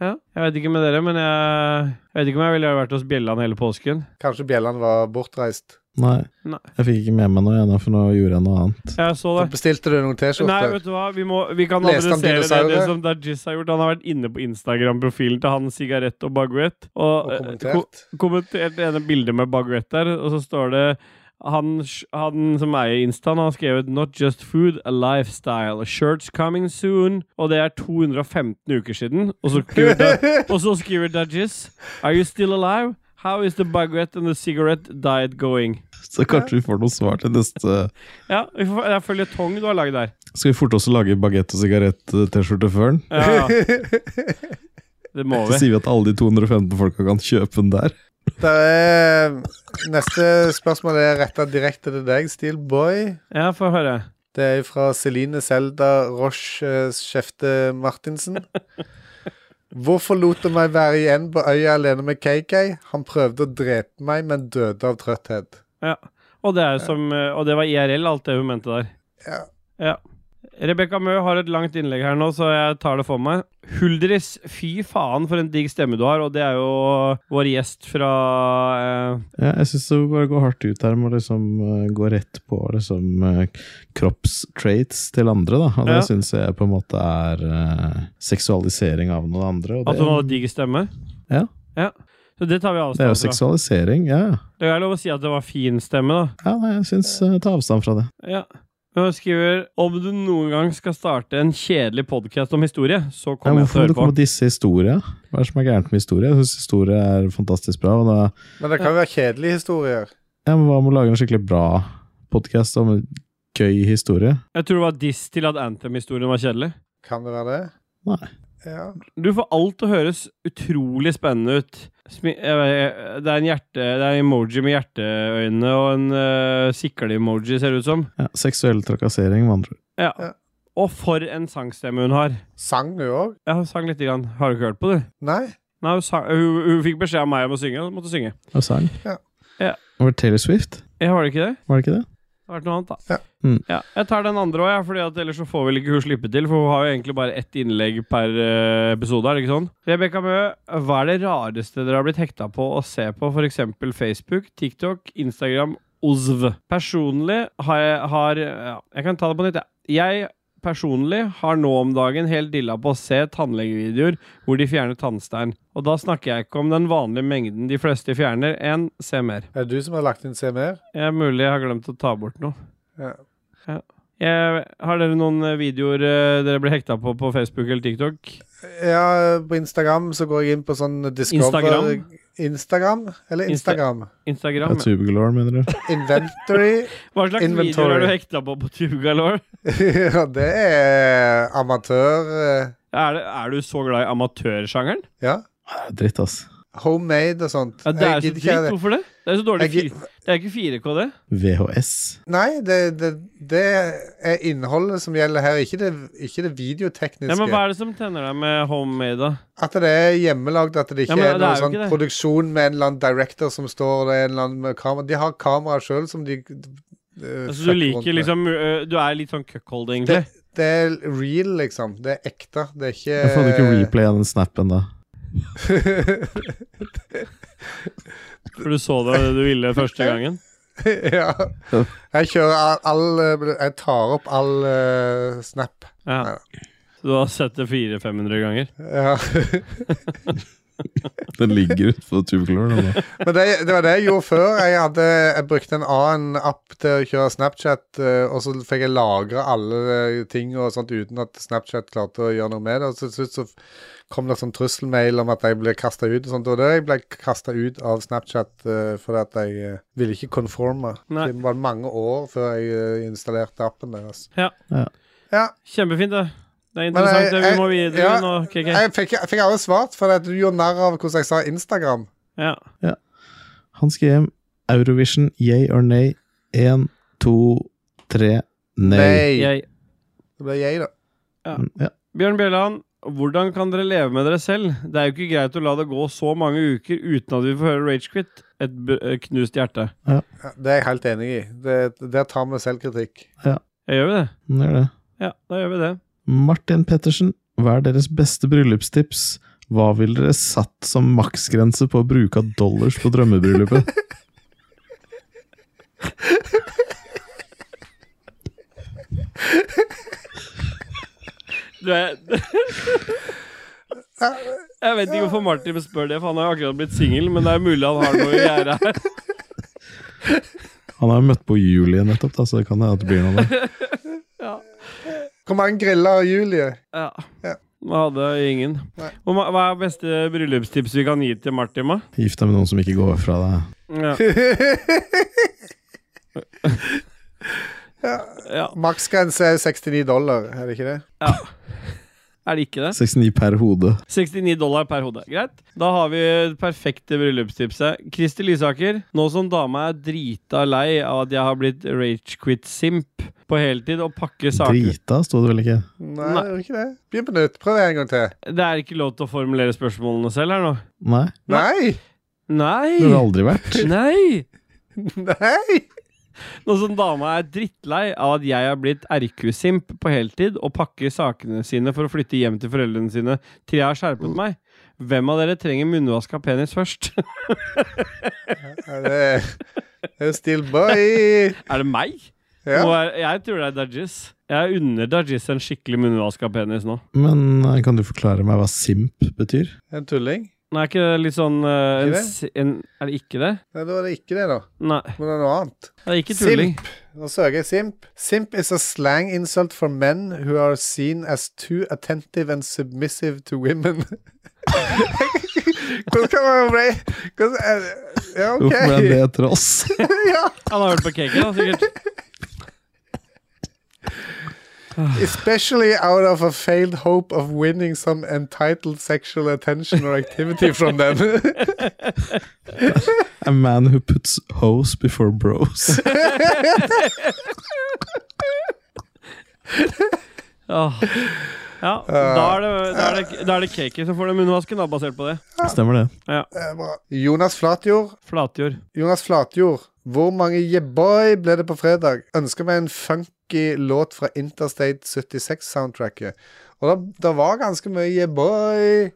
Ja, jeg vet ikke med dere, men jeg, jeg vet ikke om jeg ville vært hos Bjelland hele påsken. Kanskje Bjelland var bortreist. Nei. Nei. Jeg fikk ikke med meg noe ennå, for nå gjorde jeg noe annet. Jeg så det. Da bestilte du noen Nei, T-skjorter. vet du hva? Vi, må, vi kan Leste han adressere det, det dinosaurer? som Dajis har gjort. Han har vært inne på Instagram-profilen til han Sigarett og Baguette. Og, Og eh, kommentert. ko kommentert det ene bildet med Baguette der, og så står det han, sj- han som eier Instaen, har skrevet 'Not just food, a lifestyle. Shirts coming soon'. Og det er 215 uker siden. Og så skriver, da, og så skriver Dajis 'Are you still alive? How is the baguette and the cigarette diet going?' Så kanskje vi får noe svar til neste Ja, vi får- Det er føljetong du har lagd der. Skal vi forte oss å lage bagett og sigarett-T-skjorte før den? Ja. Det må Så vi. sier vi at alle de 215 folka kan kjøpe den der. Det er, neste spørsmål er retta direkte til deg, Steelboy. Ja, få høre. Det er fra Celine Selda Roche eh, Skjefte Martinsen. Hvorfor lot du meg være igjen på øya alene med KK? Han prøvde å drepe meg, men døde av trøtthet. Ja. Og, det er jo som, eh, og det var IRL, alt det hun mente der. Ja. Ja. Rebekka Mø har et langt innlegg her nå, så jeg tar det for meg. Huldris, fy faen for en digg stemme du har, og det er jo vår gjest fra eh, Ja, jeg syns det bare går hardt ut her med å liksom eh, gå rett på liksom eh, kroppstraits til andre, da. Og det Ja. syns jeg på en måte er eh, seksualisering av noen andre. Og At altså hun det, hadde digg stemme? Ja. ja. Så det tar det vi er avstand jo seksualisering, ja. Det er lov å si at det var fin stemme, da. Ja, nei, jeg syns uh, ta avstand fra det. Ja. Hun skriver om du noen gang skal starte en kjedelig podkast om historie, så Ja, kommer jeg hvorfor må du til å høre på. komme og disse historie? Hva er det som er gærent med historie? Jeg syns historie er fantastisk bra. Og da, Men det kan jo være kjedelige historier. ja, men hva med å lage en skikkelig bra podkast om gøy historie. Jeg tror det var diss til at Anthem-historien var kjedelig. Kan det være det? Nei. Ja. Du får alt til å høres utrolig spennende ut. Smi jeg vet- det er en hjerte Det er en emoji med hjerteøyne og en uh, sikle-emoji, ser det ut som. Ja, seksuell trakassering, med andre ord. Ja. Og for en sangstemme hun har. Sang hun òg? Ja, hun sang lite grann. Har du ikke hørt på, du? Nei. Nei, hun, sang, hun, hun fikk beskjed av meg om å synge, og hun måtte synge. Og sang. Ja. Over Taylor Swift, Jeg har det ikke det? var det ikke det? Det har vært noe annet, da. Mm. Ja, jeg tar den andre òg, fordi at ellers så får vel ikke hun slippe til. For hun har jo egentlig bare ett innlegg per eh, episode. er det ikke sånn? Rebekka Mø, hva er det rareste dere har blitt hekta på å se på f.eks. Facebook, TikTok, Instagram, OZV? Personlig har jeg har, ja, Jeg kan ta det på nytt, jeg. Jeg personlig har nå om dagen helt dilla på å se tannlegevideoer hvor de fjerner tannstein. Og da snakker jeg ikke om den vanlige mengden de fleste fjerner. En, se mer. Er det du som har lagt inn Se mer? Det er mulig jeg har glemt å ta bort noe. Ja. Jeg, har dere noen eh, videoer eh, dere ble hekta på på Facebook eller TikTok? ja, på Instagram så går jeg inn på sånn Discover Instagram? Instagram? Eller Insta- Instagram? Instagram? Ja, ja. Tubular, mener du? Inventory. Hva slags videoer har du hekta på på Tugalore? ja, det er amatør. eh, Er, det- er du så glad i amatørsjangeren? Ja. Ja, Dritt, ass. Homemade og sånt. Ja, det er Jeg så gidder ikke dritt. det. Hvorfor det? Det er så dårlig Jeg- fire- Det er ikke 4K, det. VHS. Nei, det, det, det er innholdet som gjelder her, ikke det, ikke det videotekniske. Ja, men Hva er det som tenner deg med homemade, da? At det er hjemmelagd, at det ikke Ja, men er det noen er jo sånn ikke det. produksjon med en eller annen director som står og det er en eller annen med kamera. De har kamera sjøl som de eh, Altså, fucker du rundt liker med. liksom eh, Du er litt sånn cuckold, egentlig. det, det er real, liksom. Det er ekte. Det er ikke Jeg får du ikke replay av den snappen, da. For du så det du ville første gangen. ja. Jeg kjører all, all Jeg tar opp all eh, snap. Ja. Så du har sett det 400-500 ganger? Ja. Den ligger ute på Tubular. den da. Men det, det var det jeg gjorde før. Jeg, hadde, jeg brukte en annen app til å kjøre Snapchat, eh, og så fikk jeg lagre alle eh, ting og sånt uten at Snapchat klarte å gjøre noe med det. Og så til slutt så kom det sånn trusselmail om at jeg ble kasta ut og sånt. Og det jeg ble kasta ut av Snapchat eh, fordi at jeg eh, ville ikke conforme. Nei. Det var mange år før jeg eh, installerte appen deres. Ja. Ja. Kjempefint, det. Det er Men interessant. jeg- det. Vi må jeg- videre ja, nå. KK. Jeg fikk, jeg fikk aldri svart, for at du gjorde narr av hvordan jeg sa Instagram. Ja. Ja. Han skal hjem. Eurovision, yay or nay? Én, to, tre, nei. Jeg, Det ble jeg, da. Ja. Bjørn Bjelland, hvordan kan dere leve med dere selv? Det er jo ikke greit å la det gå så mange uker uten at vi får høre Ragequit. Et b eh, knust hjerte. Ja, Det er jeg helt enig i. Det, der tar vi selvkritikk. Jeg gjør vi det? Den gjør det. Ja, da gjør vi det. Martin Pettersen, hva er deres beste bryllupstips? Hva ville dere satt som maksgrense på å bruke av dollars på drømmebryllupet? Du er Jeg vet ikke hvorfor Martin spør det, for han har jo akkurat blitt singel, men det er mulig han har noe i gjerdet her. Han har jo møtt på Julie nettopp, da, så det kan hende at det blir noe der. Hvor mange griller har Julie? Ja. Ja. Vi hadde ingen. Hvor ma- Hva er beste bryllupstips vi kan gi til Martin, da? Gift deg med noen som ikke går fra deg. Ja. ja. Maksgrense er 69 dollar, er det ikke det? ja. Er det ikke det? 69 per hode. 69 dollar per hode. Greit. Da har vi det perfekte bryllupstipset. Kristi Lysaker, nå som dama er drita lei av at jeg har blitt ragequit-simp på heltid og pakker saker Drita, sto det vel ikke? Nei, det er ikke det. Begynn på nytt. Prøv en gang til. Det er ikke lov til å formulere spørsmålene selv her nå. Nei. Nei! Det har det Nei! aldri vært. Nei! Nei! Nå som dama er drittlei av at jeg har blitt RQ-simp på heltid og pakker sakene sine for å flytte hjem til foreldrene sine til jeg har skjerpet meg, hvem av dere trenger munnvask av penis først? Er det er det Steel Boy? er det meg? Ja. Nå er, jeg tror det er Dajis. Jeg unner Dajis en skikkelig munnvask av penis nå. Men eh, kan du forklare meg hva simp betyr? En tulling? Nei, er ikke det litt sånn eh, Ikke en, det? si- en, Er det ikke det? Nei, da er det ikke det, da. Nei. Men det er noe annet. Det er ikke tulling. Simp. Nå søker jeg simp. Simp is a slang insult for men who are seen as too attentive and submissive to women. Hvordan kan man bli Hvordan er det? Ja, OK. Hvorfor ble det etter oss? ja. Han har hørt på cake, da, sikkert. Especially out of a failed hope of winning some entitled sexual attention or activity from them. A man who puts hoes before bros. Åh. Ja, da er, det, da, er det, da er det Kaki som får den munnvasken, da, basert på det. Stemmer det. Ja. Eh, Jonas Flatjord. Flatjord. Jonas Flatjord. Hvor mange yeah boy ble det på fredag? Ønsker meg en funky låt fra Interstate 76-soundtracket. Og da, da var ganske mye yeah boy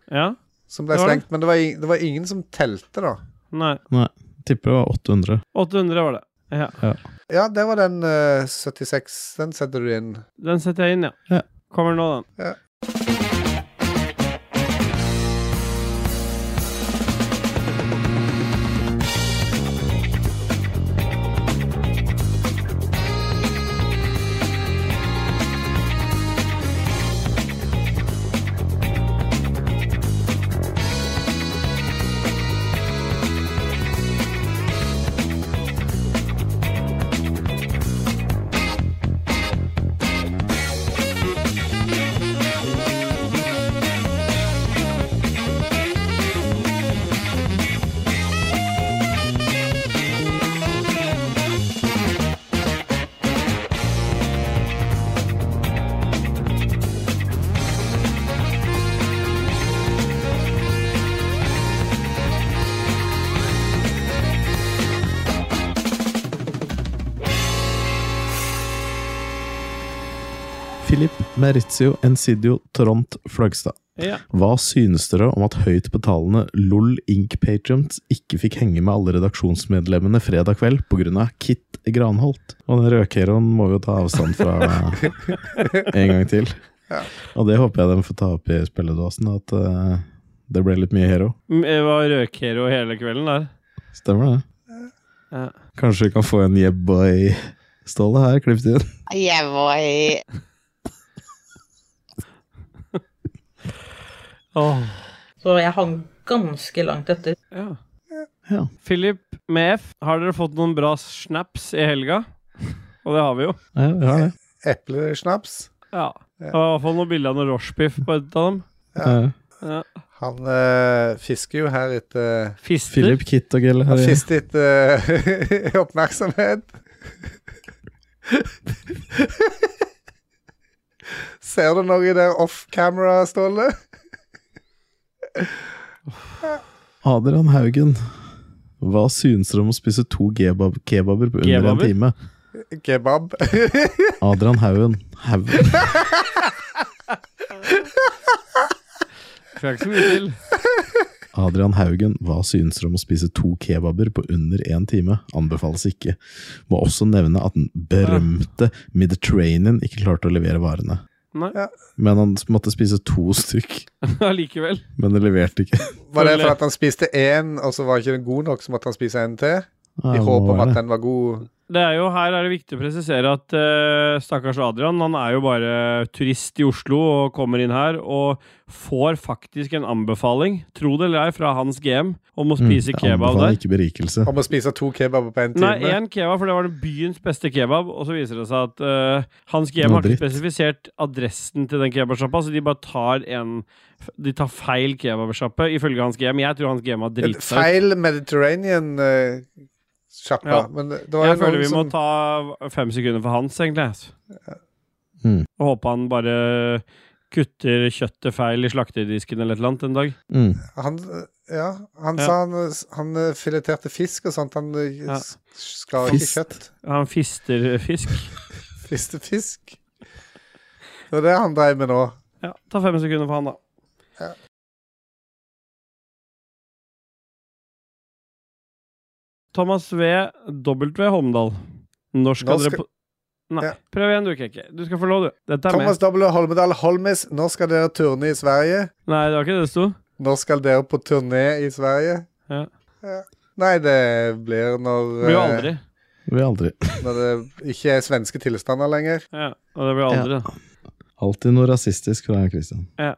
som ble det var det. slengt, men det var, ing- det var ingen som telte, da. Nei. Nei, tipper det var 800. 800 var det. Ja. Ja. Ja, det var den eh, 76. Den setter du inn. Den setter jeg inn, ja. Ja. Kommer nå, den. Ja. Filip Merizio Encidio Toront Flagstad. Ja. Hva synes dere om at høyt betalende LOL Inc. Patrions ikke fikk henge med alle redaksjonsmedlemmene fredag kveld pga. Kit Granholt? Og den rødkeroen må jo ta avstand fra en gang til. Og det håper jeg de får ta opp i spilledåsen, at eh, det ble litt mye hero. Mm, Jeg var røkhero hele kvelden der. Stemmer det? Ja. Kanskje vi kan få en yeah boy-ståle her, klippet inn? Yeah, boy. Så jeg hang ganske langt etter. Ja. Philip med F, har dere fått noen bra snaps i helga? Og det har vi jo. Ja, vi har det. Eplesnaps. Ja. Det var i hvert fall noen bilder av noe rochebiff på et av dem. Ja. Ja. Han eh, fisker jo her etter Fister? Philip Kitt og Gelle. Han fister etter eh, oppmerksomhet. Ser du noe der off camera, Ståle? Adrian Haugen, hva synes dere om å spise to kebab kebaber på under Kebaber? en time? Kebab. Adrian Haugen Haugen. Skal ikke så mye til. Adrian Haugen, hva synes dere om å spise to kebaber på under en time? Anbefales ikke. Må også nevne at den berømte Mediterranean ikke klarte å levere varene. Nei. Men han måtte spise to stykk, Allikevel. men det leverte ikke. Var det for at han spiste én, og så var ikke den god nok, så måtte han spise en til? Ja, I det må håp om være at det. den var god. Det er jo, her er det viktig å presisere at eh, stakkars Adrian han er jo bare turist i Oslo og kommer inn her og får faktisk en anbefaling, tro det eller ei, fra hans GM om å Mm, spise jeg kebab anbefaler der. Ikke berikelse. Om å spise to kebaber på en time? Nei, én kebab, for det var den byens beste kebab. Og så viser det seg at eh, hans Det GM var har ikke dritt. spesifisert adressen til den kebabsjappa, så de bare tar en De tar feil kebabsjappe, ifølge hans GM. Jeg tror hans GM har En drita ut. Feil Mediterranean-sjappa. Ja. Men det det var Jeg jo føler vi noen som må ta fem sekunder for hans, egentlig. altså. Og håpe han bare kutter kjøttet feil i slakterdisken eller et eller annet en dag. Han, ja, han Ja. sa han, han fileterte fisk og sånt. Han ja. skar ikke Fist. kjøtt. Han fister fisk. Fiste fisk. Det var det han dreiv med nå. Ja, ta fem sekunder for han, da. Thomas V. W. Holmdal. Når skal, Nå skal- dere på Nei, prøv igjen du, Keke. Du skal få lov, du. Dette er Thomas med. W. Holmedal Holmes, når skal dere turne i Sverige? Nei, det var ikke det det sto. Når skal dere på turné i Sverige? Ja. Nei, det blir når Det blir jo eh, aldri. Vi har aldri Når det ikke er svenske tilstander lenger. Ja, og det blir aldri, da. Alltid noe rasistisk fra Christian. Ja,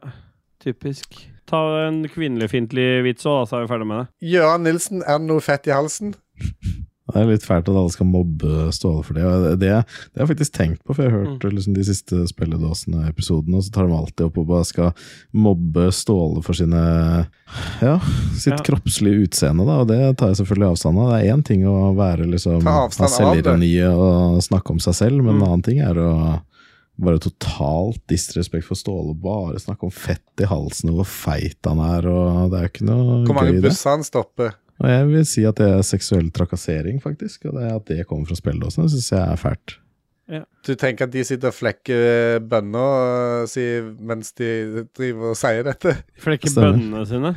typisk. Ta en kvinnefiendtlig vits òg, da, så er vi ferdig med det. Gøran Nilsen, er det noe fett i halsen? Nei, Det er litt fælt at alle skal mobbe Ståle for det. og Det, det, det har jeg faktisk tenkt på, for jeg har hørt liksom, de siste spilledåsene-episodene, og så tar de alltid opp og bare skal mobbe Ståle for sine ja, sitt Ja. kroppslige utseende, da, og det tar jeg selvfølgelig avstand av. Det er én ting å være liksom Ta ha avstand av det. selvironi og snakke om seg selv, men en annen ting er å bare totalt disrespekt for Ståle, bare snakke om fett i halsen og hvor feit han er, og det er jo ikke noe Hvor mange gøy i det. busser han stopper. Og jeg vil si at det er seksuell trakassering, faktisk. Og det at det kommer fra spilledåsene, syns jeg er fælt. Du tenker at de sitter og flekker eh, bønner og eh, sier, mens de driver og sier dette? Flekker Stemmer. bønnene sine?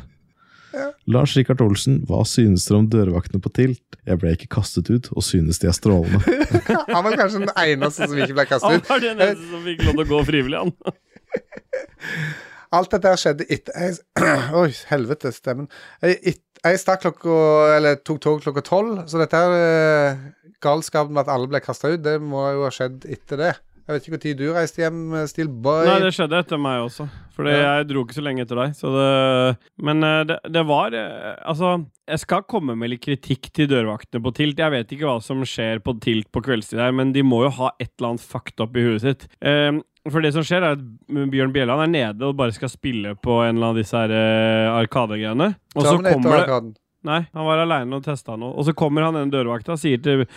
Lars Rikard Olsen, hva synes dere om dørvaktene på Tilt? Jeg ble ikke kastet ut, og synes de er strålende. Han var kanskje den eneste som ikke ble kastet Han ut. var den eneste som fikk lov til å gå frivillig, han. Alt dette her skjedde etter jeg- Oi, helvete, stemmen. Jeg, et, jeg stakk klokka Eller tok tog klokka tolv, så dette her eh, galskapen med at alle ble kasta ut, det må jo ha skjedd etter det. Jeg vet ikke når du reiste hjem, eh, Steelboy. Nei, det skjedde etter meg også. Fordi Ja. jeg dro ikke så lenge etter deg. Så det, men eh, det, det var eh, Altså, jeg skal komme med litt kritikk til dørvaktene på Tilt. Jeg vet ikke hva som skjer på Tilt på kveldstid her, men de må jo ha et eller annet fucked up i huet sitt. Eh, for det som skjer, er at Bjørn Bjelland er nede og bare skal spille på en eller annen av disse her eh, arkadegreiene. Og så Terminator kommer det Arkaden. Nei, han var aleine og testa noe. Og så kommer han ene dørvakta og sier til er,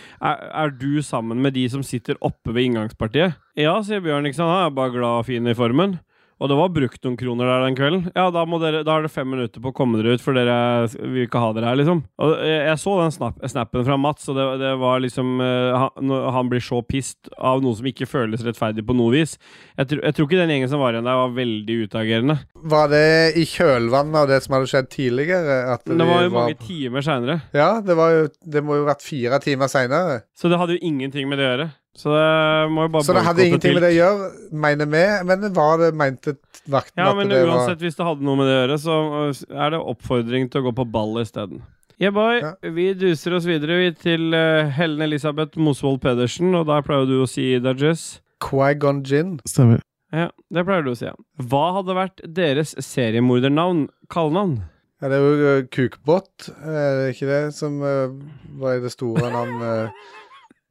er du sammen med de som sitter oppe ved inngangspartiet? Ja, sier Bjørn. Ikke sant? Han er bare glad og fin i formen. Og det var brukt noen kroner der den kvelden. Ja, da, må dere, da har dere fem minutter på å komme dere ut, for dere er- vi vil ikke ha dere her, liksom. Og jeg, jeg så den snap, snappen fra Mats, og det, det var liksom eh, han, når han blir så pissed av noe som ikke føles rettferdig på noe vis. Jeg, tror- jeg tror ikke den gjengen som var igjen der, var veldig utagerende. Var det i kjølvannet av det som hadde skjedd tidligere? At Men det vi var jo mange timer seinere. Ja, det, var jo, det må jo ha vært fire timer seinere. Så det hadde jo ingenting med det å gjøre. Så det må jo bare Så det hadde boykotte ingenting til. med det å gjøre, mener vi. Men var det mente vakten Ja, at men det uansett, hvis det hadde noe med det å gjøre, så øh, er det oppfordring til å gå på ball isteden. Yeah, boy. Vi duser oss videre vi, til eh, Helen Elisabeth Mosvold Pedersen, og der pleier du å si Dajess. var Quagon Gin? Stemmer. Ja, det pleier du å si, ja. Hva hadde vært deres seriemordernavn? Kallenavn? Ja, det er jo eh, kukbåt, er det ikke det som eh, var i det store navn eh,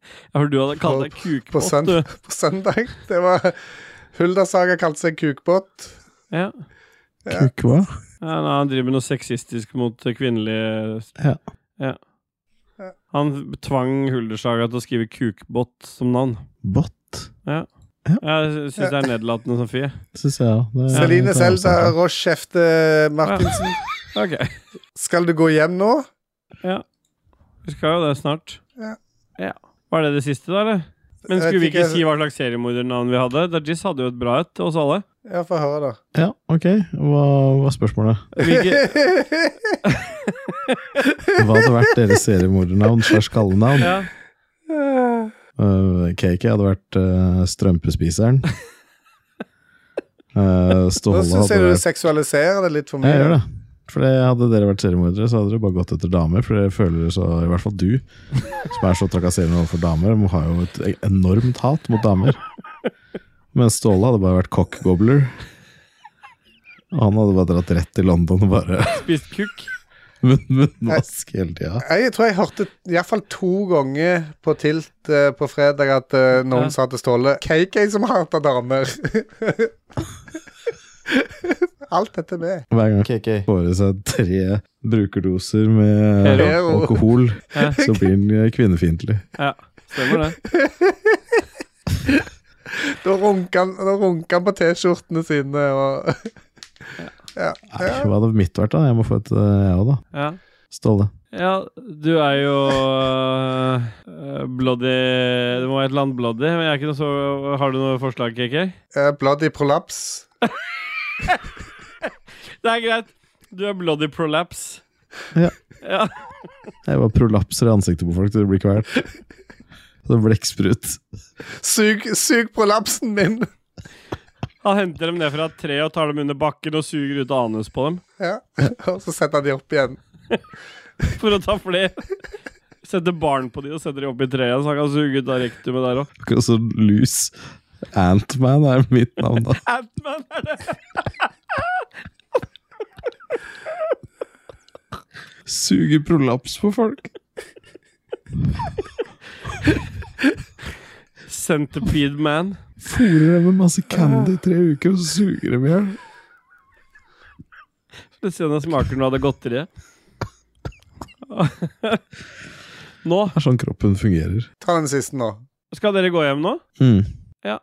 Ja, for du hadde kalt deg på- kukbåt, På, sønd du. på søndag. Det var Huldasaga kalte seg kukbåt. Ja. Kuk hva? Ja, nei, han driver med noe sexistisk mot eh, kvinnelige Ja. ja. Han tvang Huldersaga til å skrive kukbåt som navn. Bott? Ja. Jeg syns det er nedlatende, Sofie. Syns jeg òg. Det er- Celine det er Selda også- Rochefte Martinsen. Skal du gå hjem nå? Ja. Vi skal jo det snart. Ja. ja. Var det det siste, da, eller? Men Jeg vet skulle vi ikke ikke. si hva slags seriemordernavn vi hadde? Dajis hadde jo et bra et til oss alle. Ja, få høre, da. Ja, ok. Hva var spørsmålet? Hva hadde vært deres seriemordernavn slash kallenavn? Ja. Uh, Cakey hadde vært eh, strømpespiseren. Eh, Nå Ståle syns hadde jeg du vært seksualiserer det litt Ja, for mye. Jeg gjør det. For det- hadde dere vært seriemordere, så hadde dere bare gått etter damer. For dere føler så I hvert fall du, som er så trakasserende overfor damer, må ha jo et enormt hat mot damer. Mens Ståle hadde bare vært cockgobbler. Og han hadde bare dratt rett til London og bare Spist kukk. munn- Munnvask hele tida. Jeg tror jeg hørte iallfall to ganger på Tilt eh, på fredag at eh, noen Ja. sa til Ståle KK som hater damer. Alt dette er med. Hver gang Eh, KK får i seg tre brukerdoser med Hero. alkohol, Ja. så blir han kvinnefiendtlig. Ja, stemmer det. Da runker han, da runker han på T-skjortene sine og ja. ja. Hva hadde mitt vært, da? Jeg må få et, eh, jeg òg, da. Ja. Ståle. ja, du er jo øh, bloody Det må være et eller annet bloody, men jeg er ikke noe så Har du noe forslag, KK? Eh, Bloody prolaps. Det er greit. Du er bloody prolapse. Ja. Ja. Jeg bare prolapser i ansiktet på folk, så det blir kvalt. Som blekksprut. Sug, sug prolapsen min! Han henter dem ned fra et tre og tar dem under bakken og suger ut anus på dem. Ja. Og så setter han de opp igjen. For å ta flere. Setter barn på de og setter de opp i treet, så han kan suge ut av rektumet der òg. Akkurat som lus. Antman er mitt navn, da. Antman er det! Suger prolaps på folk. Centipede Man. Fôrer dem med masse candy i tre uker, og så suger dem i hjel. Skal vi se om det smaker noe av det godteriet. Nå Det er sånn kroppen fungerer. Ta den siste nå. Skal dere gå hjem nå? Mm. Ja.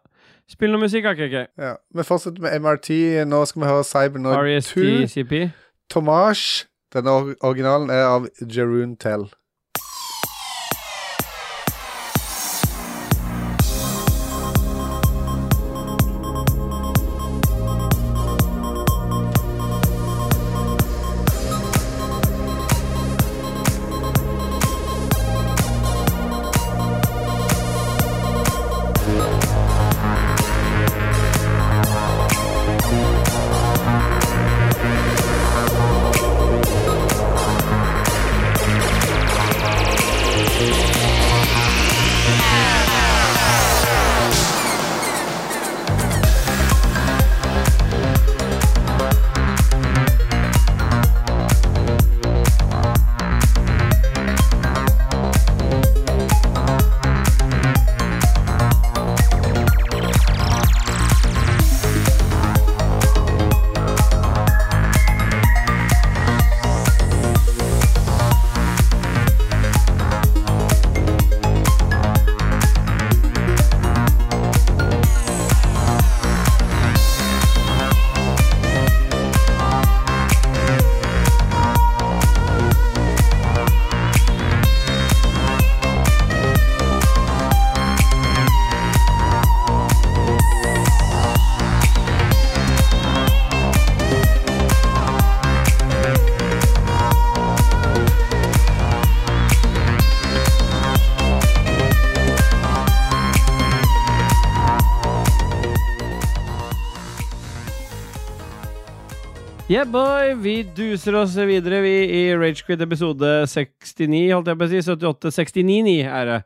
Spill noe musikk, AKK. Ja. Vi fortsetter med MRT. Nå skal vi høre E Cybernoid 2. RSTCP. Tomash. Denne or- originalen er av Jeroen Tell. Yeah, boy! Vi duser oss videre, vi, i Ragequid episode 69, holdt jeg på å si. 78-69-9 er det.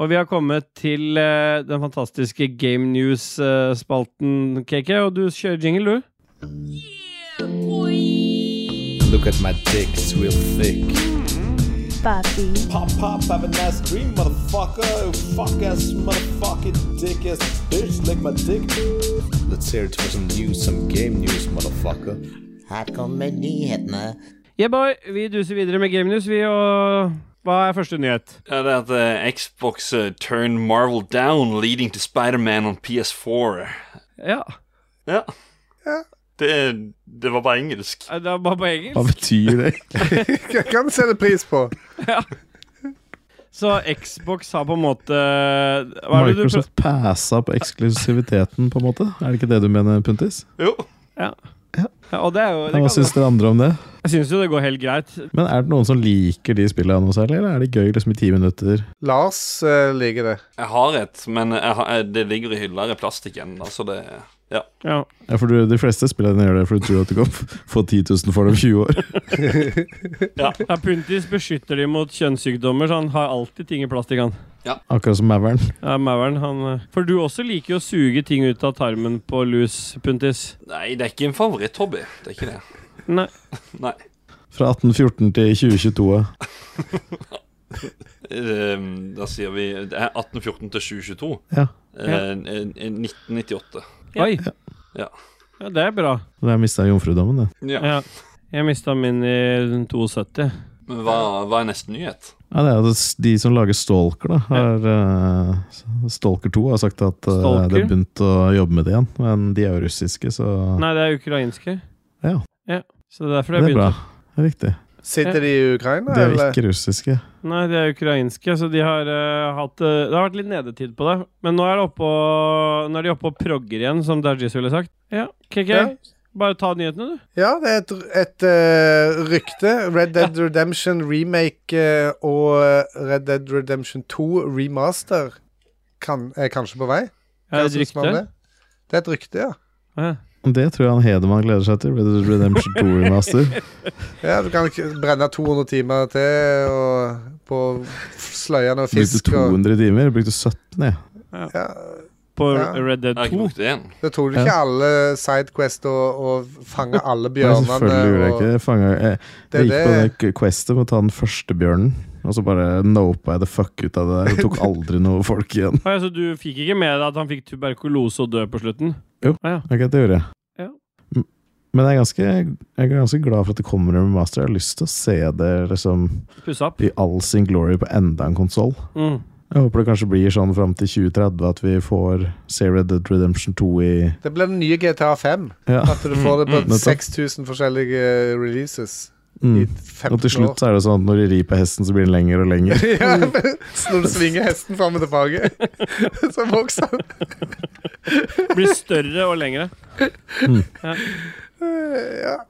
Og vi har kommet til eh, den fantastiske Game News-spalten, KK. Og du kjører jingle, du. Look at my dick, it's real thick. Papi. Pop, pop, have a nice dream, motherfucker. Fuck ass, motherfucking dick ass bitch, lick my dick. Let's hear it for some news, some game news, motherfucker. Her kommer nyhetene. Yeah, boy! Vi duser videre med Game News, vi, og hva er første nyhet? Ja, det er at eh, Xbox eh, turned Marvel down, leading to Spider-Man on PS4. Ja. Ja. Det, det var bare engelsk. Det var bare på engelsk. Hva betyr det? Jeg kan sette pris på. Så Xbox har på en måte hva er det du prøv- Microsoft passa på eksklusiviteten, på en måte? Er det ikke det du mener, Puntis? Jo. Ja. ja. Og det er jo Ja, det Hva kan- syns dere andre om det? Jeg syns jo det går helt greit. Men er det noen som liker de spillene noe særlig, eller er det gøy liksom i ti minutter? Lars eh, liker det. Jeg har et, men jeg har, jeg, det ligger i hylla i plastikken. Altså, det Ja. Ja. Ja, for du, De fleste spillene gjør det fordi du tror at du kan f- få 10 000 for det om 20 år. Ja. Puntis beskytter de mot kjønnssykdommer, så han har alltid ting i plastikk, han. Akkurat som Maveren. Ja, Mauren, han eh, For du også liker jo å suge ting ut av tarmen på lus, Puntis. Nei, det er ikke en favoritthobby. Det er ikke det. Nei. Nei. Fra 1814 til 2022. Ehm, da sier vi Det er 1814 til 2022. Ja. Eh, eh, 1998. Ja. Oi. Ja. Ja, det er bra. Da jeg mista jomfrudommen, det. Ja. Jeg mista min i 72. Men hva, hva er neste nyhet? Ja, det er jo s- De som lager Stalker, da, har, eh, Stalker 2 har sagt at uh, de Stalker? har begynt å jobbe med det igjen. Men de er jo russiske, så Nei, det er ukrainske. Ja. ja. Så det er derfor det det er bra. begynte. Det er riktig. Sitter de i Ukraina, De er jo eller? ikke russiske. Nei, de er ukrainske, så de har eh, hatt eh, Det har vært litt nedetid på det. Men nå er, det oppe og, nå er de oppe og progger igjen, som Dajis ville sagt. Ja, KK, Ja. bare ta nyhetene, du. Ja, det er et, et eh, rykte. Red Dead Redemption remake eh, og eh, Red Dead Redemption 2 remaster kan, er kanskje på vei. Er det Hva et syns man om rykte? Det? sånn det er et rykte, ja. Det tror jeg han Hedemann gleder seg til. Red Dead Redemption 2 Remaster. Ja, Du kan ikke brenne 200 timer til og på sløyene og Brukte fisk. Og, 200 timer. Brukte 17, jeg. ja, på Ja. Red Dead 2. Da tok du ikke alle Sidequest og, og fanga alle Nei, bjørnene. selvfølgelig gjorde jeg ikke det. Jeg fanget- jeg, eh, Det er jeg gikk på det- det k- questet med å ta den første bjørnen, og så bare nopa jeg the fuck ut av det der. Jeg tok aldri noe folk igjen. Ah, ja, så du fikk ikke med deg at han fikk tuberkulose og død på slutten? Jo, ok, det gjorde jeg. Ja. M- Men jeg er, ganske, jeg er ganske glad for at det kommer en remaster. Jeg har lyst til å se det liksom Pusse opp. i all sin glory på enda en konsoll. Mm. Jeg håper det kanskje blir sånn fram til 2030 at vi får se Red Dead Redemption 2 i Det blir den nye GTA 5. Ja. At du får det Mm, mm. på 6000 forskjellige eh, releases. mm. I Og til 15 år. slutt så er det sånn at når de rir på hesten, så blir den lenger og lenger. ja, så når du svinger hesten fram og tilbake, så vokser den. Blir større og lengre. Mm. Ja.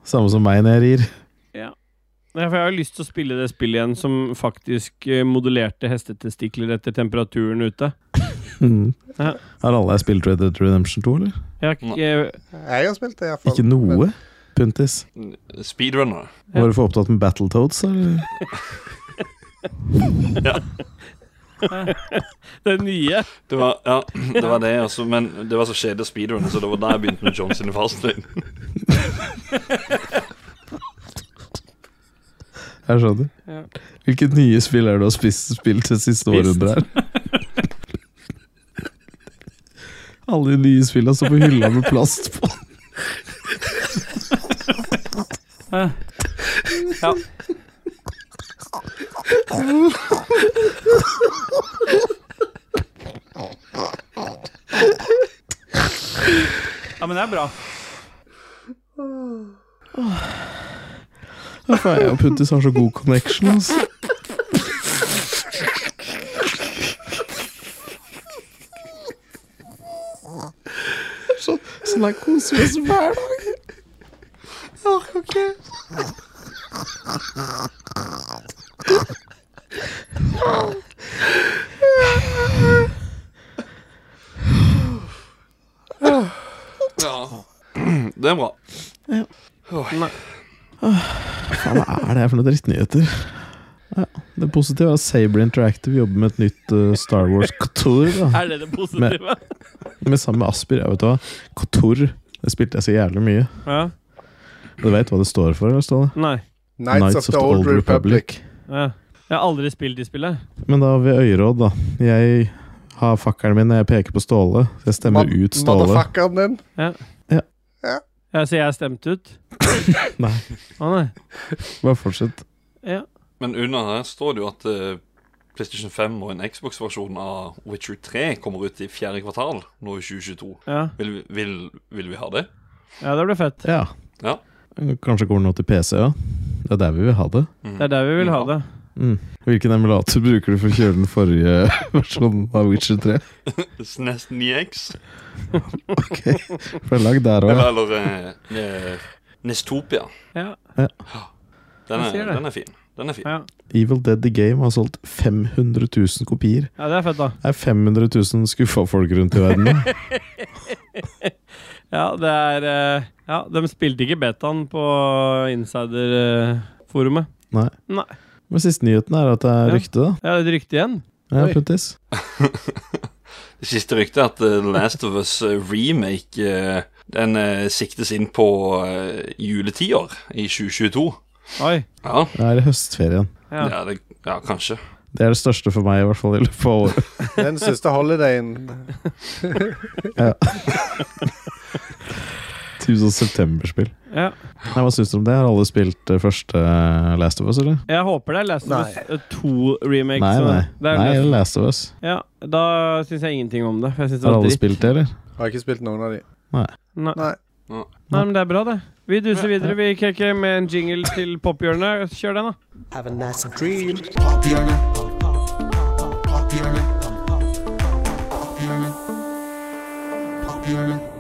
Samme som meg når jeg rir. Ja. Nei, for jeg har jo lyst til å spille det spillet igjen som faktisk eh, modellerte hestetestikler etter temperaturen ute. Mm. Ja. Har alle her spilt Red Dead Redemption 2, eller? Jeg har ikke Jeg har spilt det, iallfall. Ikke noe? Puntis. Speedrunner. Var du for opptatt med Battletoads, eller? Ja. Det nye. Det var, ja, det var det, altså, men det var så kjedelig speedrun, så det var der jeg begynte med John sine fastløgn. Jeg skjønner. Ja. Hvilke nye spill er det du har spist, spilt det siste Spist. århundret her? Alle de nye spillene står på hylla med plast på. Eh, Ja. Ja, men det er bra. Ja, faen, jeg og Puntis har så god connection, altså. Så, sånn her koser vi oss hver dag. Jeg orker ikke. Ja. Det er bra. Ja. Åh. Åh, Faen, hva er det her for noen drittnyheter? Ja, det positive er at Saber Interactive jobber med et nytt eh, Star Wars Couture. Da. Er det det positive? Med, med sammen med Asper. Ja, vet du hva? Couture. Det spilte jeg så jævlig mye. Ja. Du vet hva det står for? Eller, Ståle? Nei. Knights of the Old Ja. Jeg har aldri spilt de spillet. Men da ved øyeråd, da. Jeg har fakkelen min når jeg peker på Ståle. Så Jeg stemmer ut Ståle. Motherfuckeren din. Ja. Ja. Ja, så jeg er stemt ut? Nei, Å nei. bare fortsett. Men under her står det jo at eh, PlayStation 5 og en Xbox-versjon av Witcher 3 kommer ut i fjerde kvartal nå i 2022. Ja. Vil, vi- vil, vil vi ha det? Ja, det blir fett. Ja. Ja. Kanskje går det nå til PC, ja. Det er der vi vil ha det. Det er der vi vil ha det. Mm. Hvilken emulator bruker du for å kjøre den forrige versjonen av Witcher 3? SNES 9X. Ok, for det er lagd der Eller, òg. eller eh, eh, Nestopia. Ja. Ja. Den Jeg ser er, det. den er fin. Den er fin. Ja. Evil Dead The Game har solgt 500 000 kopier. ja, det er fett, da. Det er 500 000 skuffa folk rundt i verden. Ja, det er eh, Ja, de spilte ikke betaen på insiderforumet. Nei. Nei. Men siste nyheten er at det er rykte, da. Ja, det er et rykte igjen. Ja, Oi. Puntis. Det siste ryktet er at eh, The Last of Us eh, remake eh, Den eh, siktes inn på eh, juletider i 2022. Oi. Ja. Det er i høstferien. Ja, det, ja kanskje. Det er det største for meg, i hvert fall i løpet av året. Den siste holidayen. Ja. 1000 september-spill. Ja. Nei, Hva syns du om det? Har alle spilt eh, første eh, Last of Us, eller? Jeg håper det er Last of Us eh, 2-remake. Nei, nei. Det er Nei, Last- eller Last of Us. Ja, da syns jeg ingenting om det. For jeg synes det Har var alle dritt. spilt det, eller? Har ikke spilt noen av de. Nei. Nei. Nei. Nei. men det er bra, det. Vi duser videre. Vi kreker med en jingle til pophjørnet. Kjør den, da. Have a nice dream.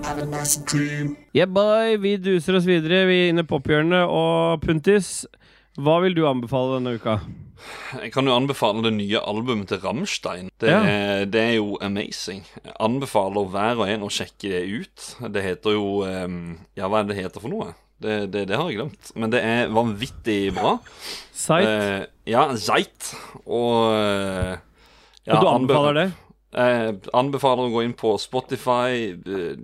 Have a nice dream. Yeah, boy. Vi duser oss videre. Vi er inne i pophjørnet. Og Puntis, hva vil du anbefale denne uka? Jeg kan jo anbefale det nye albumet til Rammstein. Det, Ja. er- det er jo amazing. Jeg anbefaler hver og en å sjekke det ut. Det heter jo eh, Ja, hva er det det heter for noe? Det, det, det har jeg glemt. Men det er vanvittig bra. Zeit? Eh, ja, Zeit. Og eh, Og du anbefaler det? Eh, anbefaler å gå inn på Spotify, eh,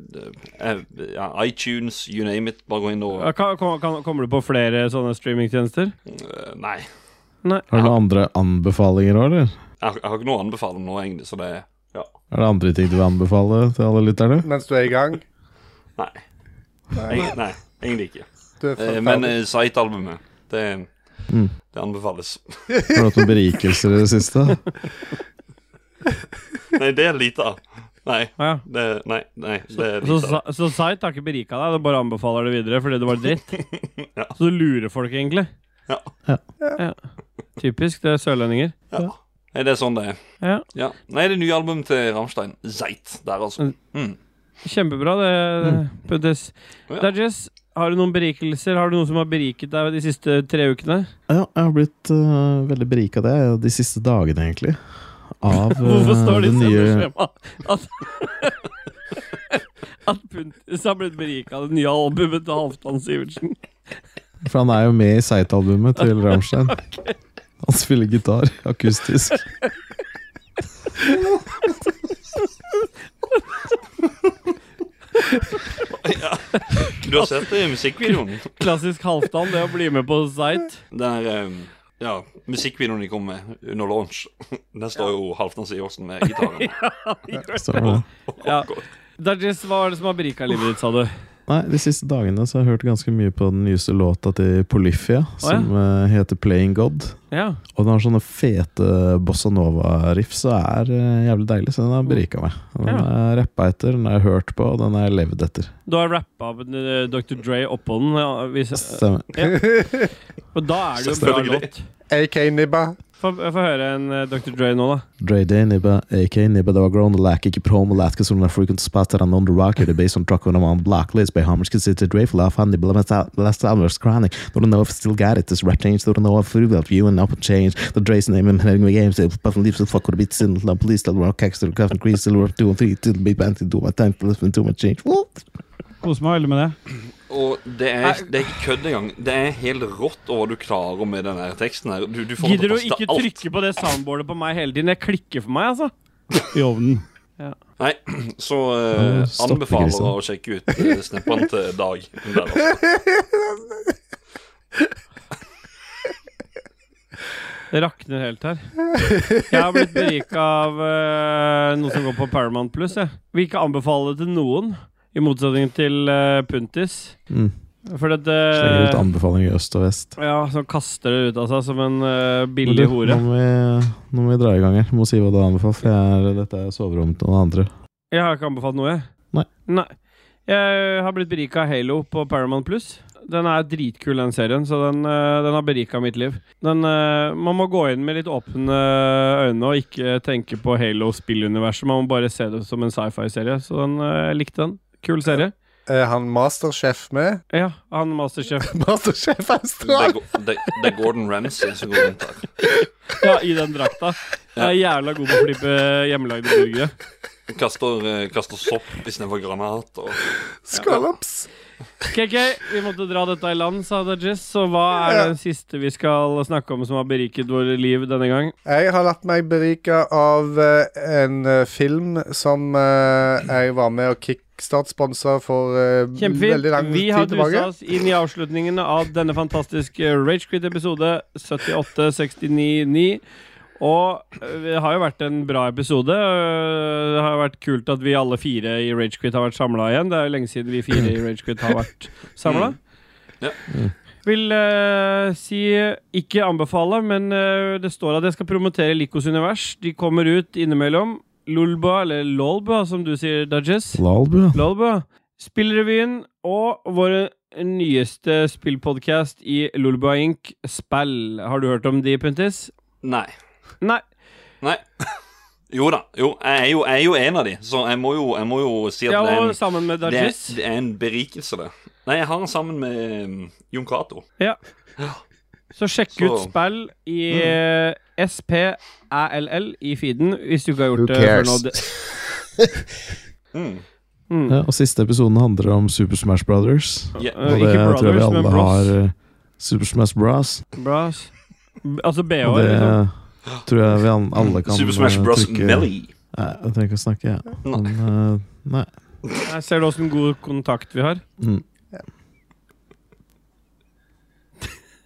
eh, ja, iTunes, you name it. Bare gå inn og Ja, kan, kan, kan, kommer du på flere sånne streamingtjenester? Eh, Nei. Har du noen andre anbefalinger òg, eller? Jeg, har- jeg har ikke noe å anbefale nå, egentlig, så det Ja. Er det andre ting du vil anbefale til alle lytterne? Mens du er i gang. Nei. Nei. Eng- nei, egentlig ikke. Du er Eh, men ferdig. eh, Sight-albumet, det, Mm. det anbefales. Har du hatt noen berikelser i det siste? nei, det er lite av. Nei. Det, nei, nei, det er Så, lite av. så, så Sight har ikke berika deg, det bare anbefaler det videre fordi det var dritt. Så du lurer folk, egentlig. Ja. Ja. Typisk, det er sørlendinger. Ja. Nei, det er sånn det er. Ja. Nei, det er nye album til Rammstein. Zeit, der altså. Mm. Kjempebra, det. det- det Ja. Dajess, har du noen berikelser? Har du noe som har beriket deg de siste tre ukene? Ja, jeg har blitt øh, veldig berika det de siste dagene, egentlig. Av Hvorfor øh, står det i den nye sendeskjemaet at, at Puntis har blitt berika av det nye albumet til Halvdan Sivertsen? For han er jo med i Sight-albumet til Rammstein. Han spiller gitar akustisk. Ja. Du har sett det i musikkvideoen? Klassisk Halvdan, det å bli med på Zeit. Den er um, ja, musikkvideoen de kom med under launch. Der står jo Halvdan Sivertsen med gitaren. Stemmer det. Ja. Dajess, hva er det som har berika livet ditt, sa du? Nei, De siste dagene så har jeg hørt ganske mye på den nyeste låta til Polyphia, som eh, heter 'Playing God'. Ja. Og den har sånne fete bossa nova-riff, så er eh, jævlig deilig. Så den har berika meg. Og Den har jeg rappa etter, den har jeg hørt på, og den har jeg levd etter. Du har rappa eh, Dr. Dre oppå den. Ja, hvis, Stemmer. Ja. Og da er det jo en bra Selvfølgelig. låt. eh, AK Nibba. Få få høre en eh, Dr. Dre nå, da. Dre Day, Nibba, AK Nibba, they were grown to lack, ikke prom, lack, because we're frequent spots that are known to rock, you're the base on truck when I'm on block list, by how much considered Dre for love, honey, blast last hours chronic, don't know if I still got it, this rap change, don't know if we got you and up and change, the Dre's name and having my games, they puff and leaves the fuck with a bit, sin, love, police, still rock, cacks, still cuff and crease, still rock, two and three, till the big band, till do my time, till listen to my change, Woo! Kos meg veldig med det. Og det er, det er ikke kødd engang. Det er helt rått hva du klarer med den der teksten her. Du, du får det Gidder du til å ikke passe alt. trykke på det soundboardet på meg hele tiden? Det klikker for meg, altså. I ovnen. Nei, så eh, Ja, stopp, anbefaler grisen. å sjekke ut uh, snappene til Dag. Der, altså. Det rakner helt her. Jeg har blitt berika av eh, noe som går på Paramount Pluss. jeg. Vil ikke anbefale det til noen, i motsetning til eh, Puntis. Mm. For at det Slenger ut anbefalinger i øst og vest. Ja, som kaster det ut av seg som en eh, Men billig du, hore. Nå må, vi, nå må vi dra i gang her. Må si hva du anbefaler, for jeg er, dette er soverommet til noen andre. Jeg har ikke anbefalt noe, jeg. Nei. Jeg har blitt berika av Halo på Paramount Pluss. Den er dritkul, den serien, så den, eh, den har berika mitt liv. Den, eh, man må gå inn med litt åpne eh, øyne og ikke tenke på Halo-spilluniverset. Man må bare se det som en sci-fi-serie, så den, eh, jeg likte den. Kul serie. Er han masterchef med? Ja, han Masterchef. Masterchef det, Austral! er Go- det, det er Gordon Ramsay som går rundt der. Ja, i den drakta. Jeg er jævla god på å flippe hjemmelagde burgere. Kaster, eh, kaster sopp istedenfor granat. Og, Scallops. KK, vi måtte dra dette i land, sa Dajis. Så hva er det siste vi skal snakke om som har beriket våre liv denne gang? Jeg har latt meg berike av eh, en eh, film som eh, jeg var med og kickstart-sponsa for eh, veldig lang Kjempefint. Vi har tid tilbake. dusa oss inn i avslutningen av denne fantastiske eh, Ragequit-episode 78-69-9. Og øh, det har jo vært en bra episode. øh, Det har jo vært kult at vi alle fire i Ragequit har vært samla igjen. Det er jo lenge siden vi fire i Ragequit har vært Mm. samla. Ja. Vil eh, si ikke anbefale, men eh, det står at jeg skal promotere Likos univers. De kommer ut innimellom. Lolba, eller Lolba, som du sier, Dudges. Lalbu. Lolbø. Spillrevyen og vår nyeste spillpodkast i Lolbua Inc., Spill. Har du hørt om de, Puntis? Nei. Nei. Nei. Jo da. Jo, jeg er jo, jeg er jo en av de, så jeg må jo, jeg må jo si at Ja, det, er og en, sammen med det, er, Dajis. det er en berikelse, det. Nei, jeg har den sammen med um, Jon Cato. Ja. Så sjekk Så- Mm. ut Spill i eh, SPALL i feeden, hvis du ikke har gjort det mm. før nå. cares? Mm. Ja, og siste episoden handler om Super Smash Brothers. Ja, Og Eh, ikke det tror jeg vi Brothers, men alle Bros. har. eh, Super Smash Bros. Bra. ass. B- Altså BH, Og det liksom. tror jeg vi an- alle kan Super Smash eh, Bros. trykke- Melee. Nei, jeg trenger ikke å snakke, jeg. Men, eh, nei. Nei, ser du åssen god kontakt vi har? Mm.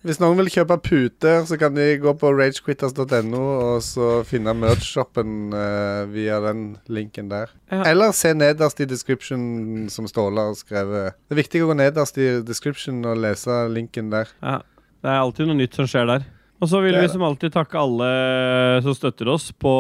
Hvis noen vil kjøpe puter, så kan de gå på ragequitters.no og så finne merch-shoppen eh, via den linken der. Eller se nederst i description, som Ståle har skrevet. Det er viktig å gå nederst i description og lese linken der. Ja. Det er alltid noe nytt som skjer der. Og så vil Det er vi det. som alltid takke alle som støtter oss på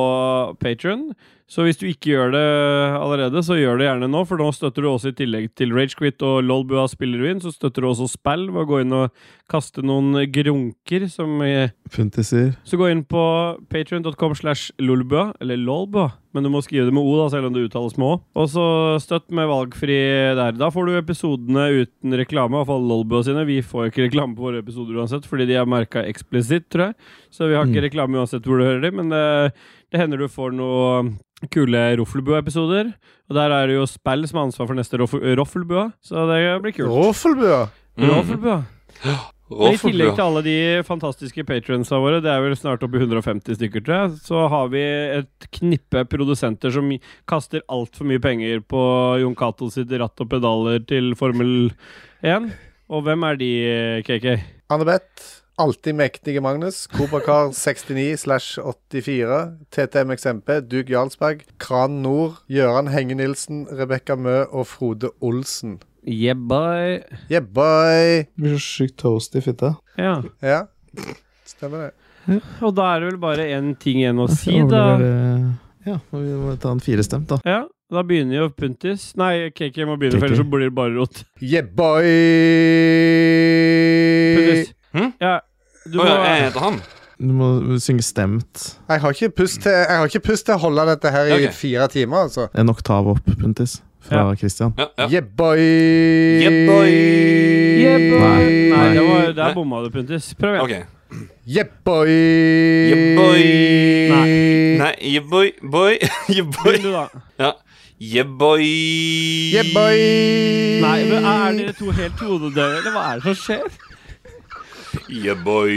Patron. Så hvis du ikke gjør det allerede, så gjør det gjerne nå, for nå støtter du også i tillegg til Ragequit og Lolbua spiller du inn, så støtter du også spill ved å gå inn og kaste noen grunker som eh, Funtiser. Så gå inn på patreon.com slash lolbua, eller lolbua, men du må skrive det med O, da, selv om det uttales med Å. Og så støtt med valgfri der. Da får du episodene uten reklame, i hvert fall lolbua sine. Vi får ikke reklame på våre episoder uansett, fordi de er merka eksplisitt, tror jeg. Så vi har ikke reklame uansett hvor du hører dem, men det, det hender du får noe kule Roffelbua-episoder. Og der er det jo spill som har ansvar for neste Roff- Roffelbua, så det blir kult. Roffelbua? Roffelbua. Men I Roffelbua. tillegg til alle de fantastiske patronsa våre, det er vel snart oppe i 150 stykker, tror jeg, så har vi et knippe produsenter som kaster altfor mye penger på Jon Cato sitt ratt og pedaler til Formel 1. Og hvem er de, KK? Annebeth, alltid mektige Magnus, Kobrakar69 slash 84, TTMXMP, Dug Jarlsberg, Kran Nord, Gøran Henge Nilsen, Rebekka Mø og Frode Olsen. Yeah, boy. Yeah, boy. Blir så sykt toast i fitta. Ja. Ja, stemmer det. Og da er det vel bare én ting igjen å si, da. Overlever, eh, Ja, må vi må ta en firestemt, da. Ja, da begynner jo Puntis. Nei, KK må begynne, for ellers så blir det bare rot. Yeah, boy! Puntis. Ja, du må han. Du må synge stemt. Jeg har ikke pust til, jeg har ikke pust til å holde dette her i Ok. fire timer, altså. En oktav opp, Puntis, fra Christian. Yeah, boy! Yeah, boy! Nei, nei, det var, Nei. der bomma du, Puntis. Prøv igjen. Ok. Yeah, boy! Yeah, boy. Nei, yeah, boy, boy. yeah, boy. Begynn du, da. Ja. Yeah, boy. Yeah, boy! Nei, men Er dere to helt hodedøde, eller hva er det som skjer? Yeah, boy.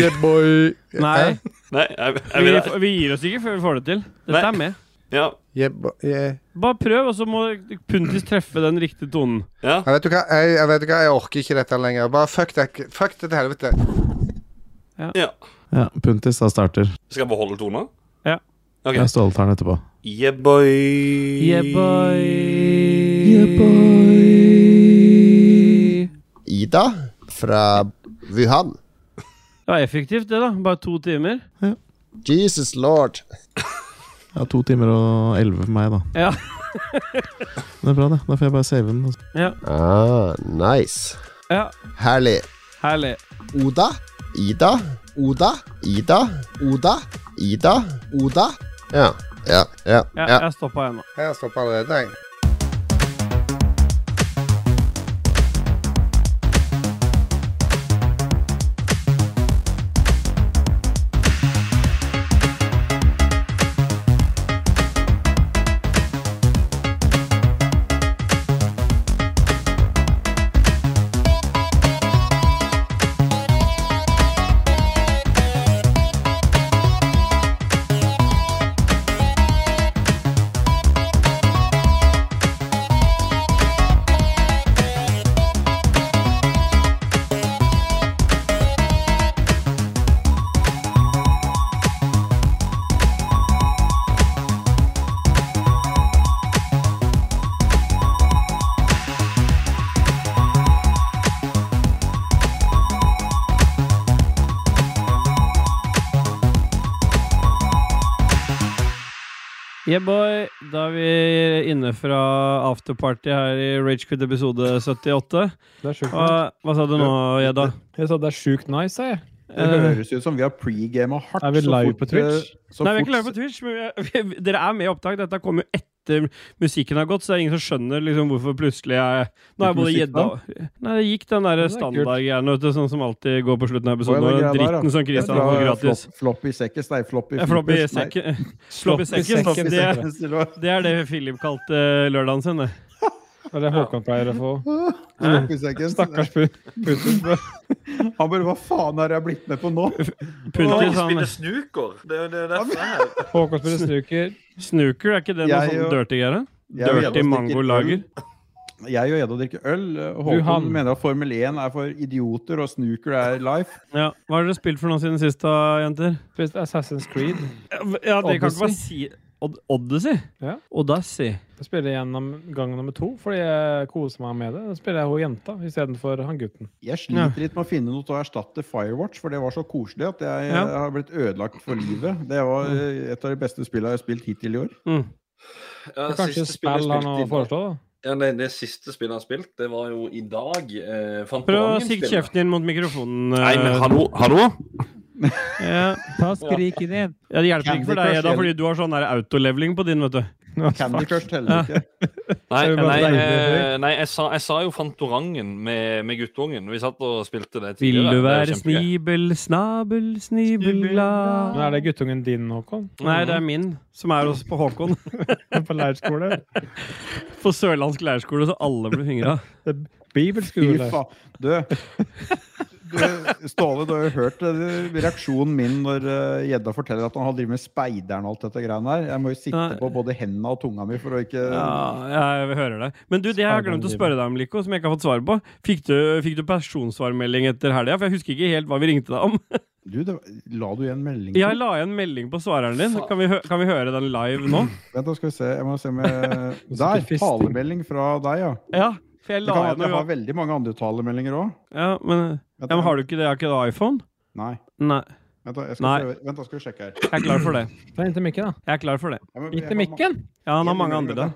Yeah, boy. Nei. Nei, jeg, jeg Vi, vil ha vi gir oss ikke før vi får det til. Dette er med. Ja. Yeah, boy. Yeah. Bare prøv, og så må Puntis treffe den riktige tonen. Jeg vet du hva, jeg, jeg vet du hva, jeg orker ikke dette lenger. Bare fuck det, fuck det til helvete. ja. Ja, Puntis da starter. Skal jeg beholde tonen? Ja. Ok. Jeg Ståle tar den etterpå. Yeah, boy. Yeah, boy. Ida fra Wuhan. Det var effektivt, det, da. Bare to timer. Jesus lord. Ja, to timer og elleve for meg, da. Ja. Det er bra, det. Da får jeg bare save den. altså. ja. Ah, nice. Ja. Herlig. Herlig. Oda, Ida, Oda, Ida, Oda, Ida, Oda. Ja, ja, ja. Ja, Jeg stoppa ennå. Jeg stopper allerede, jeg. Yeah, boy. Da er vi inne fra afterparty her i Ragequid episode 78. Det er sjukt. Hva, hva sa du nå, Gjedda? Jeg sa det er sjukt nice, jeg. Eh. Det høres ut som vi har pregama hardt. Er vi så live fort, på Twitch? eh, Så Nei, vi er fort- ikke live på Twitch, men vi, vi, dere er med i opptak. Dette kommer jo etter musikken har gått, så det er ingen som skjønner liksom, hvorfor plutselig jeg Nå er jeg Gikk både musikk gjedda da? og Nei, det gikk den der det er standardgreia, vet du, sånn som alltid går på slutten av Å, ja, episoden. den og greia den der, ja. dritten som Christian Jeg får tror, eh, gratis. Flop, floppy sekkes, nei, floppy Ja, floppy flippers, nei. sekken. Floppy sekken. Floppy Det er, sekkes. det er det Philip kalte eh, lørdagen sin, det. Det er det Håkon pleier å få. Hæ? Floppy sekkes. Stakkars pu- puter. Han bare Hva faen er det jeg har blitt med på nå? Punter, Åh, han- snuker. Det er jo det er derfor jeg er her. Håkon spiller snooker. Snooker, er ikke det noe Jeg sånn og- dirty greier? Jeg og Dirty Edda mangolager. drikker øl. Jeg og Edda drikker øl. og Du, han. Håkon mener at Formel 1 er for idioter, og snooker er life. Ja. Hva har dere spilt for noe siden sist, da, jenter? Spilt Assassin's Creed. Ja, det kan ikke bare si Od Odyssey? Ja. Odyssey. Jeg spiller gjennom gang nummer to, fordi jeg koser meg med det. Da spiller jeg hun jenta istedenfor han gutten. Jeg sliter litt med å finne noe til å erstatte Firewatch, for det var så koselig at jeg Ja. eh, har blitt ødelagt for livet. Det var eh, et av de beste spillene jeg har spilt hittil i år. Ja, Det er kanskje siste spillet spill jeg han har spilte i dag- foreslått, da. Ja, det, det siste spillet han spilte, det var jo i dag. Eh, Prøv å sikte kjeften din mot mikrofonen. eh, Nei, men hallo, hallo? Ja. Ta skriket din. Ja, det hjelper ikke for deg, da, fordi du har sånn der autoleveling på din, vet du. Candy Crush Ja. teller ikke. Nei, Det er jo nei, bare deilig. eh, nei jeg, sa, jeg sa jo Fantorangen med, med guttungen. Vi satt og spilte det Vil tidligere. Det du er være kjempegøy. snibel, snabel, snibelglad Men er det guttungen din, Håkon? Nei, det er min, som er også på Håkon. På leirskole? På sørlandsk leirskole, så alle ble fingra. Fy faen. Du, du, Ståle, du har jo hørt eh, reaksjonen min når eh, gjedda forteller at han har drevet med speideren og alt dette greiene her. Jeg må jo sitte på både hendene og tunga mi for å ikke Ja, jeg hører deg. Men du, det jeg har glemt å spørre deg om, Liko, som jeg ikke har fått svar på. Fikk du, fikk du personsvarmelding etter helga? For jeg husker ikke helt hva vi ringte deg om. Du, det, la du igjen melding? Jeg la igjen melding på svareren din. Kan vi, hø kan vi høre den live nå? Vent, da skal vi se. Jeg må se med Der! fisting. Talemelding fra deg, ja. Ja, for jeg Det la kan være igjen at jeg noe- har veldig mange andre talemeldinger òg. Ja, men, ja, men har du ikke det? Har ikke du iPhone? Nei. Nei. Vent, da, jeg skal Nei. prøve. Vent, da skal vi sjekke her. Jeg er klar for det. Nei, inntil mikken, da. Jeg er klar for det. Jeg må- jeg Inntil har ma- mikken? Ja, han har mange andre, da.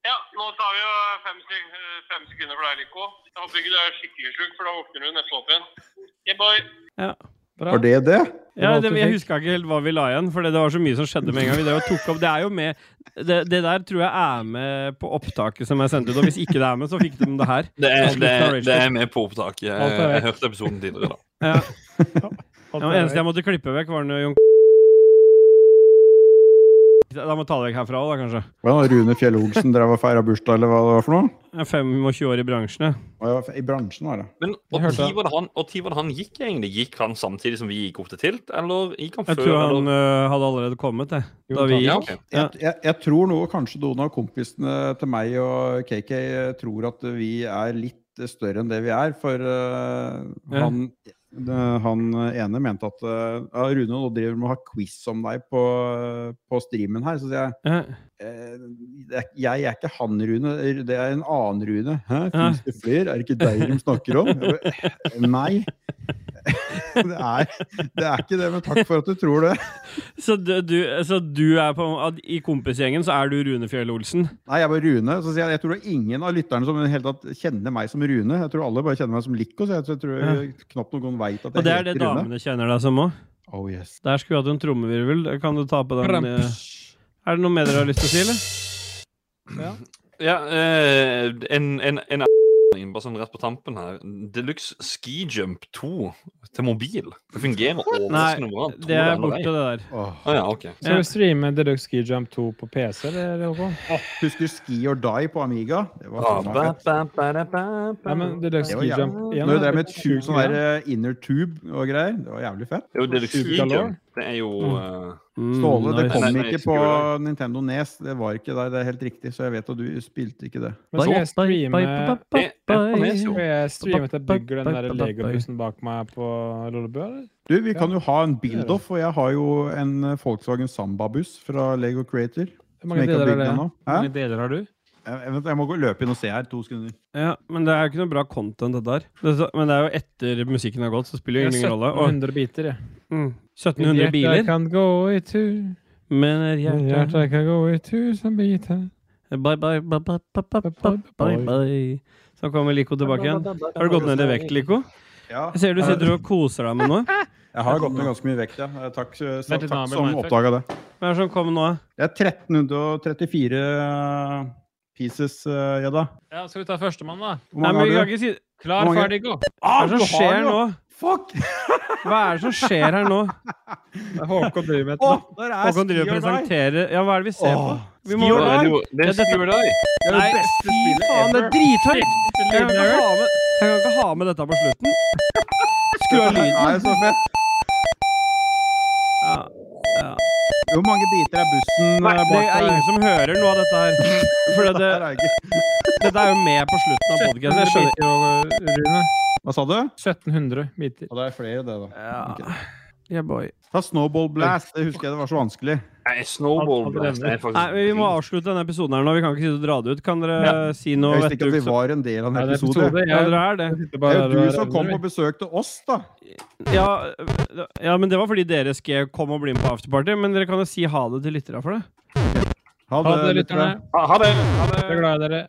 Ja, nå tar vi jo fem, sek- eh, fem sekunder for deg, Lico. Jeg håper ikke du er skikkelig sjuk, for da våkner du neste opp igjen. Yeah, boy. Ja. Var det det? Ja, det, jeg huska ikke helt hva vi la igjen, for det var så mye som skjedde med en gang. Vi drev og tok opp, det, er jo med, det, det der tror jeg er med på opptaket som er sendt ut, og hvis ikke det er med, så fikk de det her. Det er, det, er- Alt det er med på opptaket. Jeg, Alt er jeg vekk. hørte episoden tidligere, da. Ja. ja men eneste jeg måtte klippe vekk, var når Jon Da må jeg ta det vekk herfra òg, da, kanskje. Hva da, Rune Fjell Olsen drev og feira bursdag, eller hva det var for noe? Jeg er 25 år i bransjen, jeg. Og jeg var fe- I bransjen, var det. Men og tid var det han, og tid var det han gikk egentlig? Gikk han samtidig som vi gikk opp til tilt, eller gikk han Jeg før? tror han eller? øh, hadde allerede kommet, jeg. Da vi Ja, gikk. ok. jeg, jeg, jeg tror nå kanskje noen av kompisene til meg og KK tror at vi er litt større enn det vi er, for eh, Ja. han, eh, han ene mente at eh, ja, Rune nå driver med å ha quiz om deg på, på streamen her, så sier jeg Ja. eh, det er- Jeg er ikke han Rune, det er en annen Rune. Hæ, fins det flere? Er det ikke deg de snakker om? Jeg bare, Nei. Det er, det er ikke det, men takk for at du tror det. Så du, du, så du er på at I kompisgjengen så er du Rune Fjell Olsen? Nei, jeg var Rune. Så sier jeg, jeg tror det er ingen av lytterne som i det hele tatt kjenner meg som Rune. Jeg tror alle bare kjenner meg som Lico, så jeg tror- jeg tror knapt noen vet at Og det er jeg det heter Rune. damene kjenner deg som òg? Oh, yes. Der skulle vi hatt en trommevirvel. Kan du ta på den? eh? Er det noe mer dere har lyst til å si, eller? Ja, eh, en, en, en a- bare sånn rett på tampen her. Deluxe Ski Jump 2 til mobil. Det fungerer overraskende bra. det er borte, det der. Ah, ja, ok. Skal vi streame Deluxe Ski Jump 2 på PC, eller, Håkon? Husker du Ski or Die på Amiga? Det var Ah, faen meg ba, fett. ba, ba, da, ba, ba. Nei, men Deluxe Det var Ski jævlig- Jump igjen, Når du da. drev med et sjukt sånn der eh, inner tube og greier, det var jævlig fett. Jo, Deluxe Ski Jump, det er jo Mm. eh, Ståle, det kom Nei, nei, ikke Ski or Die. på Nintendo Nes. Det var ikke der, det er helt riktig, så jeg vet at du spilte ikke det. Men skal jeg streame Nes, jo. Skal jeg streame til jeg bygger den der legobussen bak meg på Lollebø, eller? Du, vi kan jo ha en build-off, og jeg har jo en eh, Volkswagen Samba-buss fra Lego Creator. som mange jeg ikke har deler er bygd det? ennå. Hvor Hæ? mange deler har du? Jeg, jeg, vet- jeg må gå og løpe inn og se her. To sekunder. Ja, Men det er jo ikke noe bra content, dette her. Det, er så- men det er jo etter musikken har gått, så spiller jo Jeg ingen har rolle. 1700 biter, jeg. Mm, 1700 biler. Hjertet kan gå i tur. Men Men hjertet hjertet kan gå i tusen biter. Bye, bye, bye, bye, bye, bye, bye, bye, bye. Så kommer Lico tilbake igjen. Har du gått ned i vekt, Lico? Ja. Eh, Jeg ser du sitter og koser deg med noe. Jeg har gått ned ganske mye vekt, ja. Eh, Takk, så, Vent takk, litt, takk Nabel, som Mindfuck. oppdaga det. Hva er det som kommer nå? Det er 1334 eh, pieces, eh, Gjedda. Ja, skal vi ta førstemann, da? Hvor mange Nei, men vi har du? kan ikke si... Klar, Hvor mange? ferdig, gå! Ah, Hva er det som du har skjer jo nå? Fuck! Hva er det som skjer her nå? Håkon driver med et Åh, nå. der er Håkon driver og Ski or Die. presenterer Ja, hva er det vi ser på? Åh, Vi Ski or Die. Ja, Det er dette- Ski or Die. Det er det Nei, beste fy spillet faen, det er ever. drithøyt! Jeg kan ikke ever. ha med, jeg kan ikke ha med dette på slutten. Skru av lyden. Nei, så fett. Ja, ja. Hvor mange biter er bussen Nei, eh, bak det er ingen som hører noe av dette her. For det, dette er jo med på slutten av podkasten. Jeg skjønner Hva sa du? 1700 biter. Og det er flere, det, da. Yeah, boy. Ta Snowball Blast. Det husker jeg det var så vanskelig. Nei, Snowball Blast er Nei, faktisk men Vi må avslutte denne episoden her nå. Vi kan ikke sitte og dra det ut. Kan dere Ja. si noe Jeg visste ikke at vi vettugt? var en del av en Ja, det er episode. Ja, dere er det. Jeg sitter bare Det er jo der og du som regner, kom vi. og besøkte oss, da. Ja, ja, men det var fordi dere skrev 'kom og bli med på afterparty'. Men dere kan jo si ha det til lytterne for det. Ha det, lytterne. Ha det. Jeg er glad i dere.